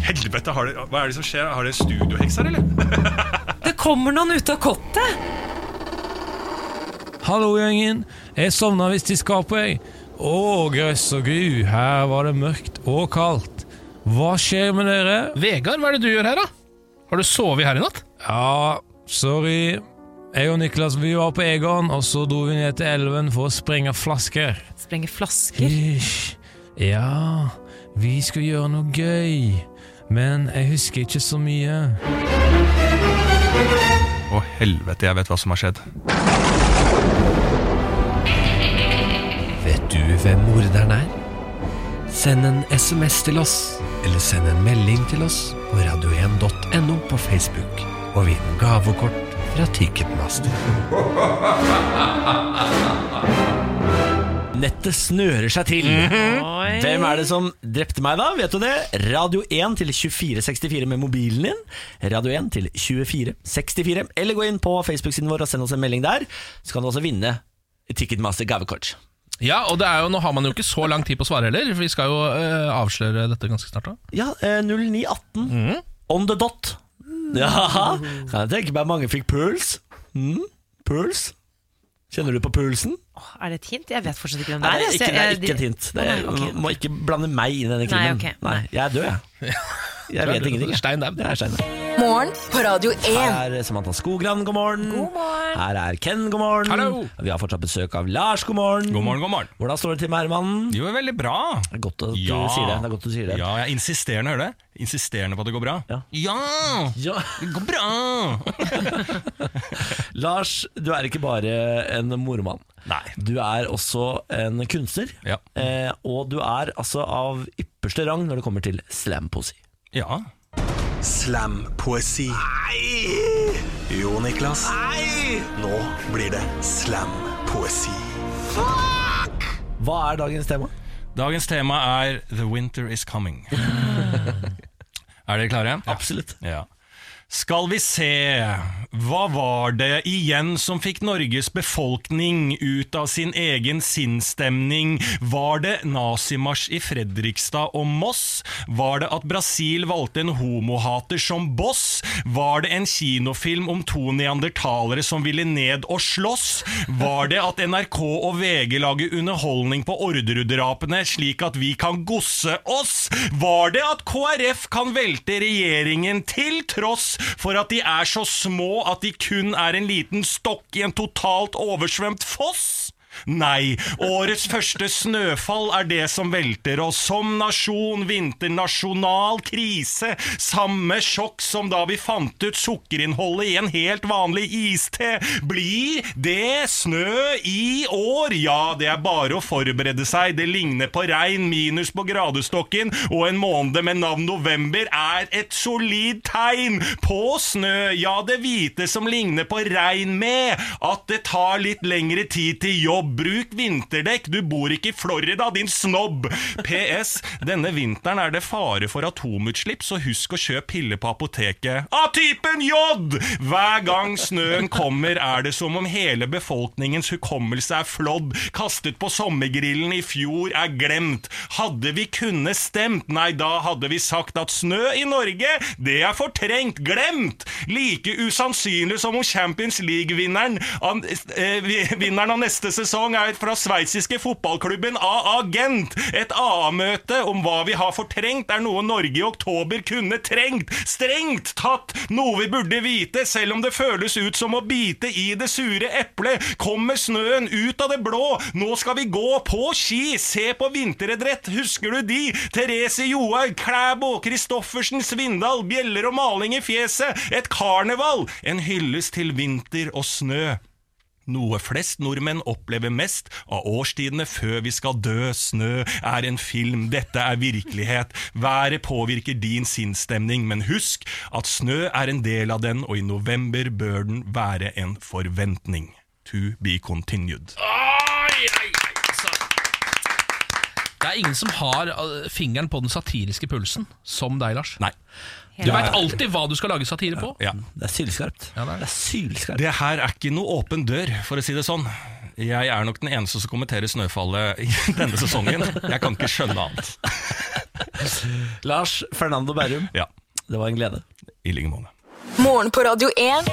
O: Helvete, har det, hva er det som skjer? Har dere studiohekser, eller?
C: Det kommer noen ut av kottet!
Q: Hallo, gjengen. Jeg sovna visst i skapet, jeg. Å, grøss og gru, her var det mørkt og kaldt. Hva skjer med dere?
B: Vegard, hva er det du gjør her, da? Har du sovet her i natt?
Q: Ja, sorry. Jeg og Niklas vi var på Egon, og så dro vi ned til elven for å sprenge flasker.
C: Sprenge flasker?
Q: Hysj. Ja, vi skulle gjøre noe gøy. Men jeg husker ikke så mye.
O: Å, helvete, jeg vet hva som har skjedd.
P: Vet du hvem morderen er? Send en SMS til oss, eller send en melding til oss på radio1.no på Facebook, og vinn gavekort fra Ticketmaster.
L: [LAUGHS]
A: Nettet snører seg til.
P: Oi.
A: Hvem er det som drepte meg, da? Vet du det? Radio 1 til 2464 med mobilen din. Radio 1 til 2464. Eller gå inn på Facebook-siden vår og send oss en melding der. Så kan du også vinne Ticketmaster gavekort.
B: Ja, og det er jo, nå har man jo ikke så lang tid på å svare heller. for Vi skal jo eh, avsløre dette ganske snart. da
A: Ja, eh, 0918. On the dot. [LAUGHS] Ja, kan jeg tenke meg mange fikk puls. Mm, puls. Kjenner du på pulsen?
C: Er det et hint? Jeg vet fortsatt ikke hvem det
A: Nei,
C: er.
A: det er
C: altså,
A: ikke, det er
C: jeg-
A: ikke et hint. Det er,
C: Å, nei, ok.
A: Må ikke blande meg inn i denne
C: Nei,
A: krimmen.
C: ok.
A: jeg er død, jeg. Jeg
B: Du er
A: vet
B: død,
A: ingenting. jeg.
B: Stein daud.
A: Jeg er stein daud.
E: Morgen på Radio 1.
A: Her er Samantha Skogran, god morgen. Her er Ken, god morgen.
O: Hallo.
A: Vi har fortsatt besøk av Lars, god morgen.
O: God morgen, god morgen.
A: Hvordan står det til med Hermannen?
O: Jo, veldig bra.
A: Det er godt at du sier det. det, er godt at du sier det.
O: Ja, jeg er insisterende, hører du? Insisterende på at det går bra. Ja! Det går bra!
A: [LAUGHS] Lars, du er ikke bare en mormann. Du er også en kunstner. Eh, og du er altså av ypperste rang når det kommer til slampoesi.
O: Ja.
I: Slampoesi. Nei! Jo, Niklas. Nei! Nå blir det slampoesi.
A: Hva er dagens tema?
O: Dagens tema er The winter is
A: [LAUGHS]
O: coming. er dere klare?
A: Absolutt.
O: Ja. Skal vi se Hva var det igjen som fikk Norges befolkning ut av sin egen sinnsstemning? Var det nazimarsj i Fredrikstad og Moss? Var det at Brasil valgte en homohater som boss? Var det en kinofilm om to neandertalere som ville ned og slåss? Var det at NRK og VG lager underholdning på Orderud-drapene, slik at vi kan gosse oss? Var det at KrF kan velte regjeringen til tross for at de er så små at de kun er en liten stokk i en totalt oversvømt foss? Nei, årets første snøfall er det som velter oss som nasjon, vinternasjonal krise, samme sjokk som da vi fant ut sukkerinnholdet i en helt vanlig iste. Blir det snø i år? Ja, det er bare å forberede seg, det ligner på regn minus på gradestokken, og en måned med navn november er et solid tegn på snø, ja, det hvite som ligner på regn med, at det tar litt lengre tid til jobb. Bruk vinterdekk, du bor ikke i Florida, din snobb! PS. Denne vinteren er det fare for atomutslipp, så husk å kjøpe piller på apoteket av typen J! Hver gang snøen kommer, er det som om hele befolkningens hukommelse er flådd, kastet på sommergrillen i fjor er glemt. Hadde vi kunne stemt, nei, da hadde vi sagt at snø i Norge, det er fortrengt, glemt! Like usannsynlig som om Champions League-vinneren av- eh, vi- vinneren av neste sesong er fra sveitsiske fotballklubben AA Gent. Et AA-møte om hva vi har fortrengt, er noe Norge i oktober kunne trengt. Strengt tatt! Noe vi burde vite, selv om det føles ut som å bite i det sure eplet. Kommer snøen ut av det blå? Nå skal vi gå på ski! Se på vinteridrett! Husker du de? Therese Johaug, Klæbo, Christoffersen, Svindal, bjeller og maling i fjeset. Et karneval! En hyllest til vinter og snø. Noe flest nordmenn opplever mest av årstidene før vi skal dø. Snø er en film, dette er virkelighet. Været påvirker din sinnsstemning, men husk at snø er en del av den, og i november bør den være en forventning. To be continued.
B: Det er ingen som har eh, fingeren på den satiriske pulsen som deg, Lars.
O: Nei.
B: Du veit alltid hva du skal lage satire på.
O: Ja.
A: Det er sylskarpt.
O: det,
A: er sylskarpt.
O: det her er ikke noe åpen dør, for å si det sånn. Jeg er nok den eneste som kommenterer snøfallet i [LAUGHS] denne sesongen. Jeg kan ikke skjønne annet.
A: Lars Fernando Berrum, det var en glede.
O: I like måte.
E: Morgen på Radio 1.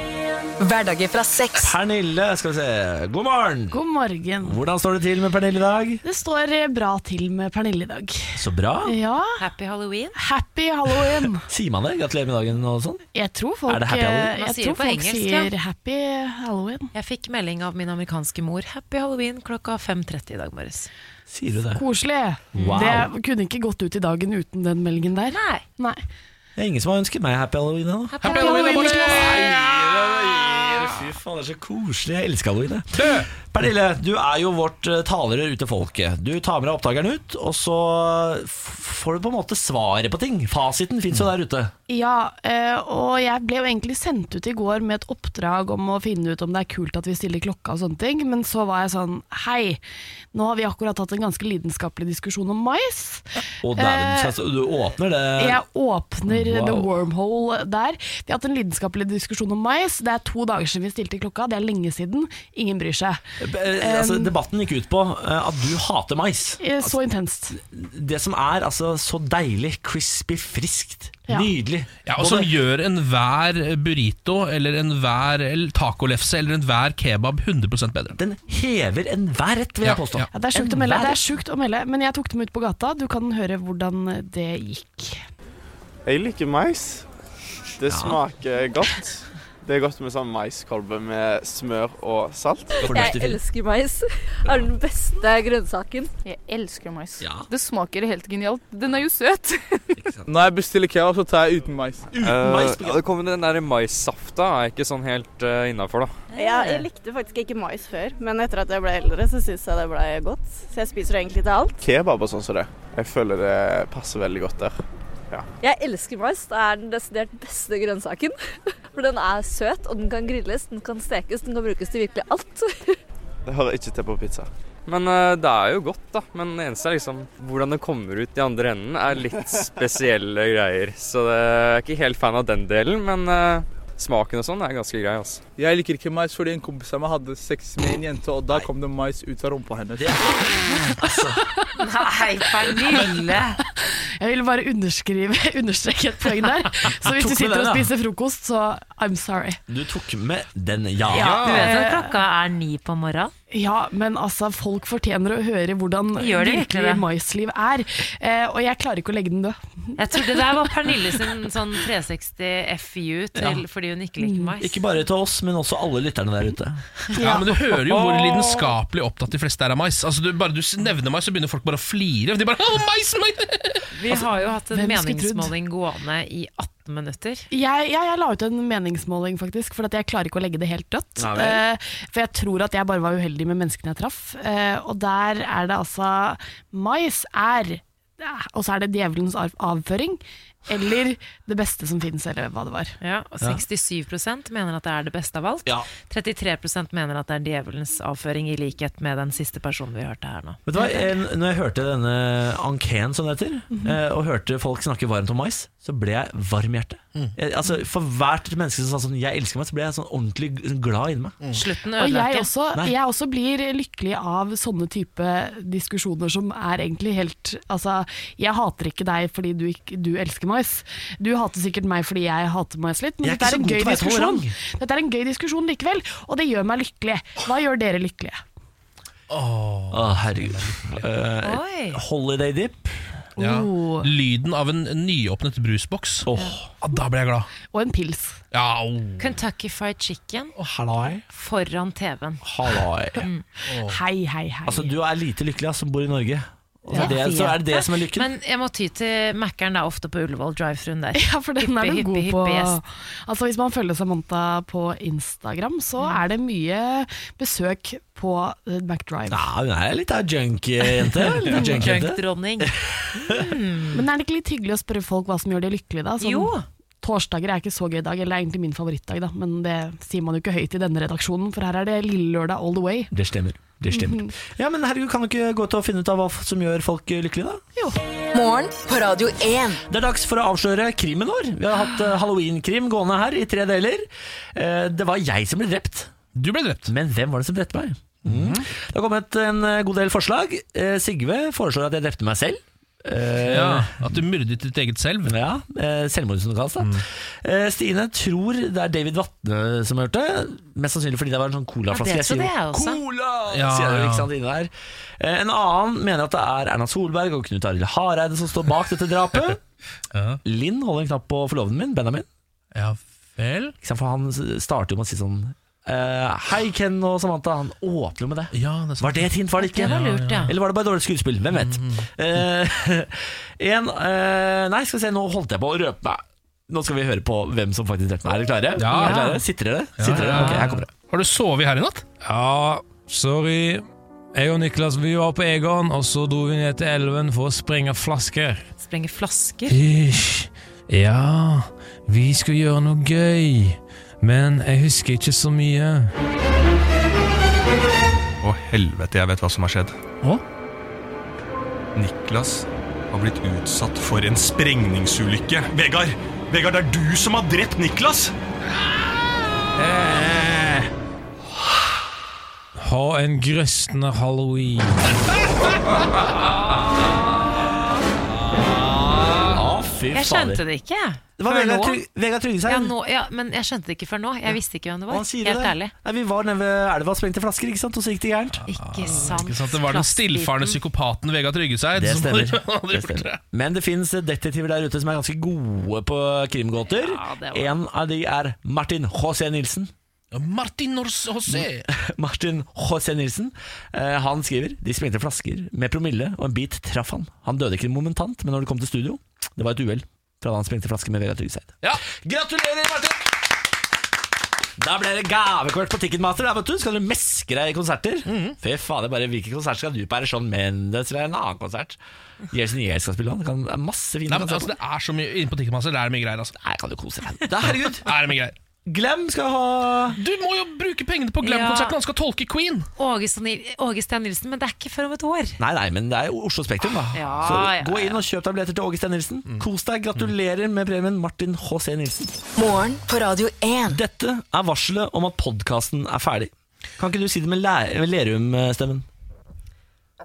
E: Hverdager fra seks.
A: Pernille, skal vi se. God morgen!
R: God morgen.
A: Hvordan står det til med Pernille i dag?
R: Det står eh, bra til med Pernille i dag.
A: Så bra.
R: Ja.
C: Happy Halloween.
R: Happy Halloween.
A: Sier man det? Gratulerer med dagen og sånn?
R: Jeg tror folk,
A: Er det happy halloween?
R: eh,
C: Man
R: Jeg
C: sier det
R: tror
C: på
R: folk
C: engelsk,
R: sier
C: ja.
R: happy halloween.
C: Jeg fikk melding av min amerikanske mor 'Happy Halloween' klokka 5.30 i dag morges.
A: Sier du det?
R: koselig.
A: Wow.
R: Det kunne ikke gått ut i dagen uten den meldingen der.
C: Nei.
A: Det er ingen som har ønsket meg happy halloween ennå.
R: Happy halloween, halloween, Niklas.
A: Niklas! Fy faen, det er så koselig. Jeg elsker halloween. jeg. Pernille, du er jo vårt eh, talerør ut til folket. Du tar med deg oppdageren ut, og så f- får du på en måte svaret på ting. Fasiten fins jo der ute.
R: Ja, eh, og jeg ble jo egentlig sendt ut i går med et oppdrag om å finne ut om det er kult at vi stiller klokka og sånne ting, men så var jeg sånn Hei, nå har vi akkurat hatt en ganske lidenskapelig diskusjon om mais.
A: Og dæven,
R: Eh,
A: altså, du åpner det
S: Eh,
R: Jeg åpner
A: Wow.
R: the wormhole der. Vi har hatt en lidenskapelig diskusjon om mais. Det er to dager siden vi stilte klokka, det er lenge siden. Ingen bryr seg.
A: Eh, altså,
R: Em,
A: Debatten gikk ut på eh, at du hater mais. Altså,
R: eh, så intenst.
A: Det som er altså så deilig, crispy, friskt, nydelig.
B: Ja, og som gjør enhver burrito eller enhver el- tacolefse eller enhver kebab 100 bedre.
A: Den hever enhver rett, vil jeg påstå.
R: Ja, det er sjukt å melde, det er sjukt å melde, men jeg tok dem ut på gata. Du kan høre hvordan det gikk.
T: Jeg liker mais. Det smaker godt. Det er godt med sånn maiskolbe med smør og salt.
U: Jeg elsker mais. [LAUGHS] Er den beste grønnsaken. Jeg elsker mais. Det smaker helt genialt. Den er jo søt.
S: Når jeg bestiller kebab, så tar jeg uten mais.
V: Eh,
S: mais på
V: ja, det kommer den der maissafta er ikke sånn helt uh, innafor, da.
W: [LAUGHS] Ja, jeg
T: Eh,
W: likte faktisk ikke mais før, men etter at jeg ble eldre, så syns jeg det ble godt. Så jeg spiser egentlig til alt.
T: Kebab og sånn som det. Jeg føler det passer veldig godt der. Ja.
U: Jeg elsker mais. Det er den desidert beste grønnsaken. [LAUGHS] For den er søt, og den kan grilles, den kan stekes, den kan brukes til virkelig alt. [LAUGHS]
T: Det hører ikke til på pizza.
V: Men eh, det er jo godt, da. Men det eneste er liksom hvordan det kommer ut i andre enden, er
T: [LAUGHS]
V: litt spesielle greier. Så det jeg er ikke helt fan av den delen, men eh, smaken og sånn er ganske grei, altså.
S: Jeg liker ikke mais fordi en kompis av meg hadde sex med en jente, og da kom det mais ut av rumpa hennes.
B: [LAUGHS]
R: Nei, Pernille!
S: [LAUGHS]
R: Jeg vil bare underskrive, [LAUGHS] understreke et poeng der. Så hvis
S: Tok
R: du
S: du
R: sitter
S: det,
R: og
S: da?
R: spiser frokost, så I'm sorry.
A: Du tok med den, ja.
C: Du vet at klokka er ni på morgenen?
R: Ja, men altså, folk fortjener å høre hvordan
C: Gjør de virkelig
R: virkelig
C: det?
R: maisliv er. Eh, og jeg klarer ikke å legge den død.
C: Jeg tror det der var Pernille sin sånn 360 FU til,
A: Ja.
C: fordi hun ikke liker mais.
A: Ikke bare til oss, men også alle lytterne der ute.
B: Ja, men Du hører jo hvor lidenskapelig opptatt de fleste er av mais. Altså, du, bare du s- nevner mais, så begynner folk bare å flire. De bare, «Åh, mais, mais!
C: Vi
A: altså,
C: har jo hatt en
R: hvem skulle trodd?
C: meningsmåling gående i 18 minutter.
R: [LAUGHS] Jeg, ja, jeg la ut en meningsmåling, faktisk, for at jeg klarer ikke å legge det helt dødt.
C: Nei vel.
R: Eh, for jeg tror at jeg bare var uheldig med menneskene jeg traff. Eh, og der er det altså Mais er eh, Og så er det djevelens arv- avføring. Eller det beste som finnes, eller hva det var.
C: Ja, og 67 mener at det er det beste av alt.
A: Ja.
C: 33 mener at det er djevelens avføring, i likhet med den siste personen vi hørte her nå.
A: Vet du hva, jeg, Når jeg hørte denne ankeen, som det heter,
R: Mhm.
A: eh, og hørte folk snakke varmt om mais, så ble jeg varm i hjertet.
B: Mm.
A: Jeg, altså, for hvert menneske som sa sånn 'jeg elsker meg', så ble jeg sånn ordentlig g- glad inni meg.
B: Mm.
C: Slutten
R: Og jeg også,
A: Nei.
R: jeg også blir lykkelig av sånne type diskusjoner som er egentlig helt Altså, jeg hater ikke deg fordi du, ikke, du elsker mais. Du hater sikkert meg fordi jeg hater mais litt, men
A: Jeg er
R: dette er
A: ikke
R: en
A: så god
R: gøy
A: til å være
R: diskusjon.
A: tolerant.
R: Dette er en gøy diskusjon likevel, og det gjør meg lykkelig. Hva gjør dere lykkelige? [LAUGHS]
A: Å, herregud. Eh,
R: Oi.
A: holiday dip.
B: Ja.
R: Oh.
B: Lyden av en nyåpnet brusboks. Ja, da ble jeg glad.
R: Og en pils.
B: Ja, oh.
C: Kentucky Fried Chicken
A: Halloi.
C: foran TV-en. [LAUGHS] Mm.
R: Hei, hei, hei.
A: Altså, du er lite lykkelig ass, som bor i Norge. Altså,
C: Jeg
A: det,
C: vet
A: så er det det som er lykken.
C: Men jeg må ty til Mækkern, det er ofte på Ullevål drive-thruen der.
R: Ja, for den er
C: Hyppig,
R: du god
C: hyppig,
R: på.
C: hyppig gjest.
R: Altså Hvis man følger Samantha på Instagram, så er det mye besøk på eh, McDrive.
A: Ja, hun er litt av junk-jente. Litt
R: [LAUGHS]
A: av junk-jente.
C: Junk-dronning.
R: Men er det ikke litt hyggelig å spørre folk hva som gjør de lykkelige, da? Sånn,
C: Jo.
R: Torsdager er ikke så gøy dag, eller er egentlig min favorittdag, da. Men det sier man jo ikke høyt i denne redaksjonen, for her er det lille lørdag all the way.
A: Det stemmer. Det stemmer.
R: [LAUGHS]
A: Ja, men herregud, kan du ikke gå til å finne ut av hva f- som gjør folk eh, lykkelige, da?
E: Morgen på Radio 1.
A: Det er dags for å avsløre krimen vår. Vi har hatt eh, halloween-krim gående her i tre deler. Eh, Det var jeg som ble drept.
B: Du ble drept.
A: Men hvem var det som drepte meg? Mm. Det har kommet en eh, god del forslag. Eh, Sigve foreslår at jeg drepte meg selv. Eh,
B: Ja, at du myrdet ditt eget selv. Mm.
A: Ja, eh, selvmord som det kalles. Da. Eh, Stine tror det er David Vatne som har gjort det. Mest sannsynlig fordi det var en sånn
N: assim,
A: colaflaske.
C: Ja, det tror jeg også.
A: Cola!
B: Ja,
A: sier jeg jo,
B: ja.
A: ikke sant, inne der. Eh, En annen mener at det er Erna Solberg og Knut Arild Hareide som står bak dette
B: [LAUGHS]
A: drapet. Linn holder en knapp på forloveden min, Benjamin.
B: Ja vel
A: Ikke sant, For han s- starter jo med å si sånn eh, Hei, Ken og Samantha. Han åpner jo med det. var det et hint, var det ikke?
C: Det var lurt, ja.
A: Eller var det bare dårlig skuespill? Hvem vet.
B: Mm.
A: Eh, [LAUGHS] en eh, Nei, skal vi se, nå holdt jeg på å røpe meg. Nå skal vi høre på hvem som faktisk drepte meg. Er dere klare?
B: Ja.
A: Er dere klare? Sitter dere? Sitter dere? Ok, her kommer det.
B: Har du sovet her i natt?
Q: Ja, sorry. Jeg og Niklas vi var på Egon, og så dro vi ned til elven for å sprenge flasker.
C: Sprenger flasker.
Q: Ish. Ja, vi skulle gjøre noe gøy, men jeg husker ikke så mye.
O: Å helvete, jeg vet hva som har skjedd.
Q: Hå?
O: Niklas har blitt utsatt for en sprengningsulykke. Vegard, Vegard, det er du som har drept Niklas! Eh,
Q: Ha en grøsne halloween.
D: Ah,
A: fy
C: Jeg skjønte det ikke, jeg.
A: Det var
C: Før
A: Vegard
C: nå.
A: Tryg- Vegard Tryggeseid.
C: Ja, nå, ja, men jeg skjønte det ikke før nå. Jeg visste ikke hvem det
A: Og
C: var.
A: han sier
C: Helt
A: det.
C: ærlig.
A: Nei, vi var nede ved elva og sprengte flasker, ikke sant? og så gikk det gærent.
C: Ikke sant.
B: Ikke sant? Det var den stillfarne psykopaten Vegard Tryggeseid.
A: Det
B: som [LAUGHS]
A: stemmer.
B: hadde
A: Det
B: gjort det.
A: stemmer. Men det fins detektiver der ute som er ganske gode på krimgåter.
B: det var-
A: en av de er Martin H.C. Nilsen.
B: Martin Nors José.
A: [LAUGHS] Martin H.C. Nilsen eh, Han skriver De sprengte flasker med promille, og en bit traff han. Han døde ikke momentant, men når det kom til studio, det var et uhell fra da han sprengte flasker med Vegard Tryggeseid.
B: Ja.
A: Gratulerer, Martin! Da ble det gavekort på Ticketmaster. Der, vet du. Skal du meske deg i konserter?
B: Mhm.
A: Fy fader, bare hvilken konsert skal du på? Er det Shawn Mendes eller er det en annen konsert? Jeltsin Jel skal spille han. Det kan- Det er masse fine
B: Nei, men,
A: konserter.
B: altså, det er så mye inne på Ticketmaster. Det er mye greier. Altså.
A: Nei, kan du kose deg. Da, herregud.
B: [LAUGHS] er det mye greier.
A: Glem skal ha
B: Du må jo bruke pengene på Glam-konserten. Han skal tolke Queen.
C: Åge Sten Nil- Åge Sten Nilsen, men det er ikke før om et år.
A: Nei, nei, men det er jo Oslo Spektrum, da.
C: Ja,
A: så
C: ja,
A: gå inn og kjøp deg billetter til Åge Stein Nilsen.
B: Mm.
A: Kos deg. Gratulerer med premien, Martin H.C. Nilsen.
E: Morgen på Radio 1.
A: Dette er varselet om at podkasten er ferdig. Kan ikke du si det med, læ- med eh, Lerum-stemmen?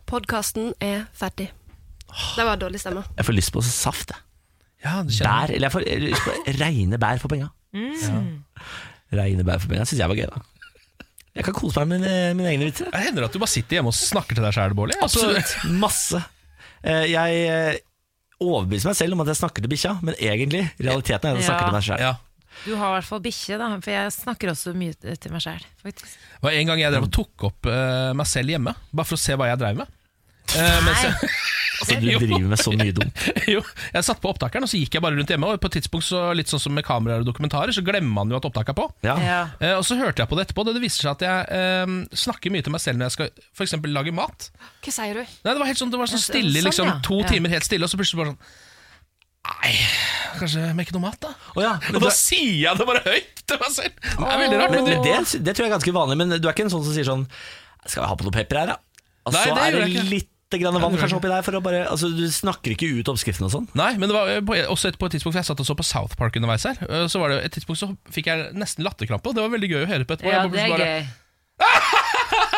D: Podkasten er ferdig. Det var dårlig stemme.
A: Jeg får lyst på saft, jeg.
B: Ja, [LAUGHS]
A: bær. Eller jeg får lyst på reine bær for penga. Reine bærforbindelse syns jeg var gøy, da. Jeg kan kose meg med mine, mine egne vitser.
B: Det hender at du bare sitter hjemme og snakker til deg Altså- sjæl, Bård.
A: Absolutt. Masse. Eh, Jeg eh, overbeviser meg selv om at jeg snakker til bikkja, men egentlig, realiteten er at jeg snakker til meg sjæl.
C: Du har i hvert fall bikkje, da, for jeg snakker også mye til meg sjæl.
B: Det var en gang jeg drev og tok opp eh, meg selv hjemme, bare for å se hva jeg drev med. Eh, mens jeg-
A: Altså, du driver med så mye dumt.
B: [LAUGHS] jo, jeg satt på opptakeren, og så gikk jeg bare rundt hjemme. Og på et tidspunkt, så, litt sånn som med kameraer og dokumentarer, så glemmer man jo at opptaket er på.
A: Ja.
C: Ja.
B: Eh, og så hørte jeg på det etterpå, og det viser seg at jeg eh, snakker mye til meg selv når jeg skal for eksempel lage mat.
D: Hva sier du?
B: Nei, det var helt sånn, det var sånn stille,
D: Sånn,
B: liksom,
D: ja.
B: to
D: Ja.
B: timer helt stille, og så plutselig bare sånn Nei, kanskje mekke noe mat, da? og
A: men
B: da
A: det-
B: sier jeg det bare høyt til meg selv! Det er veldig rart.
A: Men,
B: du-
A: men det, det tror jeg er ganske vanlig, men du er ikke en sånn som sier sånn Skal vi ha på noe pepper her, da? Og
B: Nei, det
A: så er
B: gjør
A: det
B: jeg ikke.
A: litt grann vann kanskje oppi der for å bare Altså, du snakker ikke ut oppskriften og sånn.
B: Nei, men det var eh, på, også et, på et tidspunkt For jeg satt og så på South Park underveis her eh, Så var det jo et tidspunkt så fikk jeg nesten latterkrampe Og det var veldig gøy å høre på etterpå
C: Ja,
B: Jeg
C: det
B: bare plutselig
C: er gøy.
B: bare,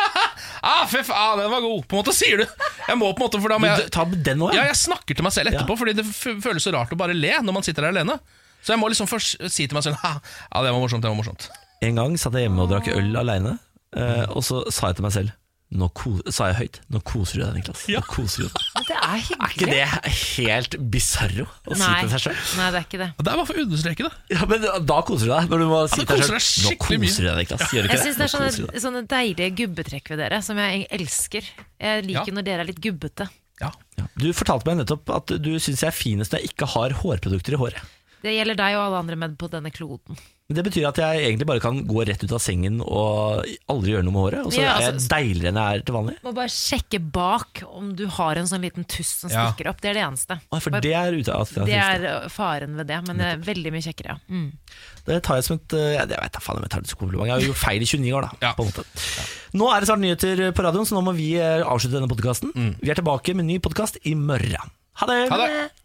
B: Ah, fy faen, den var god På en måte sier du Jeg må på en måte for da må
A: Men
B: jeg
A: ta den også, ja.
B: Ja, jeg snakker til meg selv etterpå Fordi det f- føles så rart å bare le Når man sitter der alene Så jeg må liksom først si til meg selv [LAUGHS] «Ha, Ja, det var morsomt, det var morsomt
A: En gang satt jeg hjemme og drakk øl aleine, eh, og så sa jeg til meg selv nå ko- sa jeg høyt Nå koser du deg, Niklas. Nå koser du deg.
C: Men det er
A: Er ikke
C: hyggelig.
A: det helt bisarro å si
C: Nei.
A: til seg sjøl?
C: Nei, det er ikke det.
B: Det er bare for å understreke det.
A: Ja, men da koser du deg. Når du må si
B: du
A: til
B: koser
A: deg
B: deg
A: selv, Nå
B: skikkelig mye.
A: koser du deg, Niklas. Gjør du
C: Jeg
A: ikke det?
C: syns det er sånn
A: Nå koser du
C: sånne,
A: deg.
C: sånne deilige gubbetrekk ved dere, som jeg elsker. Jeg
A: Ja.
C: liker når dere er litt gubbete.
A: Du fortalte meg nettopp at du syns jeg er finest når jeg ikke har hårprodukter i håret.
C: Det gjelder deg og alle andre menn på denne kloden.
A: Men Det betyr at jeg egentlig bare kan gå rett ut av sengen og aldri gjøre noe med håret. Og så
C: Ja,
A: er jeg
C: altså-
A: deiligere enn jeg er til vanlig.
C: Må bare sjekke bak om du har en sånn liten tuss som
A: Ja.
C: stikker opp. Det er det eneste.
A: Å, For det er ute av
C: Det er uh, faren ved det, men det er veldig mye kjekkere. ja. Mm.
A: Det tar jeg som et eh, Jeg vet da faen om jeg tar det som kompliment. Jeg har jo gjort feil i 29 år, da. På en måte. Nå er det snart nyheter på radioen, så nå må vi eh, avslutte denne podkasten. Vi er tilbake med en ny podkast i morgen. Ha det!
B: Ha det!